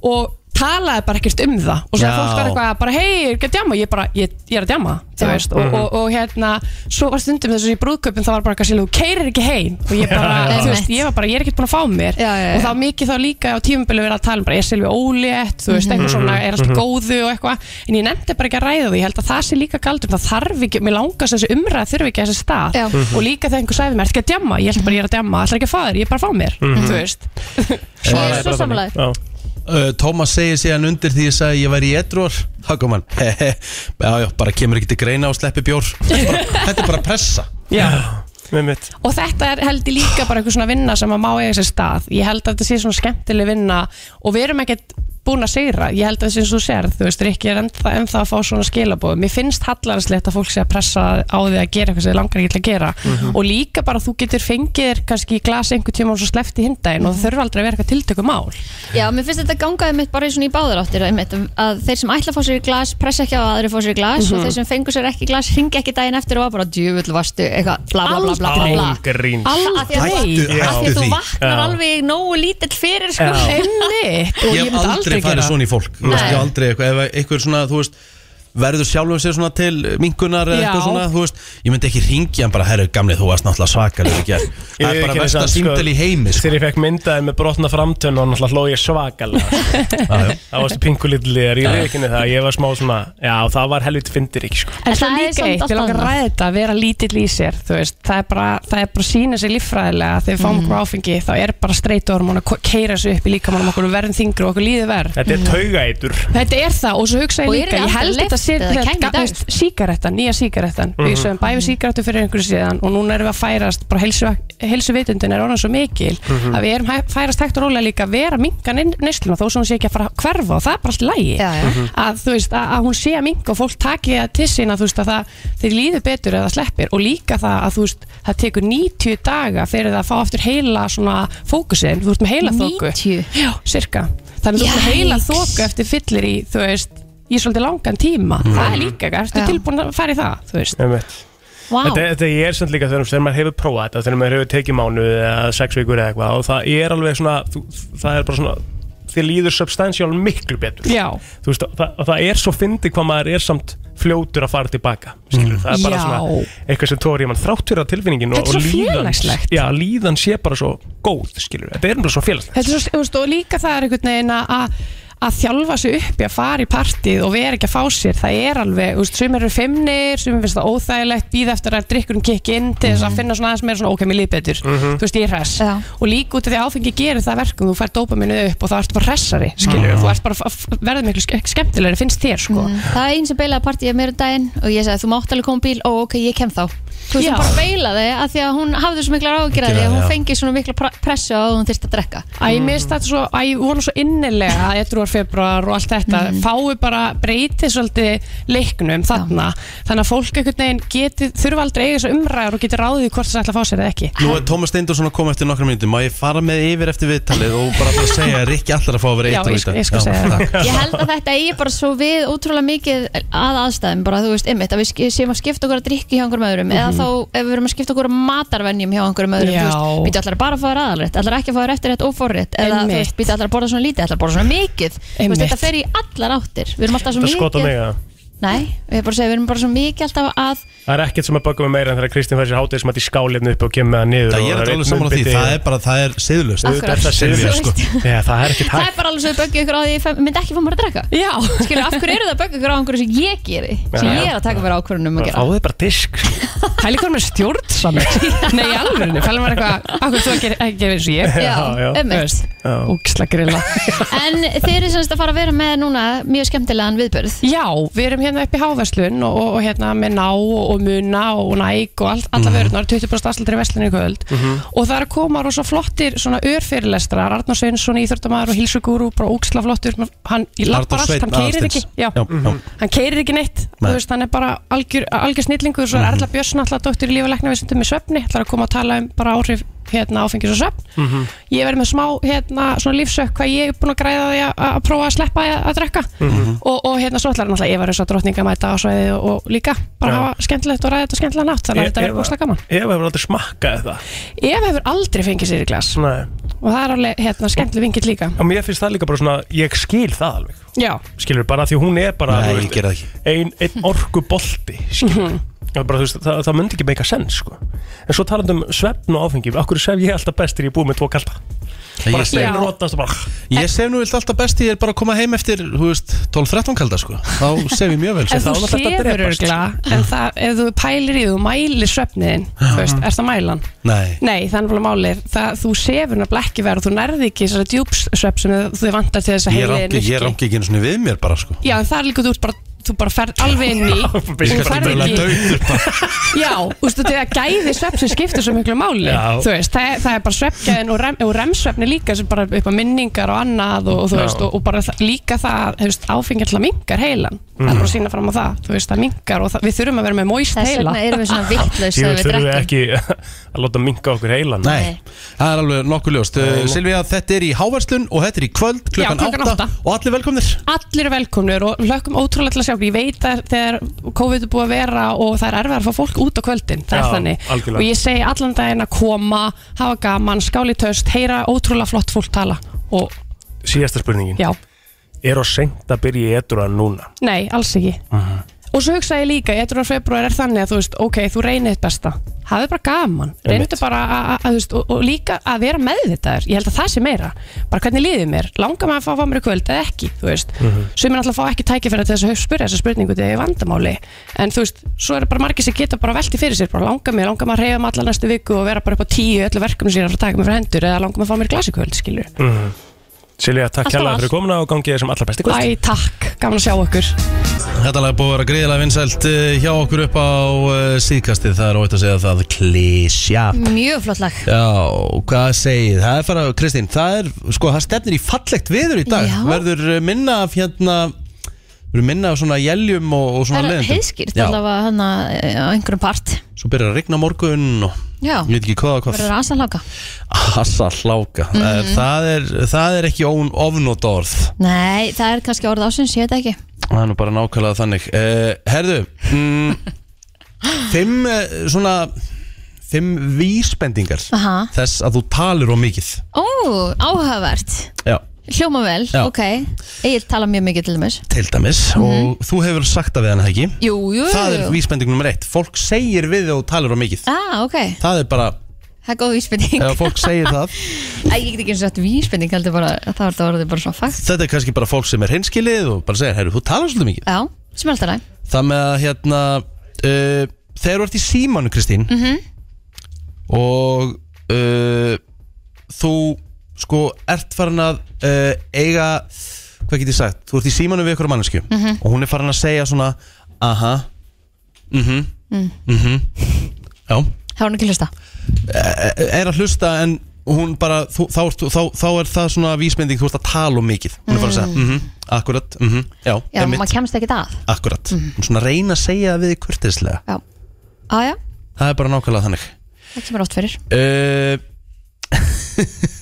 [SPEAKER 7] og talaði bara ekkert um það og svo
[SPEAKER 2] Já.
[SPEAKER 7] fólk var eitthvað bara hei, er ekki að djama ég, bara, ég, ég er að djama, þú veist
[SPEAKER 3] Mhm.
[SPEAKER 7] og, og, og hérna, svo var stundum þessu í brúðkaupin það var bara eitthvað sílu, þú keirir ekki heim og ég bara,
[SPEAKER 3] Já.
[SPEAKER 7] þú veist, ég var bara, ég er ekkert búin að fá mér
[SPEAKER 3] Já, já, já.
[SPEAKER 7] og þá mikið þá líka á tímumbölu verið að tala um bara, er Silvi ólétt, þú veist,
[SPEAKER 3] Mhm,
[SPEAKER 7] eitthvað svona er allt í góðu og eitthvað, en ég nefndi bara ekki að ræða því, ég held að það sé líka galdum, það þarf ekki mér langast þessi umræð þurfi ekki að þessi stað
[SPEAKER 3] Já.
[SPEAKER 7] og líka þegar einhver sagði mér, ert ekki að djamma ég held bara, ég er að djamma, alltaf ekki að fá þér, ég er bara að fá mér
[SPEAKER 2] Mhm.
[SPEAKER 7] þú veist,
[SPEAKER 3] ég er svo samlega
[SPEAKER 4] Já.
[SPEAKER 2] Uh, Thomas segir síðan undir því ég sagði ég væri í edruar þá kom hann já, já, bara kemur ekki til greina og sleppi bjór þetta er bara, þetta er bara pressa
[SPEAKER 4] Já, með mitt
[SPEAKER 7] og þetta er held ég líka bara eitthvað svona vinna sem að má eiga sér stað ég held að þetta sé svona skemmtileg vinna og við erum ekkert búin að segra ég held að þessi eins og þú serð, þú veist, Rikki er ennþá, ennþá að fá svona skilabóð mér finnst hallarslegt að fólk sé að pressa á því að gera eitthvað sem þið langar ekki til að gera
[SPEAKER 2] Mhm.
[SPEAKER 7] og líka bara þú getur fengið þér kannski í glas einhver tíma og svo sleppt í hindaginn og það þurfa aldrei að vera eitthvað tiltökumál
[SPEAKER 3] Já, mér finnst þetta gangaði mitt bara í svona í báðaráttir einmitt, um að þeir sem ætla að fá sér í glas pressa ekki á að aðri fá sér í glas
[SPEAKER 7] Mhm.
[SPEAKER 3] og þeir sem fengu sér ekki í glas ringi ekki daginn eftir og var bara djúvill vastu, eitthvað, bla bla bla bla bla, bla.
[SPEAKER 4] Ángrín
[SPEAKER 3] Af því að þú-
[SPEAKER 2] Hættu-
[SPEAKER 3] af því að
[SPEAKER 2] hættu
[SPEAKER 3] þú
[SPEAKER 2] því.
[SPEAKER 3] vaknar
[SPEAKER 4] Já.
[SPEAKER 3] alveg nógu lítill fyrir sko.
[SPEAKER 4] Já.
[SPEAKER 7] Einmitt, og
[SPEAKER 2] ég
[SPEAKER 7] ég
[SPEAKER 2] hef
[SPEAKER 7] myndi
[SPEAKER 2] aldrei
[SPEAKER 7] aldrei
[SPEAKER 2] farið
[SPEAKER 7] gera
[SPEAKER 2] svona í fólk Þú veist, ég hef aldrei eitthvað, ef eitthvað er svona, þú veist verður sjálfum sér svona til minkunar eða
[SPEAKER 7] Já.
[SPEAKER 2] eitthvað svona, þú veist, ég myndi ekki ringja hann bara, herru, gamli, þú varst náttúrulega svakar það er bara versta símtel í heimi sko.
[SPEAKER 4] Þegar ég fekk myndaði með brotna framtönn og náttúrulega hló ég svakalega
[SPEAKER 2] Já, já.
[SPEAKER 4] Það varstu pinkulillir, ég veikinni það Ég var smá svona, já það var helviti fyndir ekki sko
[SPEAKER 7] En
[SPEAKER 3] En
[SPEAKER 7] svo
[SPEAKER 3] það er
[SPEAKER 7] líka
[SPEAKER 3] samt
[SPEAKER 7] eitt,
[SPEAKER 3] allt
[SPEAKER 7] við langar að
[SPEAKER 3] annað.
[SPEAKER 7] ræða þetta að vera lítill í sér, þú veist, það er bara, það er bara að sína sér líffræðilega, þegar
[SPEAKER 3] Mhm.
[SPEAKER 7] við fáum okkur áfengi, þá er bara streitormón að keira sér upp í líkamannum okkur og verðum þingri og okkur líður verð.
[SPEAKER 2] Mm.
[SPEAKER 4] Þetta er taugaitur
[SPEAKER 7] Þetta er það og svo hugsa ég
[SPEAKER 3] Og
[SPEAKER 7] líka,
[SPEAKER 3] yrði
[SPEAKER 7] ég
[SPEAKER 3] aldrei
[SPEAKER 7] held
[SPEAKER 3] leyft
[SPEAKER 7] þetta
[SPEAKER 11] sér
[SPEAKER 3] Eða kæmi í dag.
[SPEAKER 11] síkarettan, nýja síkarettan við
[SPEAKER 3] Mhm.
[SPEAKER 11] sögum bæði síkarettu fyrir einhverju síðan og núna erum við að færast, bara helsu vitundin er orðan svo mikil
[SPEAKER 3] Mhm.
[SPEAKER 11] að við erum hæ- færast hægt og rólega líka að vera minga neysluna þó sem hún sé ekki að fara að hverfa og það er bara allt í lægi
[SPEAKER 3] já. Mhm.
[SPEAKER 11] að þú veist að, að hún sé að minga og fólk taki það til sína þú veist að það þeir líður betur eða sleppir og líka það að þú veist það tekur 90 daga fyrir það að fá aftur heila svona fókusin, þú ert með heila þóku
[SPEAKER 3] 90?
[SPEAKER 11] Já, cirka þannig að þú ert með heila
[SPEAKER 3] Yikes.
[SPEAKER 11] þóku eftir fyllir í, þú veist í svolítið langan tíma, það er líka eitthvað, ertu
[SPEAKER 3] Mm. Já.
[SPEAKER 11] tilbúin að fara í það þú veist
[SPEAKER 3] Vá.
[SPEAKER 4] Þetta, þetta er samt líka þegar, þegar maður hefur prófað þetta þegar maður hefur tekið mánu eða sex vikur eða eitthvað og það er alveg svona þú, það er bara svona þið líður substantial miklu betur
[SPEAKER 11] Já.
[SPEAKER 4] Þú veist, og það, og það er svo fyndi hvað maður er samt fljótur að fara tilbaka skilur, það er bara
[SPEAKER 11] Mm. Já.
[SPEAKER 4] svona eitthvað sem tóri mann þráttur að tilfinningin og,
[SPEAKER 11] Þetta er
[SPEAKER 4] og
[SPEAKER 11] svo
[SPEAKER 4] líðan,
[SPEAKER 11] félagslegt.
[SPEAKER 4] já, líðan sé bara svo góð skilur, þetta er bara svo félagslegt
[SPEAKER 11] Þetta er svo, þú veist, og líka það er einhvern veginn að- að að þjálfa sig upp í að fara í partíð og vera ekki að fá sér, það er alveg þú veist, sumir eru fimmnir, sumir finnst það óþægilegt býða eftir að drikkurum kikki inn til
[SPEAKER 3] Mhm.
[SPEAKER 11] þess að finna svona aðeins meira svona ok, mér líf betur þú veist, ég er hress, og líka út af því að áfengi gerir það verkum, þú fær dópaminu upp og það ertu bara hressari, skilur,
[SPEAKER 3] Mhm.
[SPEAKER 11] þú ert bara verður miklu ske- skemmtilegri, finnst þér, sko
[SPEAKER 3] Það er einn sem beilaði partíið mér um daginn og ég sagði þú mátt alveg koma á bíl og ok, ég kem þá Þú veist,
[SPEAKER 11] Já.
[SPEAKER 3] hún bara beilaði að því að hún hafði svo mikla ágjörði
[SPEAKER 11] Áhyggjur af
[SPEAKER 3] að hún
[SPEAKER 11] því, já.
[SPEAKER 3] fengi svona mikla pra- pressu á að hún þyrst að drekka
[SPEAKER 11] Æ, mér finnst þetta svo, æ, ég vona svo innilega að edruar februar og allt þetta mm. fái bara breytið svolítið leiknum þarna, þannig að fólk einhvern veginn geti, þurfa aldrei að eiga þessu umræður og geti ráðið í hvort það ætla að fá sér eða ekki
[SPEAKER 2] Nú er Tómas Steindorsson að koma eftir nokkra myndum Má ég fara með yfir eftir viðtalið og bara bara segja að Rikki allar að fá að vera
[SPEAKER 11] Já,
[SPEAKER 2] eitt
[SPEAKER 11] ég sk- ég skal segja það.
[SPEAKER 3] Ég held að þetta eigi bara svo við ótrúlega mikið að aðstæðum bara, þú veist, ymmit, að við sk- séum að skipta okkur að drikki hjá einhverjum öðrum eða
[SPEAKER 11] Mhm.
[SPEAKER 3] þá ef við erum að skipta okkur að matarvenjum hjá einhverjum öðrum, þú
[SPEAKER 11] Já.
[SPEAKER 3] veist, býtu allar bara að fá þér aðalrétt, allar ekki að fá þér eftirrétt og forrétt eða, þú veist,
[SPEAKER 11] Einmitt.
[SPEAKER 3] býtu allar að borða svona lítið, allar að borða svona mikið þú veist,
[SPEAKER 11] Einmitt.
[SPEAKER 3] þetta fer í allar áttir, við erum alltaf svo
[SPEAKER 4] Þetta
[SPEAKER 3] mikið
[SPEAKER 4] skot á mig að
[SPEAKER 3] Nei, ég er bara að segja, við erum bara svo mikið alltaf að
[SPEAKER 4] það er ekkert sem að bögum mig meira en þegar Kristín fær sér hátið sem að því skálefni upp og kemur með það niður
[SPEAKER 2] Það ég er
[SPEAKER 4] og
[SPEAKER 2] þetta alveg
[SPEAKER 4] einn
[SPEAKER 2] saman á því
[SPEAKER 4] munnbiti.
[SPEAKER 2] Það er bara, það er siðlust
[SPEAKER 4] Akkurat. Auðvitað er það siðlaust, sko. Já, það er ekkert
[SPEAKER 3] Það er bara alveg svo að böggja ykkur á því að ég fæ- myndi ekki fá mér að drekka
[SPEAKER 11] Já
[SPEAKER 3] Skilur, af hverju eru það að böggja ykkur á einhverju sem ég geri sem
[SPEAKER 4] Já.
[SPEAKER 3] ég er að taka mér ákvörðunum um að gera
[SPEAKER 4] Fáðu bara disk sko.
[SPEAKER 11] Það er líka með stjórn saman Nei, í alvörinu, fælum maður eitthvað Akkur þú ekki ekki verið eins og ég
[SPEAKER 3] Já, Já, já. einmitt.
[SPEAKER 11] Úksla grilla
[SPEAKER 3] En þið eru semst að fara að vera með núna mjög skemmtilegan viðbörð
[SPEAKER 11] Já, við erum hérna upp í Háverslun og, og hérna með ná og, og muna og næk og all, alla vörunar, 20% afslutur í verslunni í kvöld og það er að koma rosa flottir svona örfyrirlestrar, Arnar Sveinsson íþjórtamaður og hilsugúru, bara óksla flottur hann í lappar allt, hann keirir ekki já,
[SPEAKER 2] Mhm.
[SPEAKER 11] hann keirir ekki neitt
[SPEAKER 2] Nei.
[SPEAKER 11] þú veist, hann er bara algjör, algjör snillingur svo er Erla Björnsson alltaf dóttir í lífa læknavísundum með svefni, ætlar að koma að tala um bara áhrif hérna áfengis og svefn ég verði með smá hérna, svona lífsök hvað ég er búin að græða á því að, að prófa að sleppa að, að drekka
[SPEAKER 4] Mhm.
[SPEAKER 11] og, og hérna svo ætlar náttúrulega ég verði svo drottninga mæta á svæði og, og líka bara
[SPEAKER 4] Já.
[SPEAKER 11] hafa skemmtilegt og ræða þetta skemmtilega nátt þannig að þetta verður búinst gaman
[SPEAKER 4] Eva hefur aldrei smakkað það
[SPEAKER 11] Ef hefur aldrei fengið sér í glas
[SPEAKER 4] Nei.
[SPEAKER 11] og það er alveg hérna, skemmtileg vingill líka
[SPEAKER 4] og mér finnst það líka bara svona, ég skil það alveg
[SPEAKER 11] Já,
[SPEAKER 4] skilur bara því hún er bara
[SPEAKER 2] Nei,
[SPEAKER 4] þú
[SPEAKER 2] ég gera það ekki.
[SPEAKER 4] ein, ein orku bolti
[SPEAKER 11] Mhm.
[SPEAKER 4] skilur Það, er bara, þú veist, það, það myndi ekki meika sens sko. en svo talandi um svefn og áfengi af hverju svef ég alltaf bestir ég er búið með tvo kalda
[SPEAKER 2] Ég
[SPEAKER 4] bara
[SPEAKER 2] sef-
[SPEAKER 4] steinrótast og bara
[SPEAKER 2] Ég sef nú vilt alltaf best Ég er bara að koma heim eftir, þú veist, 12-13 kalda sko Þá sef ég mjög vel sko.
[SPEAKER 11] En þú sefur örgla en það, ef þú pælir í því, þú mælir svefniðin þú veist, er það mælan?
[SPEAKER 2] Nei
[SPEAKER 11] Nei, þannig að máli er það þú sefur nefnilega ekki verð og þú nærði ekki þessari djúpsvefn sem þú vantar til þess að
[SPEAKER 2] Ég
[SPEAKER 11] heilinn
[SPEAKER 2] rangi, ég rangi ekki einu svona við mér bara sko
[SPEAKER 11] Já, en það er líka þú ert bara þú bara ferð alveg inn í þú
[SPEAKER 2] Ég er
[SPEAKER 11] ferð
[SPEAKER 2] bara
[SPEAKER 11] ekki
[SPEAKER 2] dauður bara
[SPEAKER 11] já, ústu þetta að gæði svepp sem skiptir svo miklu máli
[SPEAKER 2] Já.
[SPEAKER 11] þú veist, það, er- það er bara sveppgæðin og, rem, og remsveppni líka sem bara upp á minningar og annað og, og þú
[SPEAKER 4] Já.
[SPEAKER 11] veist, og, og bara það, líka það hefst, áfengjall að mingar heilan það
[SPEAKER 4] Mhm.
[SPEAKER 11] er bara að sína fram á það, þú veist, það mingar og það, við þurfum að vera með móist
[SPEAKER 3] Þess
[SPEAKER 11] heila
[SPEAKER 3] vegna erum við svona vitlaus
[SPEAKER 4] ég veit þurfum við ekki að láta minka okkur heilan
[SPEAKER 2] Nei, það er alveg nokkuð ljóst uh, Silvía, þetta er í Háverslun og þetta er í kvöld klukkan,
[SPEAKER 11] Já, klukkan átta.
[SPEAKER 2] Og allir velkomnir
[SPEAKER 11] Allir eru velkomnir og hlökkum ótrúlega til að sjá ykkur. Ég veit að þegar COVID er búið að vera og það er erfið að fá fólk út á kvöldin Það
[SPEAKER 4] Já,
[SPEAKER 11] er þannig
[SPEAKER 4] algjörlega.
[SPEAKER 11] Og ég segi allan daginn að koma, hafa gaman, skáli töst, heyra ótrúlega flott fólk tala Og
[SPEAKER 4] síðasta spurningin
[SPEAKER 11] Já.
[SPEAKER 4] er á seint að byrja í edruan núna
[SPEAKER 11] nei, alls ekki Og svo hugsaði ég líka, ég trúið að februar er þannig að þú veist, ok, þú reynið þitt besta Hafðu bara gaman, reyndu bara að, að, að, þú veist, og, og líka að vera meðvitaður Ég held að það sé meira, bara hvernig líðið mér Langar maður að fá að fá mér í kvöld eða ekki, þú veist sumir náttúrulega fá ekki tækifæri til þess að spyrja þessa spurningu þegar ég er vandamáli en þú veist, svo eru bara margir sem geta bara velti fyrir sér bara langa mig, langa maður að reyða um alla næstu viku og vera bara upp á tíu í öllu verkum sem ég er að fara að taka mig frá hendur eða langa maður að fá mér glasikvöld, skilur
[SPEAKER 4] Mhm. Silja, takk
[SPEAKER 11] Alltaf
[SPEAKER 4] kærlega
[SPEAKER 11] allt.
[SPEAKER 4] fyrir komuna og gangið þessum allra besti
[SPEAKER 11] Æ, takk, gaman að sjá okkur
[SPEAKER 2] Þetta lag er búið að vera greiðilega vinsælt eh, hjá okkur upp á eh, síðkastið Það er óvægt að segja það klísja
[SPEAKER 3] Mjög flott lag
[SPEAKER 2] Já, hvað segið? Það er fara, Kristín, það er, sko, það stefnir í fallegt viður í dag
[SPEAKER 3] Já.
[SPEAKER 2] Verður eh, minna af hérna, verður minna af svona jeljum og, og svona
[SPEAKER 3] Það er
[SPEAKER 2] leiðindum.
[SPEAKER 3] heiðskýrt
[SPEAKER 2] Já,
[SPEAKER 3] allavega hann að á einhverjum part
[SPEAKER 2] svo byrjar að rigna á morgun og
[SPEAKER 3] Já,
[SPEAKER 2] ég veit ekki hvað og hvað
[SPEAKER 3] verður aðsað láka
[SPEAKER 2] Hassa hláka mm
[SPEAKER 3] Mhm.
[SPEAKER 2] það, er, það er ekki ón, ofnót orð
[SPEAKER 3] Nei, það er kannski orð ásins, ég veit ekki
[SPEAKER 2] Það er nú bara nákvæmlega þannig uh, Herðu mm, Fimm eh, svona Fimm vísbendingar
[SPEAKER 3] Aha.
[SPEAKER 2] Þess að þú talir á mikið
[SPEAKER 3] Ó, áhugavert
[SPEAKER 2] Já,
[SPEAKER 3] Hljóma vel,
[SPEAKER 2] Já.
[SPEAKER 3] ok Egil tala mjög mikið til dæmis
[SPEAKER 2] til dæmis Og þú hefur sagt það við hann ekki
[SPEAKER 3] Jú, Mhm. jú,
[SPEAKER 2] Það er
[SPEAKER 3] jú
[SPEAKER 2] vísbending nummer eitt Fólk segir við þau og talir á mikið
[SPEAKER 3] Ah, ok,
[SPEAKER 2] Það er bara,
[SPEAKER 3] það er góð vísbending
[SPEAKER 2] ef fólk segir það
[SPEAKER 3] Æ, ég get ekki eins og þetta vísbending heldur bara að það var það orðið bara svona fakt
[SPEAKER 2] Þetta er kannski bara fólk sem er hinskilið Og bara segir, herru, þú talar svolítið mikið
[SPEAKER 3] Já, sem er alltaf læg
[SPEAKER 2] Það með að hérna uh, Þegar þú ert í símanu Kristín
[SPEAKER 3] mm -hmm.
[SPEAKER 2] Og uh, Þú sko ert farin að uh, Eiga Hvað get ég sagt, þú ert í símanu við ykkur mannesku
[SPEAKER 12] Mhm.
[SPEAKER 2] Og hún er farin að segja svona Aha Mhm
[SPEAKER 3] Mm.
[SPEAKER 2] Mhm Já
[SPEAKER 3] Það var nú ekki hlusta
[SPEAKER 2] Eh, Er að hlusta en hún bara þú, þá, ert, þá, þá er það svona vísmynding Þú ert að tala um mikið Hún er farin að segja
[SPEAKER 3] Mm.
[SPEAKER 2] Mhm, akkurat, mhm, já,
[SPEAKER 3] Já,
[SPEAKER 2] einmitt."
[SPEAKER 3] maður kemst ekki að
[SPEAKER 2] Akkurat, mm. svona reyna að segja það við kurtislega
[SPEAKER 3] Já, ah, já,
[SPEAKER 2] Það er bara nákvæmlega þannig
[SPEAKER 3] það kemur oft fyrir
[SPEAKER 2] uh,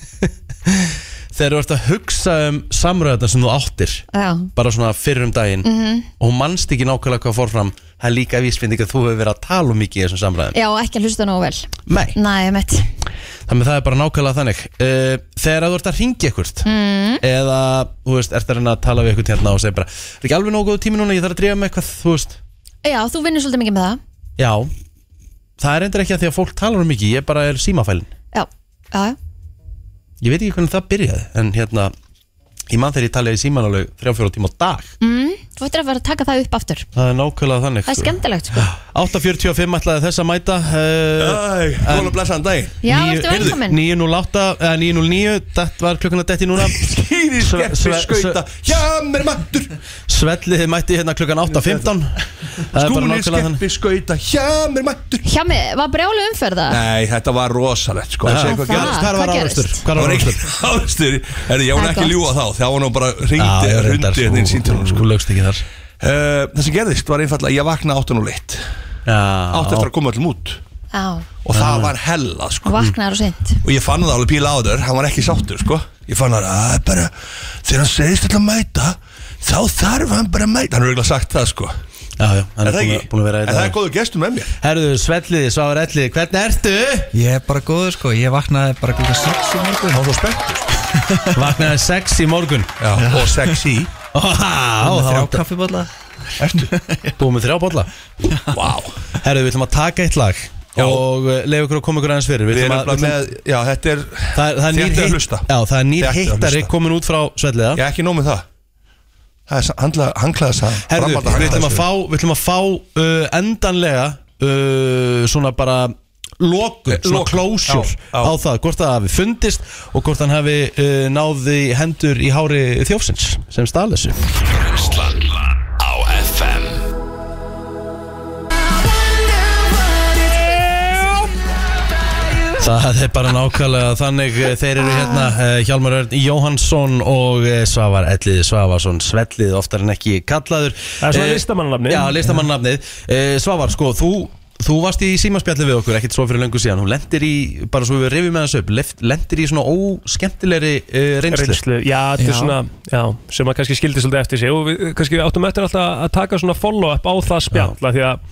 [SPEAKER 2] Þegar þú ert að hugsa um samröðarna sem þú áttir
[SPEAKER 3] Já,
[SPEAKER 2] bara svona fyrr um daginn
[SPEAKER 3] Mhm.
[SPEAKER 2] og mannst ekki nákvæmlega hvað fór fram það er líka vísfinding að þú hefur verið að tala um mikið í þessum samræðum
[SPEAKER 3] já ekki að hlusta nógu vel
[SPEAKER 2] Nei.
[SPEAKER 3] Nei, mitt
[SPEAKER 2] þannig að það er bara nákvæmlega þannig uh, Þegar þú ert að ringja ekkert
[SPEAKER 3] mm.
[SPEAKER 2] eða, þú veist, ert að reyna að tala við ekkert hérna og segja bara, er ekki alveg nógu góð tími núna ég þarf að drífa með eitthvað, þú veist
[SPEAKER 3] Já, þú vinnur svolítið mikið með það
[SPEAKER 2] Já, það er endur ekki að því að fólk talar um mikið, ég bara er símafælin
[SPEAKER 3] Já, já, já
[SPEAKER 2] Ég veit ekki hvernig það byrjaði, en hérna Ég man þegar ég talaði í símanalög 3-4 tíma á dag
[SPEAKER 3] mm. Þú ættir að vera að taka það upp aftur
[SPEAKER 2] Það er nákvæmlega þannig
[SPEAKER 3] Það er skemmtilegt sko
[SPEAKER 2] 8.45 ætlaði þess að mæta eh, Æ, góðan og blessaðan dag
[SPEAKER 3] Já, vertu velkomin.
[SPEAKER 2] 9.08, eða 9.09 Þetta var klukkan að detti núna Skýri
[SPEAKER 5] skeppi skauta.
[SPEAKER 2] Já, mér mættur Svellið mætti hérna klukkan 8.15 Það er bara
[SPEAKER 5] Skúli
[SPEAKER 2] nákvæmlega þannig.
[SPEAKER 5] skeppi skauta Hjá mér mætt
[SPEAKER 3] Hjá mig, var brjálu umferða?
[SPEAKER 5] Nei, þetta var rosalegt sko
[SPEAKER 2] Já.
[SPEAKER 5] Segðu hvað
[SPEAKER 3] Það-
[SPEAKER 5] gerðist.
[SPEAKER 3] hvar var Hvað gerðist? árekstur?
[SPEAKER 2] Hvar var
[SPEAKER 5] Það ekki árekstur Herri, ég
[SPEAKER 3] Það
[SPEAKER 5] var
[SPEAKER 3] er
[SPEAKER 5] ekki að ljúa þá þá var nú bara
[SPEAKER 2] Já,
[SPEAKER 5] hringdi
[SPEAKER 2] ég reyndar,
[SPEAKER 5] Hrundi hérna inn
[SPEAKER 2] sko,
[SPEAKER 5] síntunum
[SPEAKER 2] sko, lögst ekki þar
[SPEAKER 5] Eh, Það sem gerðist var einfallega Ég vaknaði áttan og leitt Átt eftir að koma öllum út
[SPEAKER 3] Já,
[SPEAKER 5] Og það var hella sko
[SPEAKER 3] vaknaður og seint
[SPEAKER 5] Og ég fann það alveg píla á þér, hann var ekki sáttur sko Ég fann það að bara Þegar hann segist alltaf að mæta Þá þarf hann bara að mæta Hann er auðvitað sagt það sko
[SPEAKER 2] Já, já, hann
[SPEAKER 5] Er
[SPEAKER 2] er
[SPEAKER 5] það
[SPEAKER 2] búin að-
[SPEAKER 5] ekki?
[SPEAKER 2] búin að vera í
[SPEAKER 5] En það
[SPEAKER 2] dag.
[SPEAKER 5] er góður gestur með mér
[SPEAKER 2] Herðu, Svelliði, Svavar Elliði, hvernig ertu?
[SPEAKER 13] Ég er bara góður sko, ég vaknaði bara klukka 6 í morgun
[SPEAKER 5] Há svo spennt
[SPEAKER 2] Vaknaði 6 í morgun
[SPEAKER 5] Já, og 6 í
[SPEAKER 13] Með þrjá
[SPEAKER 2] Þrjá
[SPEAKER 13] kaffibólla
[SPEAKER 2] Búið með þrjá bolla
[SPEAKER 5] Vá
[SPEAKER 2] Herru, við ætlum að taka eitt lag Og leiðu ykkur að koma ykkur aðeins fyrir
[SPEAKER 5] Við
[SPEAKER 2] ætlum
[SPEAKER 5] erum
[SPEAKER 2] að-
[SPEAKER 5] bara með, já þetta er
[SPEAKER 2] Það er- það er nýr
[SPEAKER 5] Þéttið að
[SPEAKER 2] hitt-
[SPEAKER 5] hlusta
[SPEAKER 2] Já, það er nýr
[SPEAKER 5] Þéttið að
[SPEAKER 2] hittari
[SPEAKER 5] hlusta.
[SPEAKER 2] komin út frá Svelliða
[SPEAKER 5] Já, ekki nóg með það Það er sa- handla- hanglaða saman
[SPEAKER 2] Herru,
[SPEAKER 5] Framhalda
[SPEAKER 2] við ætlum að
[SPEAKER 5] hanglaðis-
[SPEAKER 2] fá, við ætlum að fá uh, endanlega uh, svona bara lokun, svona
[SPEAKER 5] Lokun.
[SPEAKER 2] closure
[SPEAKER 5] Já, já.
[SPEAKER 2] á það, hvort það hafi fundist og hvort hann hafi uh, náði hendur í hári þjófsins sem stál þessu
[SPEAKER 14] Brennslan á FM
[SPEAKER 2] Það er bara nákvæmlega þannig eh, þeir eru hérna eh, Hjálmar Örn Jóhansson og eh, Svavar Ellið Svavarsson Svellið oftar en ekki kallaður
[SPEAKER 4] Það er svona
[SPEAKER 2] Eh,
[SPEAKER 4] listamannanafnið.
[SPEAKER 2] Já, listamannanafnið Eh, Svavar, sko, þú, þú varst í símaspjalli við okkur ekkert svo fyrir löngu síðan hún lendir í, bara svo við rifjum með þessu upp left- lendir í svona óskemmtilegri uh, reynslu
[SPEAKER 4] Reynslu, já, þetta er svona já, sem að kannski skildi svolítið eftir sig og við eh, kannski áttum eftir alltaf að taka svona follow-up á það spjall af því að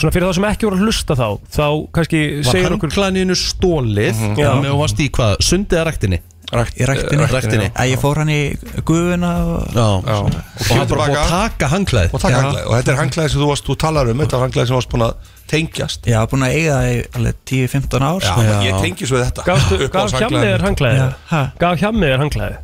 [SPEAKER 4] svona fyrir þá sem ekki voru að hlusta þá þá kannski
[SPEAKER 2] Var
[SPEAKER 4] segir okkur
[SPEAKER 2] handklæðinu stólið
[SPEAKER 4] Mhm.
[SPEAKER 2] Já,
[SPEAKER 4] Já.
[SPEAKER 2] með þú varst í hvað, sundið að ræktinni?
[SPEAKER 13] Í ræktinni,
[SPEAKER 2] Ræktinni,
[SPEAKER 13] Æ, Ég fór hann í gufuna og
[SPEAKER 2] Já, og hann bara búið að taka hanglaði
[SPEAKER 5] Og taka hanglaði Og þetta er hanglaði sem þú varst, þú talar um Þetta var hanglaði sem þú varst búin að tengjast
[SPEAKER 13] Já, búin að eiga það í alveg 10-15 ár
[SPEAKER 5] Já,
[SPEAKER 13] sko.
[SPEAKER 5] ég tengjist við þetta
[SPEAKER 4] Gafstu-
[SPEAKER 5] Uppáhalds
[SPEAKER 4] gaf
[SPEAKER 5] hanglaðið
[SPEAKER 4] hjá mér
[SPEAKER 5] mitt.
[SPEAKER 4] hanglaði? Gaf hjá mér hanglaði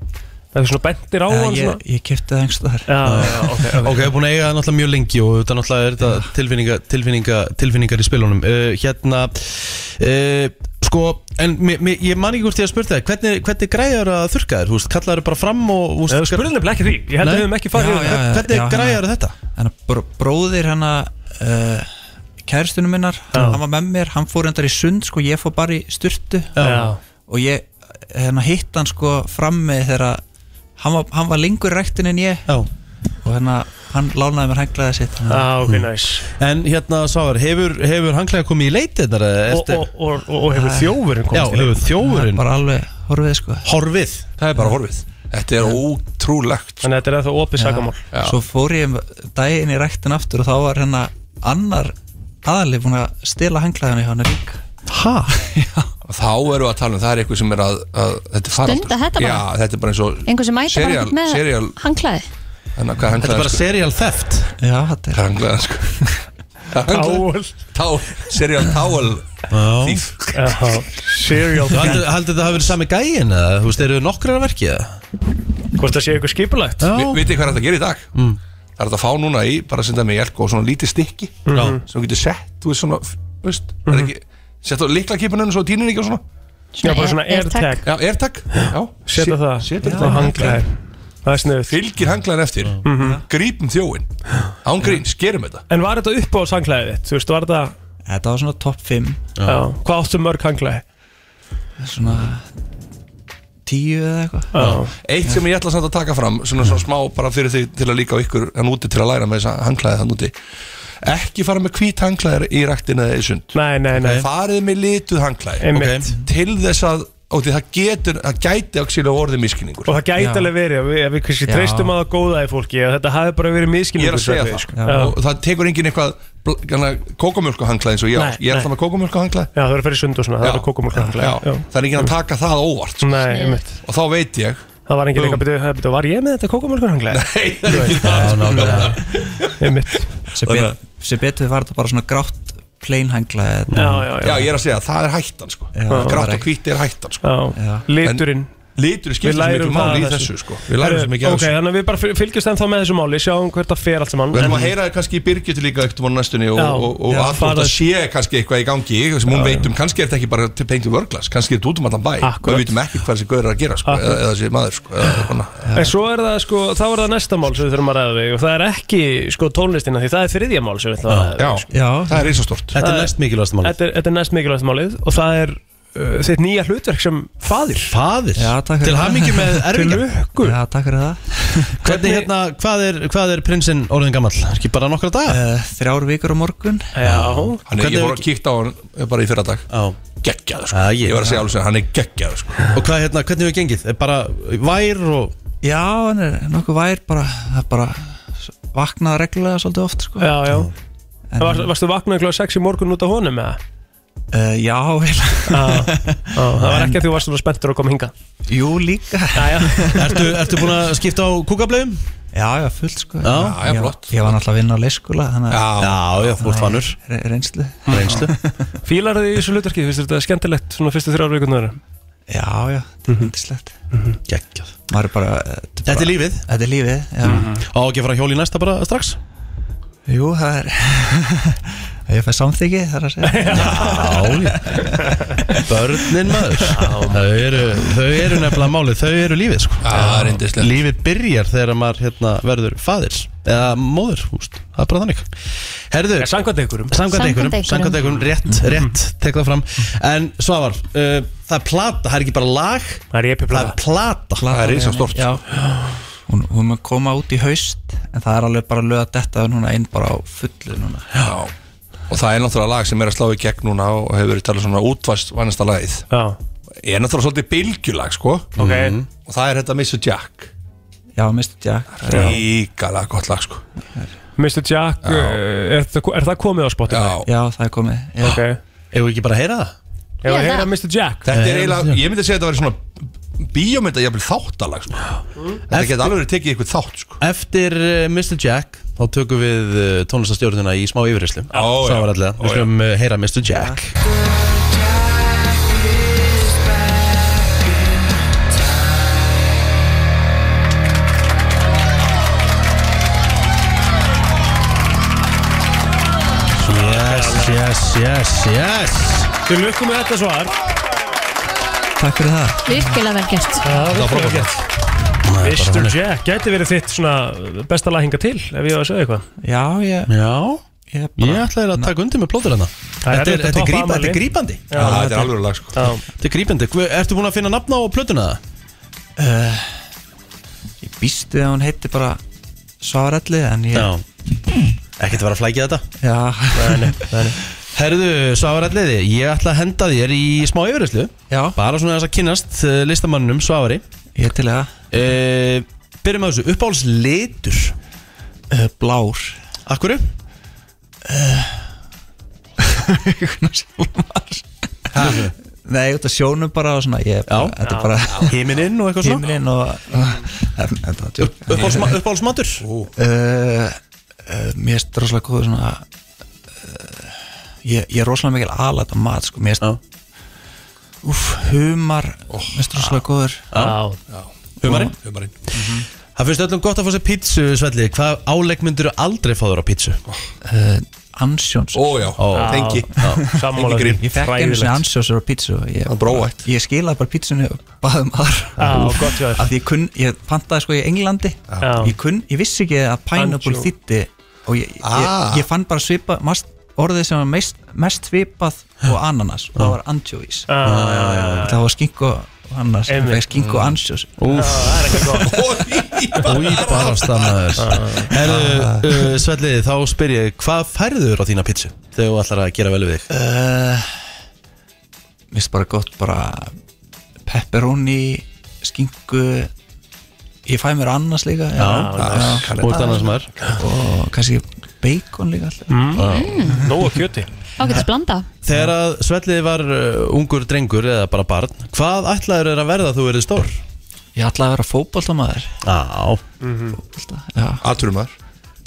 [SPEAKER 4] eitthvað svona bendir á
[SPEAKER 13] Já,
[SPEAKER 4] hann
[SPEAKER 13] ég,
[SPEAKER 4] svona
[SPEAKER 13] ég kipti það einhvers staðar
[SPEAKER 2] ok, ég er búin að eiga það náttúrulega mjög lengi og þetta náttúrulega er þetta tilfinninga, tilfinninga, tilfinningar í spilunum uh, hérna uh, sko, en mi, mi, ég man ekki hvort ég að spurta það hvernig, hvernig græjar að þurrka þér, þú veist, kallaður bara fram og þú veist,
[SPEAKER 4] Spurðum nefnilega ekki því, ég held að
[SPEAKER 2] Nei.
[SPEAKER 4] við höfum ekki farið
[SPEAKER 2] Já,
[SPEAKER 4] yfir
[SPEAKER 2] já,
[SPEAKER 4] það.
[SPEAKER 2] já. Hvernig græjar þetta?
[SPEAKER 13] Þannig að bró- bróðir hana uh, kæristunum minnar hann var með mér, hann fór endar í sund sko, ég fór bara í styrtu
[SPEAKER 4] Já.
[SPEAKER 13] og ég hérna, hitt hann sko frammi þegar hann var, hann var lengur í ræktin en ég
[SPEAKER 2] Já.
[SPEAKER 13] og hérna hann lánaði mér henglaði sitt
[SPEAKER 4] ah, ok, nice.
[SPEAKER 2] en hérna sáður, hefur, hefur hanglega komið í leitirnar eða
[SPEAKER 4] Og-
[SPEAKER 2] eftir-
[SPEAKER 4] og- og- og- og hefur þjófurinn komist
[SPEAKER 2] já,
[SPEAKER 4] í leitirnar?
[SPEAKER 2] hefur þjófurinn
[SPEAKER 13] bara alveg horfið sko
[SPEAKER 2] horfið,
[SPEAKER 5] það er bara horfið þetta er ótrúlegt
[SPEAKER 4] þannig að þetta er það opið sakamál
[SPEAKER 13] svo fór ég um daginn í ræktin aftur og þá var hérna annar aðli búin að stela henglaðinu hjá hann líka
[SPEAKER 2] ha?
[SPEAKER 5] þá erum við að tala um það er eitthvað sem er að, að þetta er faraldur
[SPEAKER 3] Stunda þetta bara?
[SPEAKER 5] já, þetta er bara eins og
[SPEAKER 3] einhver sem mæta bara
[SPEAKER 5] serial,
[SPEAKER 3] ekkert með
[SPEAKER 5] serial,
[SPEAKER 3] hanglaði
[SPEAKER 5] hana, hvað sko?
[SPEAKER 2] þetta er bara serial theft
[SPEAKER 13] já, þetta
[SPEAKER 5] er hanglaðan sko Hanglaðan. Towel. serial towel thief
[SPEAKER 4] serial
[SPEAKER 2] Haldið haldið þetta hafi verið sami gæin eða, þú veist, eru nokkrar að verki eða?
[SPEAKER 4] Hvort það sé eitthvað skipulagt
[SPEAKER 5] Vi- Vitið þið hvað er þetta að gera í dag? Mm. Það er þetta að fá núna í, bara að senda mig í elko og svona lítið stykki
[SPEAKER 2] Mhm.
[SPEAKER 5] sem þú getur sett, þú veist svona veist, mm
[SPEAKER 4] Mhm.
[SPEAKER 5] -hmm. ekki, sett á liklakipunum og svo týnir ekki og svona
[SPEAKER 4] Já, bara svona AirTag. AirTag.
[SPEAKER 5] Já, airtag Já,
[SPEAKER 4] Setja það
[SPEAKER 5] Setja
[SPEAKER 4] Já.
[SPEAKER 5] það
[SPEAKER 4] Á hanglaðið. Það er sniðugt
[SPEAKER 5] Fylgir hanglaðin eftir
[SPEAKER 4] Mhm.
[SPEAKER 5] mm -hmm. Grípum þjóin Án grín, skerum þetta
[SPEAKER 4] En var þetta upp á sanglaðið þitt, þú veist, var þetta
[SPEAKER 13] þetta var svona topp 5
[SPEAKER 4] Já, hvað áttu mörg hanglaði?
[SPEAKER 13] svona tíu eða eitthvað
[SPEAKER 5] Eitt sem ég ætla samt að taka fram svona, svona smá bara fyrir því til að líka á ykkur hann úti til að læra með þess að hanglaði þann úti ekki fara með hvít hanglaðir í raktin eða í sund
[SPEAKER 4] Nei, nei, nei
[SPEAKER 5] farið með lituð hanglaði
[SPEAKER 4] Einmitt.
[SPEAKER 5] til þess að og því það getur, það gæti áksílega orðið miskilningur
[SPEAKER 4] Og það gæti alveg verið að við, að við kannski
[SPEAKER 5] Já.
[SPEAKER 4] treystum að það góðaði fólki og þetta hafi bara verið
[SPEAKER 5] Ég
[SPEAKER 4] miskinningur
[SPEAKER 5] er að segja
[SPEAKER 4] sagði
[SPEAKER 5] það
[SPEAKER 4] ég, sko.
[SPEAKER 5] Já. og það tekur enginn eitthvað kókomjölku hanglaði eins og ég á
[SPEAKER 4] Nei,
[SPEAKER 5] ég er
[SPEAKER 4] nei.
[SPEAKER 5] alltaf með kókomjölku hanglaði
[SPEAKER 4] Já, það er að fara í sund og svona, það er að kókumólka
[SPEAKER 5] Já. það er enginn að taka það óvart sko.
[SPEAKER 4] Nei, einmitt.
[SPEAKER 5] og þá veit ég
[SPEAKER 4] Það var enginn eitthvað, "Bíddu, það- bíddu, var ég með þetta kókumólkur
[SPEAKER 5] Nei,
[SPEAKER 4] það er ekki
[SPEAKER 13] sem, bet, sem betur var þetta bara svona grátt plain hanglaði
[SPEAKER 4] Já, já, já.
[SPEAKER 5] Já, ég er að segja, það er hættan sko.
[SPEAKER 13] Já.
[SPEAKER 5] Grátt og hvítt er hættan sko.
[SPEAKER 4] Já. Liturinn.
[SPEAKER 5] En Liturinn skiptir svo mikið máli í þessu sko. Við lærum svo mikið
[SPEAKER 4] af
[SPEAKER 5] af
[SPEAKER 4] Eh, Ok,
[SPEAKER 5] þessu
[SPEAKER 4] þannig að við bara fyl- fylgjumst ennþá með þessu máli, sjáum hvert það fer allt saman
[SPEAKER 5] Við erum
[SPEAKER 4] En-
[SPEAKER 5] að heyra kannski í Birgit líka eftir mánu næstunni og,
[SPEAKER 4] Já.
[SPEAKER 5] og, og
[SPEAKER 4] Já,
[SPEAKER 5] að
[SPEAKER 4] fara-
[SPEAKER 5] það sé kannski eitthvað í gangi sem hún veit um, kannski er þetta ekki bara til peinti vörglas kannski er þetta út um allan bæ,
[SPEAKER 4] Akkurat.
[SPEAKER 5] við veitum ekki hvað þessi gaur er að gera sko, eða,
[SPEAKER 4] Akkurat.
[SPEAKER 5] eða þessi maður sko, eða, kona.
[SPEAKER 4] En svo er það sko, þá er það næsta mál sem við þurfum að ræða við og það er ekki sko tónlistina því það er þriðja mál sem við þurfum að
[SPEAKER 5] Ah,
[SPEAKER 4] ræða við sko.
[SPEAKER 13] Já,
[SPEAKER 5] það er eins og stort
[SPEAKER 2] Þetta er næst mikilvægast málið
[SPEAKER 4] Þetta er, þetta er næst mikilvægast málið og það er uh, þitt nýja hlutverk sem faðir
[SPEAKER 2] Faðir?
[SPEAKER 13] Já, takk fyrir
[SPEAKER 2] Til
[SPEAKER 13] það.
[SPEAKER 2] hamingju með erfingja.
[SPEAKER 4] Til lukku
[SPEAKER 13] Já, takk fyrir það
[SPEAKER 2] Hvernig hérna, hvað er, hvað er prinsinn orðin gammal? Er ekki bara nokkra daga?
[SPEAKER 13] Uh, þrjár vikur á morgun
[SPEAKER 4] Já
[SPEAKER 5] hann er, ég fór að kíkta á hann eh, bara í fyrradag geggjaður sko, ég var að segja alveg sem hann er geggjaður sko.
[SPEAKER 2] Og hvað hérna, hvernig hefur gengið? Er bara vær og
[SPEAKER 13] Já, hann er nokkuð vær bara, það er bara s- vaknaði reglulega svolítið oft sko.
[SPEAKER 4] Já, já Var, Varstu vaknað kláð 6 í morgun út af honum eða?
[SPEAKER 13] uh, Já, vel
[SPEAKER 4] Það var ekki að þú varst svona spenntur að koma hinga
[SPEAKER 13] Jú, líka
[SPEAKER 4] Já,
[SPEAKER 2] Ertu, ertu búin að skipta á kúkablöðum?
[SPEAKER 13] Já, já, fullt sko
[SPEAKER 2] Já, já,
[SPEAKER 13] Ég-
[SPEAKER 2] flott.
[SPEAKER 13] Ég var náttúrulega að vinna á leyskula þannig að
[SPEAKER 2] Já, já, þú ert fannur
[SPEAKER 13] re reynslu
[SPEAKER 2] Reynslu
[SPEAKER 4] Fílar þið í þessu hlutverki, finnst þér þetta skemmtilegt svona fyrstu þrjár vikurnar?
[SPEAKER 13] Já, já, þetta
[SPEAKER 2] Mhm.
[SPEAKER 13] er hindislegt
[SPEAKER 2] Geggjað
[SPEAKER 13] Maður er bara eh, Mhm.
[SPEAKER 2] Þetta er lífið
[SPEAKER 13] Þetta er lífið, já
[SPEAKER 2] Á ekki að fara að hjóli næsta bara strax?
[SPEAKER 13] Jú, það er Ég fæ samþyggi, það er að segja
[SPEAKER 2] Já, börnin maður þau eru, þau eru nefnilega málið, þau eru lífið sko.
[SPEAKER 5] það er yndislegt.
[SPEAKER 2] Lífið byrjar þegar maður hérna, verður fadir eða móður, húst, það er bara þannig Herðu,
[SPEAKER 4] Ja, samkvæmt einhverjum
[SPEAKER 2] Samkvæmt
[SPEAKER 4] Samkvæmt
[SPEAKER 2] einhverjum,
[SPEAKER 4] einhverjum.
[SPEAKER 2] samkvæmt einhverjum, rétt,
[SPEAKER 4] Mhm.
[SPEAKER 2] rétt, tek það fram En Svavar, uh, það er plata, það er ekki bara lag
[SPEAKER 4] Það er epi
[SPEAKER 2] plata Það er plata,
[SPEAKER 13] Já Hún, hún mun koma út í haust En það er alveg bara lög að detta núna inn bara á fullu núna
[SPEAKER 5] Já. og það er náttúrulega lag sem er að slá í gegn núna og hefur verið talað svona útvast vannasta lagið
[SPEAKER 4] Já.
[SPEAKER 5] er náttúrulega svolítið bylgjulag sko
[SPEAKER 4] Ok.
[SPEAKER 5] og það er þetta Mr. Jack
[SPEAKER 13] Já, Mr. Jack
[SPEAKER 5] ríkala gott lag sko
[SPEAKER 4] Mr. Jack, uh, er, það, er það komið á Spotify?
[SPEAKER 13] Já, það er komið já.
[SPEAKER 4] Ok
[SPEAKER 2] Ef við ekki bara að heyra það?
[SPEAKER 4] Ef við
[SPEAKER 5] Já,
[SPEAKER 4] heyra
[SPEAKER 5] það.
[SPEAKER 4] Mr. Jack
[SPEAKER 5] þetta er eiginlega, ég myndi að segja að þetta væri svona bíómynda, ég vil þáttalag sko. þetta
[SPEAKER 2] Eftir-
[SPEAKER 5] getur alveg verið tekið eitthvað þátt sko.
[SPEAKER 2] Eftir uh, Mr. Jack þá tökum við uh, tónlistastjórnuna í smá yfirherslu
[SPEAKER 5] Ó, já.
[SPEAKER 2] Svavar
[SPEAKER 5] Ó,
[SPEAKER 2] allega,
[SPEAKER 5] já.
[SPEAKER 2] við skulum uh, heyra Mr. Jack yes, yes, yes
[SPEAKER 4] Við lukkum með þetta svar
[SPEAKER 11] Takk fyrir það
[SPEAKER 3] Virkilega vel gert
[SPEAKER 4] Það
[SPEAKER 2] var frábært.
[SPEAKER 11] bara
[SPEAKER 4] Mr.
[SPEAKER 11] þannig.
[SPEAKER 4] Jack, gæti verið þitt svona besta laginga til ef ég var að segja eitthvað
[SPEAKER 11] Já, ég
[SPEAKER 2] Já
[SPEAKER 11] Ég,
[SPEAKER 2] ég ætlaði að taka undir með plóður hérna
[SPEAKER 4] Það er
[SPEAKER 2] Þetta er,
[SPEAKER 4] erfitt að
[SPEAKER 2] þetta er,
[SPEAKER 4] toppa
[SPEAKER 2] grípa, þetta
[SPEAKER 4] afmæli.
[SPEAKER 2] er grípandi
[SPEAKER 4] Já, Já, þetta er þetta- alvöru
[SPEAKER 5] lag
[SPEAKER 4] sko. Já.
[SPEAKER 2] Þetta er grípandi Hver- Ertu búin að finna nafna á plötuna það?
[SPEAKER 11] uh, Ég býstu að hún heiti bara Svarelli En ég
[SPEAKER 2] Já Ekkert að vera að flækja þetta
[SPEAKER 11] Já
[SPEAKER 2] Nei, nei, nei Herðu, Svavaralliði, ég ætla að henda þér í smá yfirherslu
[SPEAKER 11] Já
[SPEAKER 2] Bara svona þess að kynnast uh, listamanninum Svavari
[SPEAKER 11] Ég til að
[SPEAKER 2] uh, Byrjum að þessu, uppáhalds litur
[SPEAKER 11] uh, Blár
[SPEAKER 2] Akkurru?
[SPEAKER 11] Ha? Nei, út af sjónum bara og svona ég, Já, þetta er bara
[SPEAKER 2] Himininn og eitthvað svona?
[SPEAKER 11] Himininn og
[SPEAKER 2] Uppáhalds- Uppáhaldsmatur?
[SPEAKER 11] uh, uh, Mér er rosalega góð svona uh, ég, ég er rosalega mikil alat á mat sko, mér er Úf, humar Mér er rosalega góður
[SPEAKER 2] Já. Humarinn?
[SPEAKER 5] Humarinn
[SPEAKER 2] Það finnst öllum gott að fá sér pítsu, Svelli Hvað álegg myndir aldrei fá þér á pítsu?
[SPEAKER 11] Uh, ansjóns
[SPEAKER 5] Ó, já. Tengi. Sammála Tengi grín. því.
[SPEAKER 11] Ég fekk einu sinni
[SPEAKER 5] Hræðilegt.
[SPEAKER 11] ansjósur á pítsu og ég, ég skilaði bara pítsunni og baðum aðra
[SPEAKER 4] Já,
[SPEAKER 11] Úff,
[SPEAKER 4] gott hjá þér.
[SPEAKER 11] af því ég, kunn, ég pantaði sko í Englandi
[SPEAKER 4] Já.
[SPEAKER 11] ég, kunn, ég vissi ekki að pineapple
[SPEAKER 4] Ancho.
[SPEAKER 11] þýtti og ég,
[SPEAKER 5] Ah.
[SPEAKER 11] ég, ég fann bara svipa mast, orðið sem var mest, mest svipað og ananas og það var anchovies
[SPEAKER 4] Já, já, já, já, já.
[SPEAKER 11] það var skink og ananas það
[SPEAKER 4] Ah. Einmitt.
[SPEAKER 11] var skink og ansjós
[SPEAKER 4] Það
[SPEAKER 2] Úff.
[SPEAKER 4] er ekki gott
[SPEAKER 2] Úi, bara stannaður Herðu, uh, Svelli, þá spyr ég Hvað færður á þína pítsu? Þegar þú ætlar að gera vel við þig
[SPEAKER 11] Uh, Mér finnst bara gott bara pepperoni, skingu Ég fæ mér annars líka
[SPEAKER 2] Já, nice. Þú ert annars maður.
[SPEAKER 11] Og kannski bacon líka alltaf
[SPEAKER 4] Mm. Nóa kjöti
[SPEAKER 3] Ágætis blanda
[SPEAKER 2] Þegar að Svelli var uh, ungur drengur eða bara barn Hvað ætlaður er að verða þú verið stór?
[SPEAKER 11] Ég ætlaði að vera fótboltamaður
[SPEAKER 2] Já
[SPEAKER 5] Aturumar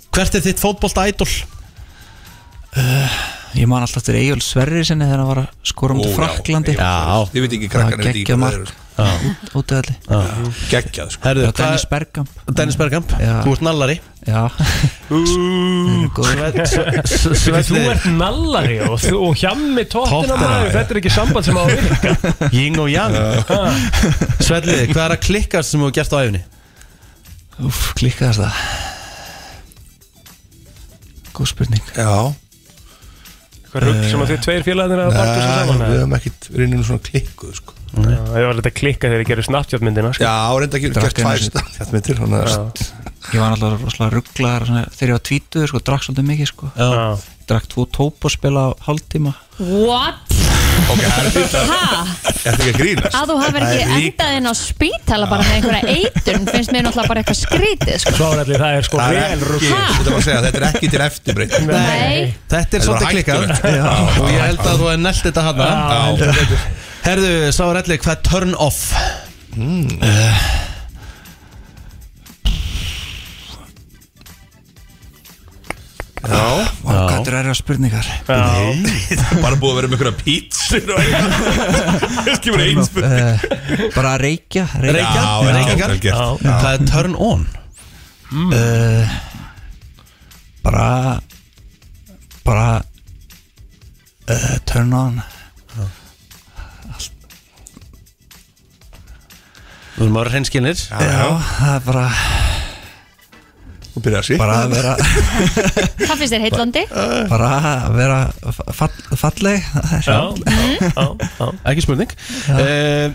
[SPEAKER 2] Hvert er þitt fótbolta ædol?
[SPEAKER 11] Ég man alltaf til Egil Sverri sinni þegar hann var að skora um
[SPEAKER 5] Ó,
[SPEAKER 11] til
[SPEAKER 5] já,
[SPEAKER 11] Fraklandi
[SPEAKER 5] Eyjólf Sverris. Ég veit ekki, krakkarnir veit ekki
[SPEAKER 11] Gekkjað
[SPEAKER 5] hvað sko.
[SPEAKER 11] mark Út af allir
[SPEAKER 5] Geggjað sko
[SPEAKER 2] Herðu,
[SPEAKER 11] Já, Dennis Bergkamp.
[SPEAKER 2] Dennis Bergkamp,
[SPEAKER 11] Já.
[SPEAKER 2] þú ert nallari
[SPEAKER 11] Já
[SPEAKER 2] Svelli
[SPEAKER 4] Sveitli. Þú ert nallari og, þú- og hjammi tóttina
[SPEAKER 2] Tóttina,
[SPEAKER 4] maður
[SPEAKER 2] já.
[SPEAKER 4] Þetta er ekki samband sem á að virka
[SPEAKER 2] Ying og Yang Svelli, hvað er að klikkast sem þú hefur gert á æfni?
[SPEAKER 11] Úf, klikkaðast það Góð spurning
[SPEAKER 5] Já
[SPEAKER 4] Hvað rugg sem að þið tveir félagarnir að barka sem
[SPEAKER 5] Nei,
[SPEAKER 4] saman
[SPEAKER 5] við
[SPEAKER 4] eða?
[SPEAKER 5] höfum ekkert reyninu svona klikkuð sko
[SPEAKER 4] Já, Ég var alltaf að klikka þegar ég gerði sko. snapptjáttmyndina
[SPEAKER 5] Já, reynda ekki
[SPEAKER 11] Drakk
[SPEAKER 5] gert
[SPEAKER 11] einu
[SPEAKER 5] tvær
[SPEAKER 11] sinni.
[SPEAKER 5] stafnmyndir Þannig að
[SPEAKER 11] Ég var alltaf rosalega rugglaðar þegar ég var tvítuður sko, drakk svolítið mikið sko. Ég drakk tvo tóp og spila á hálftíma
[SPEAKER 3] What?
[SPEAKER 5] Ok, það er fyrst að
[SPEAKER 3] Ha?
[SPEAKER 5] Er þetta ekki að grínast?
[SPEAKER 3] Að þú hafir
[SPEAKER 5] Það er
[SPEAKER 3] ekki
[SPEAKER 5] líka-
[SPEAKER 3] endað inn á spítala bara með einhverja eitun finnst mér náttúrulega bara eitthvað skrítið sko.
[SPEAKER 4] Svárætli, það er sko
[SPEAKER 5] Það er
[SPEAKER 4] vel
[SPEAKER 5] ekki,
[SPEAKER 4] rugg
[SPEAKER 5] þetta var að segja, þetta er ekki til eftirbreyt
[SPEAKER 3] Nei.
[SPEAKER 2] Þetta er
[SPEAKER 5] Þetta var
[SPEAKER 2] svolítið
[SPEAKER 5] hættulegt.
[SPEAKER 2] klikkað
[SPEAKER 5] Já.
[SPEAKER 2] og ég held að þú hefur nellt þetta hann
[SPEAKER 5] Já.
[SPEAKER 2] Herðu, Sárelli, hvað er turn off?
[SPEAKER 5] Já
[SPEAKER 11] og hvað þetta eru að spurningar
[SPEAKER 5] Bara búið að vera með einhverja pítsur og eitthvað Skifur einn spurning
[SPEAKER 11] uh, Bara að reykja
[SPEAKER 2] Reykja,
[SPEAKER 5] Já, vel
[SPEAKER 2] reykingar
[SPEAKER 5] gert, vel gert.
[SPEAKER 2] Hvað er turn on?
[SPEAKER 11] uh, Bara bara uh, turn on
[SPEAKER 2] Þú erum að vera hreinskinnir
[SPEAKER 11] Já, það er bara
[SPEAKER 5] Þú byrjar að sí
[SPEAKER 11] bara að vera
[SPEAKER 3] Það finnst þér heillandi
[SPEAKER 11] bara að vera fall, falleg Það er
[SPEAKER 4] Já,
[SPEAKER 3] Mhm.
[SPEAKER 4] já, já, já.
[SPEAKER 2] Ekki spurning Eh,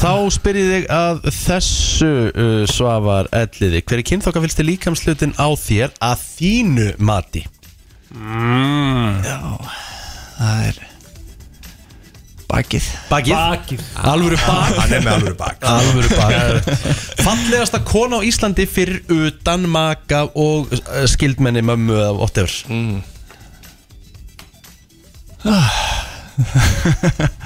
[SPEAKER 2] Þá spyr ég þig að þessu uh, svafar elliði Hver er kynþokka fylgst þið líkamslutin á þér að þínu mati?
[SPEAKER 11] það er bakið
[SPEAKER 2] Bakið?
[SPEAKER 4] Bakið
[SPEAKER 2] Alvöru bak
[SPEAKER 5] Hann er með alvöru bak
[SPEAKER 2] Alvöru bak Fallegasta kona á Íslandi fyrir utan maka og eh, skildmenni mömmu eða whatever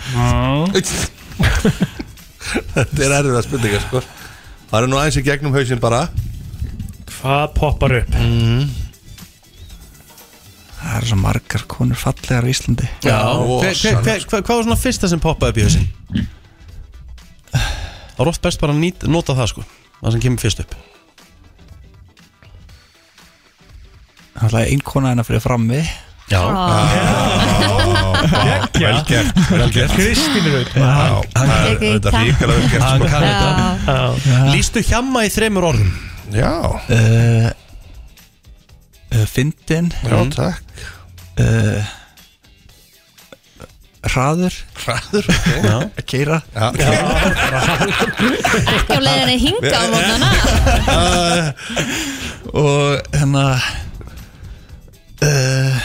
[SPEAKER 5] Þetta er erfið að spurninga sko Það er nú aðeins í gegnum hausinn bara
[SPEAKER 4] Hvað poppar upp?
[SPEAKER 11] Það eru svo margar konur fallegar á Íslandi
[SPEAKER 5] Ó,
[SPEAKER 2] hver, hver, hver, hver, Hvað var svona fyrsta sem poppaði upp í hausin? Það er oft best bara að nýt, nota það sko Það sem kemur fyrst upp
[SPEAKER 11] Það er ein kona hennar fyrir frammi
[SPEAKER 5] Já Vel gert, vel gert
[SPEAKER 4] Kristín Rut
[SPEAKER 5] Já, það er
[SPEAKER 2] Geggjað.
[SPEAKER 5] þetta er ríkala vel gert
[SPEAKER 2] Hann
[SPEAKER 5] sko.
[SPEAKER 2] kann þetta.
[SPEAKER 13] Já.
[SPEAKER 2] Lýstu hjamma í þremur orðum
[SPEAKER 5] Já
[SPEAKER 13] uh, uh, Fyndin
[SPEAKER 5] Já, takk.
[SPEAKER 13] uh, Hraður
[SPEAKER 5] Hraður, ok
[SPEAKER 13] Að keira
[SPEAKER 5] Já,
[SPEAKER 3] Ekki á leiðinni hinga á mótnana
[SPEAKER 13] uh, Og hérna uh,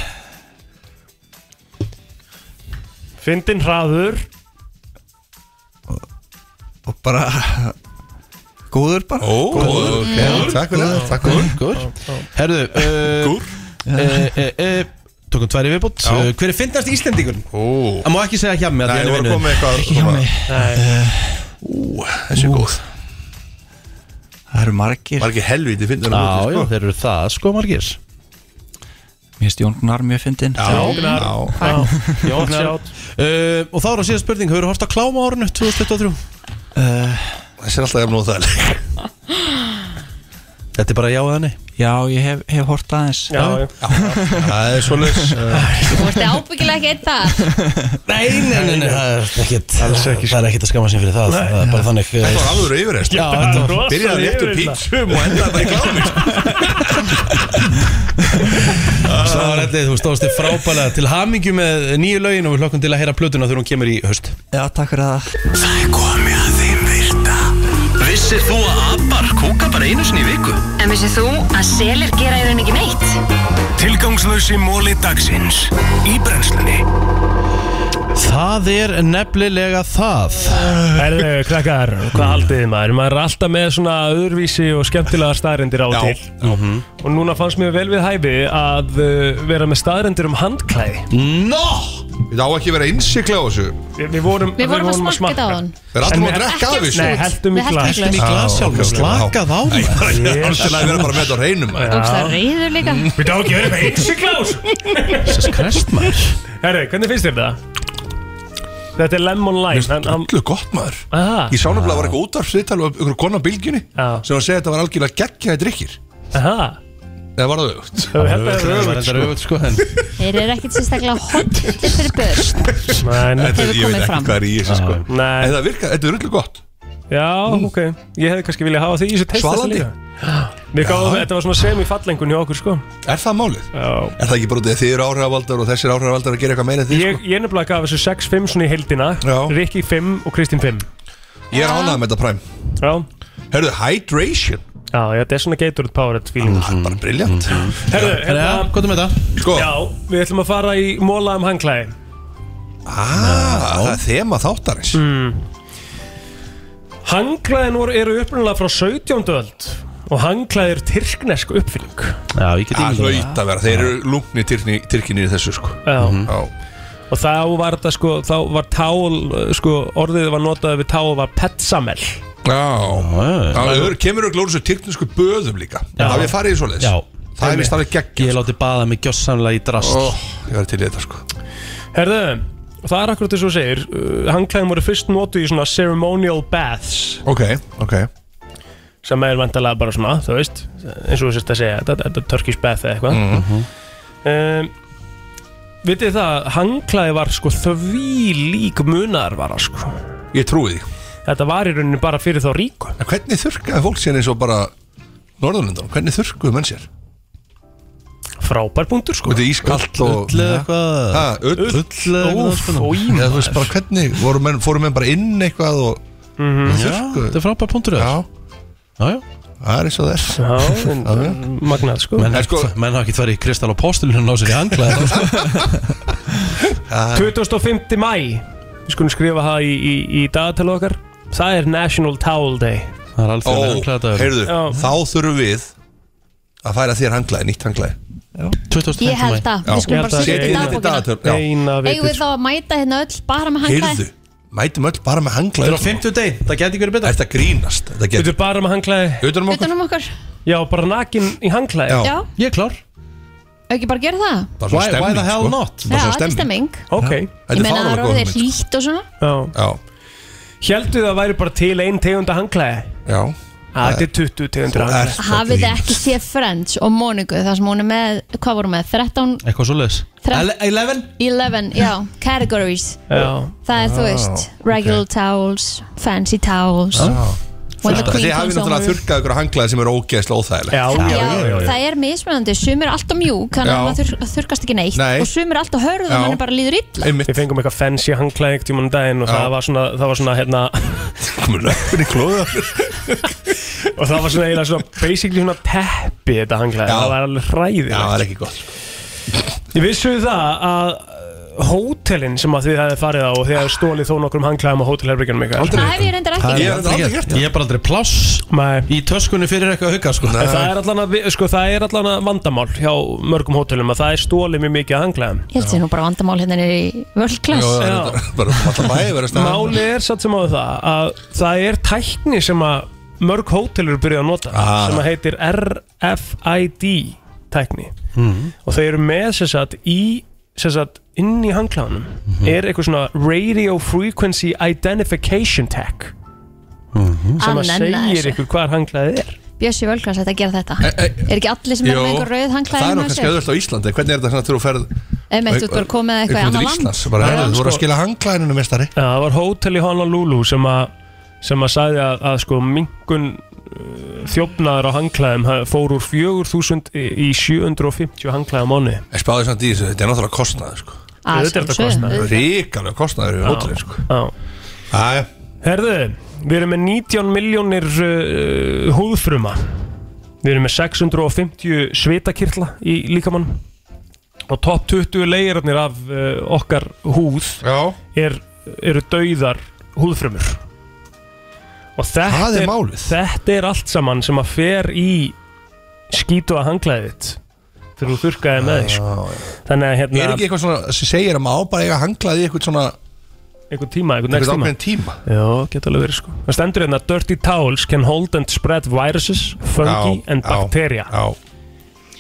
[SPEAKER 4] Fyndin hraður
[SPEAKER 13] Og bara Góður bara
[SPEAKER 5] Ó,
[SPEAKER 13] Góður.
[SPEAKER 5] ok,
[SPEAKER 13] Góður.
[SPEAKER 5] takk fyrir það, takk
[SPEAKER 2] Gúr,
[SPEAKER 5] fyrir
[SPEAKER 2] gúr Herðu uh, Gúr Tökum tvær í viðbútt
[SPEAKER 5] Já.
[SPEAKER 2] Hver er fyndast Íslendingun?
[SPEAKER 5] Ó
[SPEAKER 2] Það má ekki segja hjá mig
[SPEAKER 5] Nei, nú erum komið með eitthvað
[SPEAKER 13] Hjá
[SPEAKER 5] svona.
[SPEAKER 13] mig
[SPEAKER 5] Ú, þessi er góð
[SPEAKER 13] Það eru margir
[SPEAKER 5] Margir helviti fyndin á móti,
[SPEAKER 2] Já, já,
[SPEAKER 5] sko.
[SPEAKER 2] þeir eru það sko margir
[SPEAKER 13] Mér finnst Jón Gunnar mjög fyndin
[SPEAKER 5] Já, já.
[SPEAKER 2] Jónar uh, Og þá er á síðan spurning Hefur þú hort að kláma á árinu 2023?
[SPEAKER 13] uh,
[SPEAKER 5] Þessi er alltaf jafn og það
[SPEAKER 2] Þetta er bara já eða nei
[SPEAKER 13] Já, ég hef, hef hort aðeins
[SPEAKER 4] Já, já.
[SPEAKER 5] Það er svoleiðis
[SPEAKER 3] Þú ert ábyggilega ekki eitt það
[SPEAKER 2] Nei, nei, nei, nei, það er ekkit
[SPEAKER 5] Alls ekki,
[SPEAKER 2] Það er ekkit að skama sér fyrir það Það er bara þannig eh,
[SPEAKER 5] Þetta var alveg yfirreist
[SPEAKER 2] Já, þetta var
[SPEAKER 5] Byrjaði rétt úr pítsum og endaði bara í klámi
[SPEAKER 2] Svo var allir, þú stóðst þig frábælega til hamingju með nýju lögin og við hlokkum til að heyra plötuna þegar hún kemur í höst
[SPEAKER 13] Já, takk fyrir það
[SPEAKER 1] Það er komið að þeim virta Vissir þú að abar kúka bara einu sinni í viku?
[SPEAKER 12] En vissið þú að selir gera í raun ekki neitt?
[SPEAKER 1] Tilgangslösi móli dagsins Í brennslunni
[SPEAKER 2] Það er nefnilega það
[SPEAKER 4] Herðu, krakkar, hvað haldið þið maður? Maður er alltaf með svona öðruvísi og skemmtilega staðrendir á og til Og núna fannst mér vel við hæfi að uh, vera með staðrendir um handklæði
[SPEAKER 5] Mm.
[SPEAKER 2] Nó!
[SPEAKER 5] Þetta á ekki að vera innsikla á þessu
[SPEAKER 4] Við, við vorum,
[SPEAKER 3] Við vorum að smakka á hann
[SPEAKER 5] Við erum alltaf
[SPEAKER 4] En
[SPEAKER 5] búin að
[SPEAKER 4] við-
[SPEAKER 5] drekka af
[SPEAKER 3] Ekki
[SPEAKER 5] þessu
[SPEAKER 4] Nei, heldum í
[SPEAKER 3] Við
[SPEAKER 4] glas
[SPEAKER 3] heldum í
[SPEAKER 2] Í glas sjálfur, slakað á
[SPEAKER 5] Nei, bara-
[SPEAKER 4] Ég-
[SPEAKER 5] ég er alltaf að vera bara með þetta á reynum
[SPEAKER 3] Það reyður líka
[SPEAKER 4] Við þá ekki verið með innsikla á þessu
[SPEAKER 2] Jesus Christ, maður
[SPEAKER 4] Herðu, hvernig finnst þér það? Þetta er Lemon Lime en- hann-
[SPEAKER 5] Öllu gott maður
[SPEAKER 4] Aha,
[SPEAKER 5] Ég sá nefnilega að var eitthvað útvarfsviðtal og einhverjum konu á bylginni
[SPEAKER 4] Já.
[SPEAKER 5] sem var að segja að þetta var algjörlega geggjaði drikkir
[SPEAKER 4] aha
[SPEAKER 5] Eða var það aukt?
[SPEAKER 4] Ég held að
[SPEAKER 2] Það
[SPEAKER 4] það
[SPEAKER 2] var
[SPEAKER 4] er
[SPEAKER 2] þetta rauðt, sko en
[SPEAKER 3] Þeir eru ekkit sérstaklega hóttir fyrir börn
[SPEAKER 4] öðruvísi.
[SPEAKER 5] Þetta,
[SPEAKER 3] Hefur
[SPEAKER 5] ég veit
[SPEAKER 3] komið
[SPEAKER 5] ekki
[SPEAKER 3] fram.
[SPEAKER 5] hvað er í þessu sko
[SPEAKER 4] Nei, nei.
[SPEAKER 5] En það virkar, þetta er öllu gott
[SPEAKER 4] Já, ok, ég hefði kannski viljað hafa því í þessu testa
[SPEAKER 5] Svalandi.
[SPEAKER 4] Við gáðum, þetta var svona semi-fallengun hjá okkur sko
[SPEAKER 5] Er það málið?
[SPEAKER 4] Já
[SPEAKER 5] Er það ekki bara út af því að þið eru áhrifavaldar og þessir áhrifavaldar að gera eitthvað meira en þið sko?
[SPEAKER 4] Ég, ég nefnilega gaf þessu 6-5 svona í heildina
[SPEAKER 5] Já.
[SPEAKER 4] Rikki 5 og Kristín 5
[SPEAKER 5] sko Ég er ánægð með þetta præm
[SPEAKER 4] Já,
[SPEAKER 5] Herðu, hydration
[SPEAKER 4] já, já þetta er svona Gatorade Powerade feeling
[SPEAKER 5] Það er bara briljant
[SPEAKER 4] Herðu,
[SPEAKER 2] Herra,
[SPEAKER 4] hérna
[SPEAKER 2] hvað er með þetta?
[SPEAKER 5] Sko,
[SPEAKER 4] Já, við ætlum að fara í móla um hangklæði
[SPEAKER 5] aaa, ah, það er þema þáttarins
[SPEAKER 4] Hangklæðin voru eru upprunalega frá 17. öld Og hangklæði er tyrknesk uppfinning
[SPEAKER 2] Já, ég get
[SPEAKER 5] Það
[SPEAKER 2] ímyndað mér
[SPEAKER 5] hlaut að vera, þeir eru lungni tyrkinni í þessu sko
[SPEAKER 4] Já
[SPEAKER 5] Já,
[SPEAKER 4] Og þá var þetta sko, þá var tál, sko, orðið var notað við tál var petsamel
[SPEAKER 5] já
[SPEAKER 2] það.
[SPEAKER 5] Það eru- kemur auðvitað úr þessu tyrknisku böðum líka Það við farið í svoleiðis
[SPEAKER 2] Já.
[SPEAKER 5] Það er vist alveg geggjum
[SPEAKER 2] Ég láti baða mig gjossamlega í drast
[SPEAKER 5] Ó, Ég var til í þetta sko
[SPEAKER 4] Herðu, það er akkurat þess að segir uh, Hangklæðin voru fyrst notuð í svona ceremonial baths
[SPEAKER 5] Ok, ok
[SPEAKER 4] sem er vantalega bara svona, þú veist eins og þú sérst að segja, þetta, þetta er Turkish bath eða eitthvað mm um, Vitið það, hangklæði var sko því lík munarvara sko
[SPEAKER 5] Ég trúi því
[SPEAKER 4] Þetta var í rauninni bara fyrir þá ríku
[SPEAKER 5] En hvernig þurrkaði fólk sér eins og bara Norðurlundan, hvernig þurrkuðu menn sér?
[SPEAKER 4] Frábær punktur sko
[SPEAKER 5] Sko, þetta er ískalt og
[SPEAKER 2] Ull eða eitthvað
[SPEAKER 5] Ha, ull
[SPEAKER 2] Ull eða eitthvað
[SPEAKER 4] Óf,
[SPEAKER 2] sko.
[SPEAKER 4] ói
[SPEAKER 5] Eða þú veist bara hvernig, voru menn, fóru menn bara inn eitthvað og
[SPEAKER 2] Já, þetta er frábær punktur
[SPEAKER 5] Já,
[SPEAKER 2] þér Já, já
[SPEAKER 5] það er eins og þess
[SPEAKER 4] Já, en-
[SPEAKER 5] Já, já.
[SPEAKER 4] magnað sko
[SPEAKER 2] Menn
[SPEAKER 5] En sko-
[SPEAKER 2] menn hafa ekki farið í kristall og postulun og ná sér í hanglaði sko.
[SPEAKER 4] 25. mæ Við skulum skrifa það í, í, í dagatælu okkar Það er National Towel Day
[SPEAKER 2] Það
[SPEAKER 5] Ó,
[SPEAKER 2] er alþjóðlega hanglaðadagur
[SPEAKER 5] heyrðu,
[SPEAKER 4] Já.
[SPEAKER 5] þá þurfum við að færa þér hanglaði, nýtt hanglaði
[SPEAKER 2] 25.
[SPEAKER 3] Ég held
[SPEAKER 2] maí.
[SPEAKER 3] það, við
[SPEAKER 4] Já.
[SPEAKER 3] skulum bara
[SPEAKER 4] Setjum
[SPEAKER 5] Setjum þetta
[SPEAKER 3] setja í
[SPEAKER 5] í
[SPEAKER 3] dagbókina
[SPEAKER 5] dagatörn Já,
[SPEAKER 4] Eina
[SPEAKER 3] Eigum
[SPEAKER 4] vitið
[SPEAKER 3] við þá að mæta hérna öll bara með hanglaði?
[SPEAKER 5] heyrðu, mætum öll bara með
[SPEAKER 2] Þetta
[SPEAKER 5] hanglaði
[SPEAKER 2] er á 50 deg, það geti ekki verið betra
[SPEAKER 5] Þetta grínast, þetta
[SPEAKER 4] Þetta
[SPEAKER 5] getur
[SPEAKER 4] er bara með hangklæði
[SPEAKER 5] Utanum okkur,
[SPEAKER 3] Utan um okkur?
[SPEAKER 4] Já, bara nakin í hangklæði
[SPEAKER 5] Já.
[SPEAKER 3] Já,
[SPEAKER 2] Ég er klár
[SPEAKER 3] ekki bara gera það?
[SPEAKER 5] bara
[SPEAKER 2] Why,
[SPEAKER 5] svona
[SPEAKER 2] why the
[SPEAKER 5] stemning
[SPEAKER 2] hell
[SPEAKER 5] sko.
[SPEAKER 2] not?
[SPEAKER 3] Já,
[SPEAKER 5] Bara svona
[SPEAKER 3] þetta er
[SPEAKER 5] stemning
[SPEAKER 3] stemming
[SPEAKER 4] Ok
[SPEAKER 3] Ég
[SPEAKER 5] Þetta
[SPEAKER 3] meina það
[SPEAKER 5] fárálega
[SPEAKER 3] er
[SPEAKER 5] góð
[SPEAKER 3] orðið
[SPEAKER 5] hugmynd. sko.
[SPEAKER 3] hlýtt og svona
[SPEAKER 4] Já
[SPEAKER 5] Já,
[SPEAKER 4] Hjæltu það væri bara til ein tegunda hangklæði
[SPEAKER 5] já
[SPEAKER 4] Ah, Þetta er 20 tegundur af
[SPEAKER 5] ert
[SPEAKER 3] Hafið þið ekki séð Friends og Móniku þar sem hún er með, hvað voru með, 13
[SPEAKER 2] Eitthvað svo leiðis
[SPEAKER 3] Þre-
[SPEAKER 2] 11
[SPEAKER 3] 11, já, categories
[SPEAKER 2] Já.
[SPEAKER 3] Það er þú veist, regular towels fancy towels When the Queen
[SPEAKER 5] Þið hafið
[SPEAKER 3] Comes
[SPEAKER 5] náttúrulega
[SPEAKER 3] Home
[SPEAKER 5] þurkað ykkur hanglaði sem eru ógeðslega óþægilegt
[SPEAKER 3] Já, það er mismunandi, sum er alltaf mjúk þannig að
[SPEAKER 4] Já.
[SPEAKER 3] maður þur- þurrkast ekki neitt
[SPEAKER 4] Nei.
[SPEAKER 3] og sum er alltaf
[SPEAKER 4] Já.
[SPEAKER 3] hörð og mann bara líður illa
[SPEAKER 4] Við fengum eitthvað fancy hangklæði einhvern tímann um daginn og það var svona, það var svona hérna
[SPEAKER 5] Komur löppin í klóða
[SPEAKER 4] Og það var svona eiginlega svona basically svona peppi þetta hangklæði,
[SPEAKER 5] Já.
[SPEAKER 4] það var alveg hræðið Já,
[SPEAKER 5] það er ekki gott
[SPEAKER 4] Ég vissu það að uh, hótelin sem að þið hefði farið á og þið hefði stólið þó nokkrum hangklæðum á hótelherbyggjunum ykkar
[SPEAKER 3] Það hef ég reyndar ekki
[SPEAKER 2] Það er aldrei
[SPEAKER 3] gert.
[SPEAKER 2] gert Ég er bara aldrei pláss
[SPEAKER 4] Nei.
[SPEAKER 2] Í töskunni fyrir eitthvað að hugga sko.
[SPEAKER 4] En það er allan að, vi- sko, það er allan að vandamál hjá mörgum hótelum að það er stólið mjög mikið að hanglaðum
[SPEAKER 3] Ég held sér nú bara vandamál hérna niður í world class
[SPEAKER 5] bara alltaf bæði verið staðar.
[SPEAKER 4] Máli er satt sem á það að það er tækni sem að mörg hótelur byrja að nota
[SPEAKER 5] Ah.
[SPEAKER 4] sem að heitir RFID tækni og þau eru með sem sagt í sem sagt inn í hanglaðunum er eitthvað svona Radio Frequency Identification Tag sem að
[SPEAKER 3] Annan
[SPEAKER 4] segir
[SPEAKER 3] þessu.
[SPEAKER 4] ykkur hvað hanglaðið er
[SPEAKER 3] Bjössi world class ætti að gera þetta Er ekki allir sem er
[SPEAKER 5] Jó,
[SPEAKER 3] með einhver rauð
[SPEAKER 5] Það er nú kannski
[SPEAKER 3] hangklæði
[SPEAKER 5] auðvitað á Íslandi Hvernig er þetta svona þegar þú ferð
[SPEAKER 3] Emmett, þú ert bara komið með eitthvað í
[SPEAKER 5] Eitthvað
[SPEAKER 3] annað
[SPEAKER 5] til
[SPEAKER 3] land
[SPEAKER 5] Íslands bara, heyrðu, Þú voru að skila hangklæninu mestari
[SPEAKER 4] Já, það var hótel í Honolulu sem að sem að sagði að, að sko minkun uh, þjófnaður á hangklæðum ha- fór úr 4.000 í í 750 hangklæðum áni
[SPEAKER 5] En spáði samt í þessu, þetta er náttúrulega kostnaður sko.
[SPEAKER 4] Að Auðvitað er þetta sjálfsögðu, kostnaður. auðvitað.
[SPEAKER 5] Ríkalega kostnaður
[SPEAKER 4] Já.
[SPEAKER 5] við hótelin sko.
[SPEAKER 4] Já Herðu, við erum með 19 miljónir uh, húðfruma Við erum með 650 svitakirla í líkamann og topp 20 leirarnir af uh, okkar húð er, eru dauðar húðfrumur og þetta
[SPEAKER 5] Það er
[SPEAKER 4] þetta er allt saman sem að fer í skítu að hanglaðið þegar þú þurrkaði með því sko. þannig að hérna
[SPEAKER 5] Er ekki eitthvað svona sem segir að maður bara eiga hangklaði í eitthvað svona
[SPEAKER 4] eitthvað tíma,
[SPEAKER 5] Eitthvað
[SPEAKER 4] eitthvað next tíma
[SPEAKER 5] ákveðin tíma
[SPEAKER 4] Já, getur alveg verið sko Það stendur hérna Dirty towels can hold and spread viruses, fungi
[SPEAKER 5] Já,
[SPEAKER 4] and
[SPEAKER 5] já,
[SPEAKER 4] bacteria Já,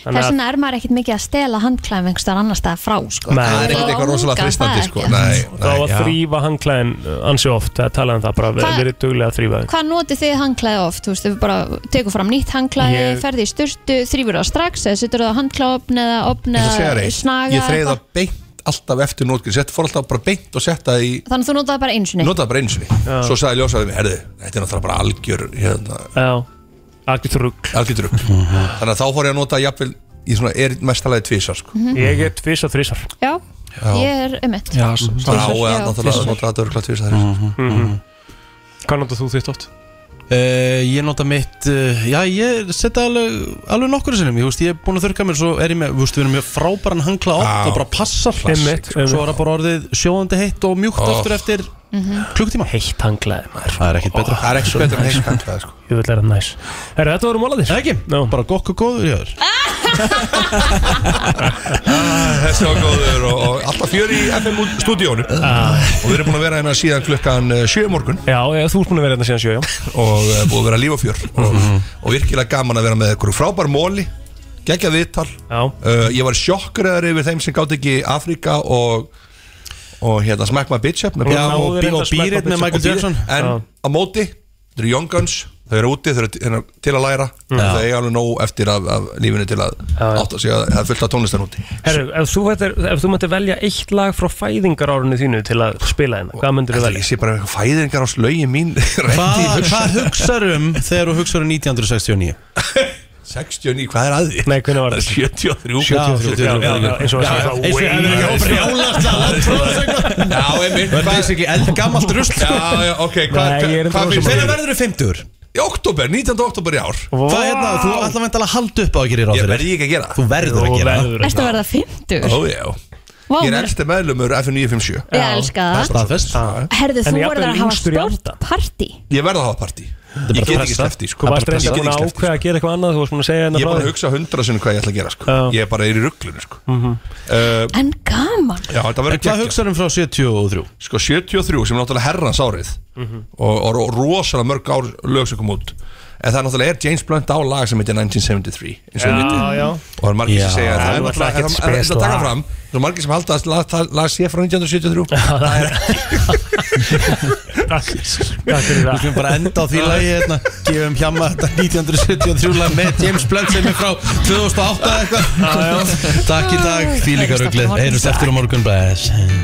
[SPEAKER 3] Þess vegna er maður ekkit mikið að stela handklæðum einhvers staðar annar staðar frá sko.
[SPEAKER 4] Það er ekkert
[SPEAKER 3] Þá
[SPEAKER 4] eitthvað rosalega
[SPEAKER 3] langar
[SPEAKER 4] freistandi,
[SPEAKER 3] það
[SPEAKER 4] sko.
[SPEAKER 3] ekki.
[SPEAKER 5] Nei,
[SPEAKER 4] Þá að
[SPEAKER 5] já.
[SPEAKER 4] þrýfa hangklæðin uh, ansi oft Það er talað um það bara,
[SPEAKER 3] Hva-
[SPEAKER 4] Hva? verið duglega að þrýfa
[SPEAKER 3] Hvað notið þið handklæði oft? Þú veist, þau bara tekur fram nýtt handklæði,
[SPEAKER 4] Ég-
[SPEAKER 3] ferði í sturtu, þrýfur það strax eða setur það á handklæðopn eða opn
[SPEAKER 5] Ég ætla að segja
[SPEAKER 3] eða
[SPEAKER 5] þér eitt,
[SPEAKER 3] snaga
[SPEAKER 5] Ég þreið það
[SPEAKER 3] eitthvað?
[SPEAKER 5] beint alltaf eftir nótgjur Sett fór alltaf bara beint og setta í
[SPEAKER 3] Þannig að þú notaði bara eins og neitt
[SPEAKER 5] Notaði bara einu sinni Svo sagði ljósaði mig, herðu, þetta er náttúrulega bara algjör hérna,
[SPEAKER 4] Algjör trugg
[SPEAKER 5] Algjör trugg Þannig að þá fór ég að nota jafnvel Í svona er mestalagi tvisar sko.
[SPEAKER 3] Mhm.
[SPEAKER 4] Ég er tvis og þrísar
[SPEAKER 3] Já, ég er um eitt
[SPEAKER 5] Bara á eða náttúrulega Nota þetta örgla tvisar
[SPEAKER 4] Hvað notar þú þitt oft?
[SPEAKER 2] Uh, ég nota mitt, uh, já ég setja alveg, alveg nokkur sinnum, ég, veist, ég er búin að þurrka mér svo er ég með, þú veist, við erum mjög frábæran hangla átt
[SPEAKER 5] Já.
[SPEAKER 2] og bara passar
[SPEAKER 4] Klassik, Einmitt,
[SPEAKER 2] sko. svo er það bara orðið sjóðandi heitt og mjúkt
[SPEAKER 5] Oh.
[SPEAKER 2] aftur eftir klukktíma
[SPEAKER 4] Heitt hanglaði maður
[SPEAKER 2] Það er ekkert betra
[SPEAKER 5] Það er ekkert betra en heitt hanglaði sko.
[SPEAKER 4] Ég vil læra næs Herra, þetta voru málaðir
[SPEAKER 2] Ekki,
[SPEAKER 4] no.
[SPEAKER 2] bara gokk og góður í öður
[SPEAKER 5] Ah, Þessi var góður og, og alltaf fjör í FM stúdíónu Ah. Og við erum búin að vera hérna síðan klukkan 7 morgun
[SPEAKER 4] Já, ég, þú ert búin að vera hérna síðan sjö, já
[SPEAKER 5] Og uh, búið að vera líf og fjör og, og virkilega gaman að vera með ykkur frábær móli Gekkja viðtal uh, Ég var sjokkuraður yfir þeim sem gátt ekki Afrika og Og hérna Smack My Bitch Up með
[SPEAKER 2] Já,
[SPEAKER 5] Björn-
[SPEAKER 2] og bí- og bírið með Michael
[SPEAKER 5] Og bírið.
[SPEAKER 2] Jackson.
[SPEAKER 5] En
[SPEAKER 2] Já.
[SPEAKER 5] á móti, þau eru Young Guns Þau eru úti, þau eru t- hérna, til að læra
[SPEAKER 4] Já.
[SPEAKER 5] Þau eiga alveg nóg eftir af, af lífinu til að Átta sig að það er fullt af tónlistan úti
[SPEAKER 4] Herru, ef þú, veitir, ef þú mættir velja eitt lag frá fæðingarárunni þínu til að spila hérna, hvað myndir þú velja?
[SPEAKER 5] Ég sé bara eitthvað fæðingar ás lögin mín
[SPEAKER 2] Hvað hva hugsaður um þegar þú hugsaður um 1969?
[SPEAKER 5] 69, hvað er að því?
[SPEAKER 4] Nei, hvernig var
[SPEAKER 5] það? 73
[SPEAKER 2] Já, 73,
[SPEAKER 5] Já, já,
[SPEAKER 2] já,
[SPEAKER 5] já, eins og
[SPEAKER 2] Já,
[SPEAKER 5] það
[SPEAKER 2] eins og það er ekki brjálast að land
[SPEAKER 5] Já, einmitt
[SPEAKER 2] Verður þessi ekki eldgamalt rusl sko?
[SPEAKER 5] Já, já, ok, hvað
[SPEAKER 2] Nei, ég er
[SPEAKER 5] hva,
[SPEAKER 2] enda rosa
[SPEAKER 5] hva,
[SPEAKER 2] Hvenær verður þú 50?
[SPEAKER 5] Í oktober, 19. oktober í ár
[SPEAKER 2] Hvað hérna, þú ætla meint að halda upp á að gera í ráð
[SPEAKER 5] Ég
[SPEAKER 2] fyrir
[SPEAKER 5] verði ekki að gera það.
[SPEAKER 2] Þú verður að
[SPEAKER 5] Þú
[SPEAKER 2] gera
[SPEAKER 5] verður
[SPEAKER 3] Ertu að verða 50?
[SPEAKER 5] Ó, já
[SPEAKER 3] Vá,
[SPEAKER 5] Ég er
[SPEAKER 3] maður-
[SPEAKER 5] elsti meðlumur F957
[SPEAKER 3] Ég elska það.
[SPEAKER 2] Staðfest
[SPEAKER 3] Herðu,
[SPEAKER 4] En
[SPEAKER 3] þú
[SPEAKER 4] ég jafnvel
[SPEAKER 3] verður að hafa
[SPEAKER 4] yngstur í
[SPEAKER 3] stórt partí
[SPEAKER 5] Ég verði að hafa partí
[SPEAKER 2] er
[SPEAKER 5] Ég get
[SPEAKER 2] bara pressa.
[SPEAKER 5] ekki slefti, sko
[SPEAKER 4] Þú varst
[SPEAKER 5] Ég
[SPEAKER 4] reynda
[SPEAKER 5] get
[SPEAKER 4] búin
[SPEAKER 5] ekki
[SPEAKER 4] að
[SPEAKER 5] slefti
[SPEAKER 4] ákveða að gera eitthvað annað, þú varst búin að Mhm. segja
[SPEAKER 5] Ég
[SPEAKER 4] hérna
[SPEAKER 5] er bara að
[SPEAKER 4] því.
[SPEAKER 5] hugsa hundra sinni hvað ég ætla að gera, sko Ég er bara er í rugglunni, sko Uh,
[SPEAKER 3] En gaman
[SPEAKER 5] Já, þetta verður
[SPEAKER 2] En hvað
[SPEAKER 5] geggjað.
[SPEAKER 2] hugsaður um frá 73?
[SPEAKER 5] Sko
[SPEAKER 4] Mhm.
[SPEAKER 5] 73 sem er náttúrulega herrans árið og, og, og rosalega mörg ár lög sem kom út en það náttúrulega er James Blunt á lag sem heitir 1973 eins og
[SPEAKER 4] Já,
[SPEAKER 5] við vitum.
[SPEAKER 4] já.
[SPEAKER 5] og það er margir sem
[SPEAKER 4] Já,
[SPEAKER 5] segja að
[SPEAKER 4] það
[SPEAKER 5] það er
[SPEAKER 4] er náttúrulega
[SPEAKER 5] náttúrulega
[SPEAKER 4] ekkert
[SPEAKER 5] það er
[SPEAKER 4] spes
[SPEAKER 5] að taka
[SPEAKER 4] lag.
[SPEAKER 5] fram það er margir sem halda að lag- það lag sé frá 1973 það er
[SPEAKER 4] Takk Takk fyrir
[SPEAKER 2] Við skulum bara enda á því lagi hérna Gefum hjama þetta 1973 lag með James Blunt sem er frá 2008 eða eitthvað Takk í dag, því líka ruggli Heyrjumst eftir á morgun Bless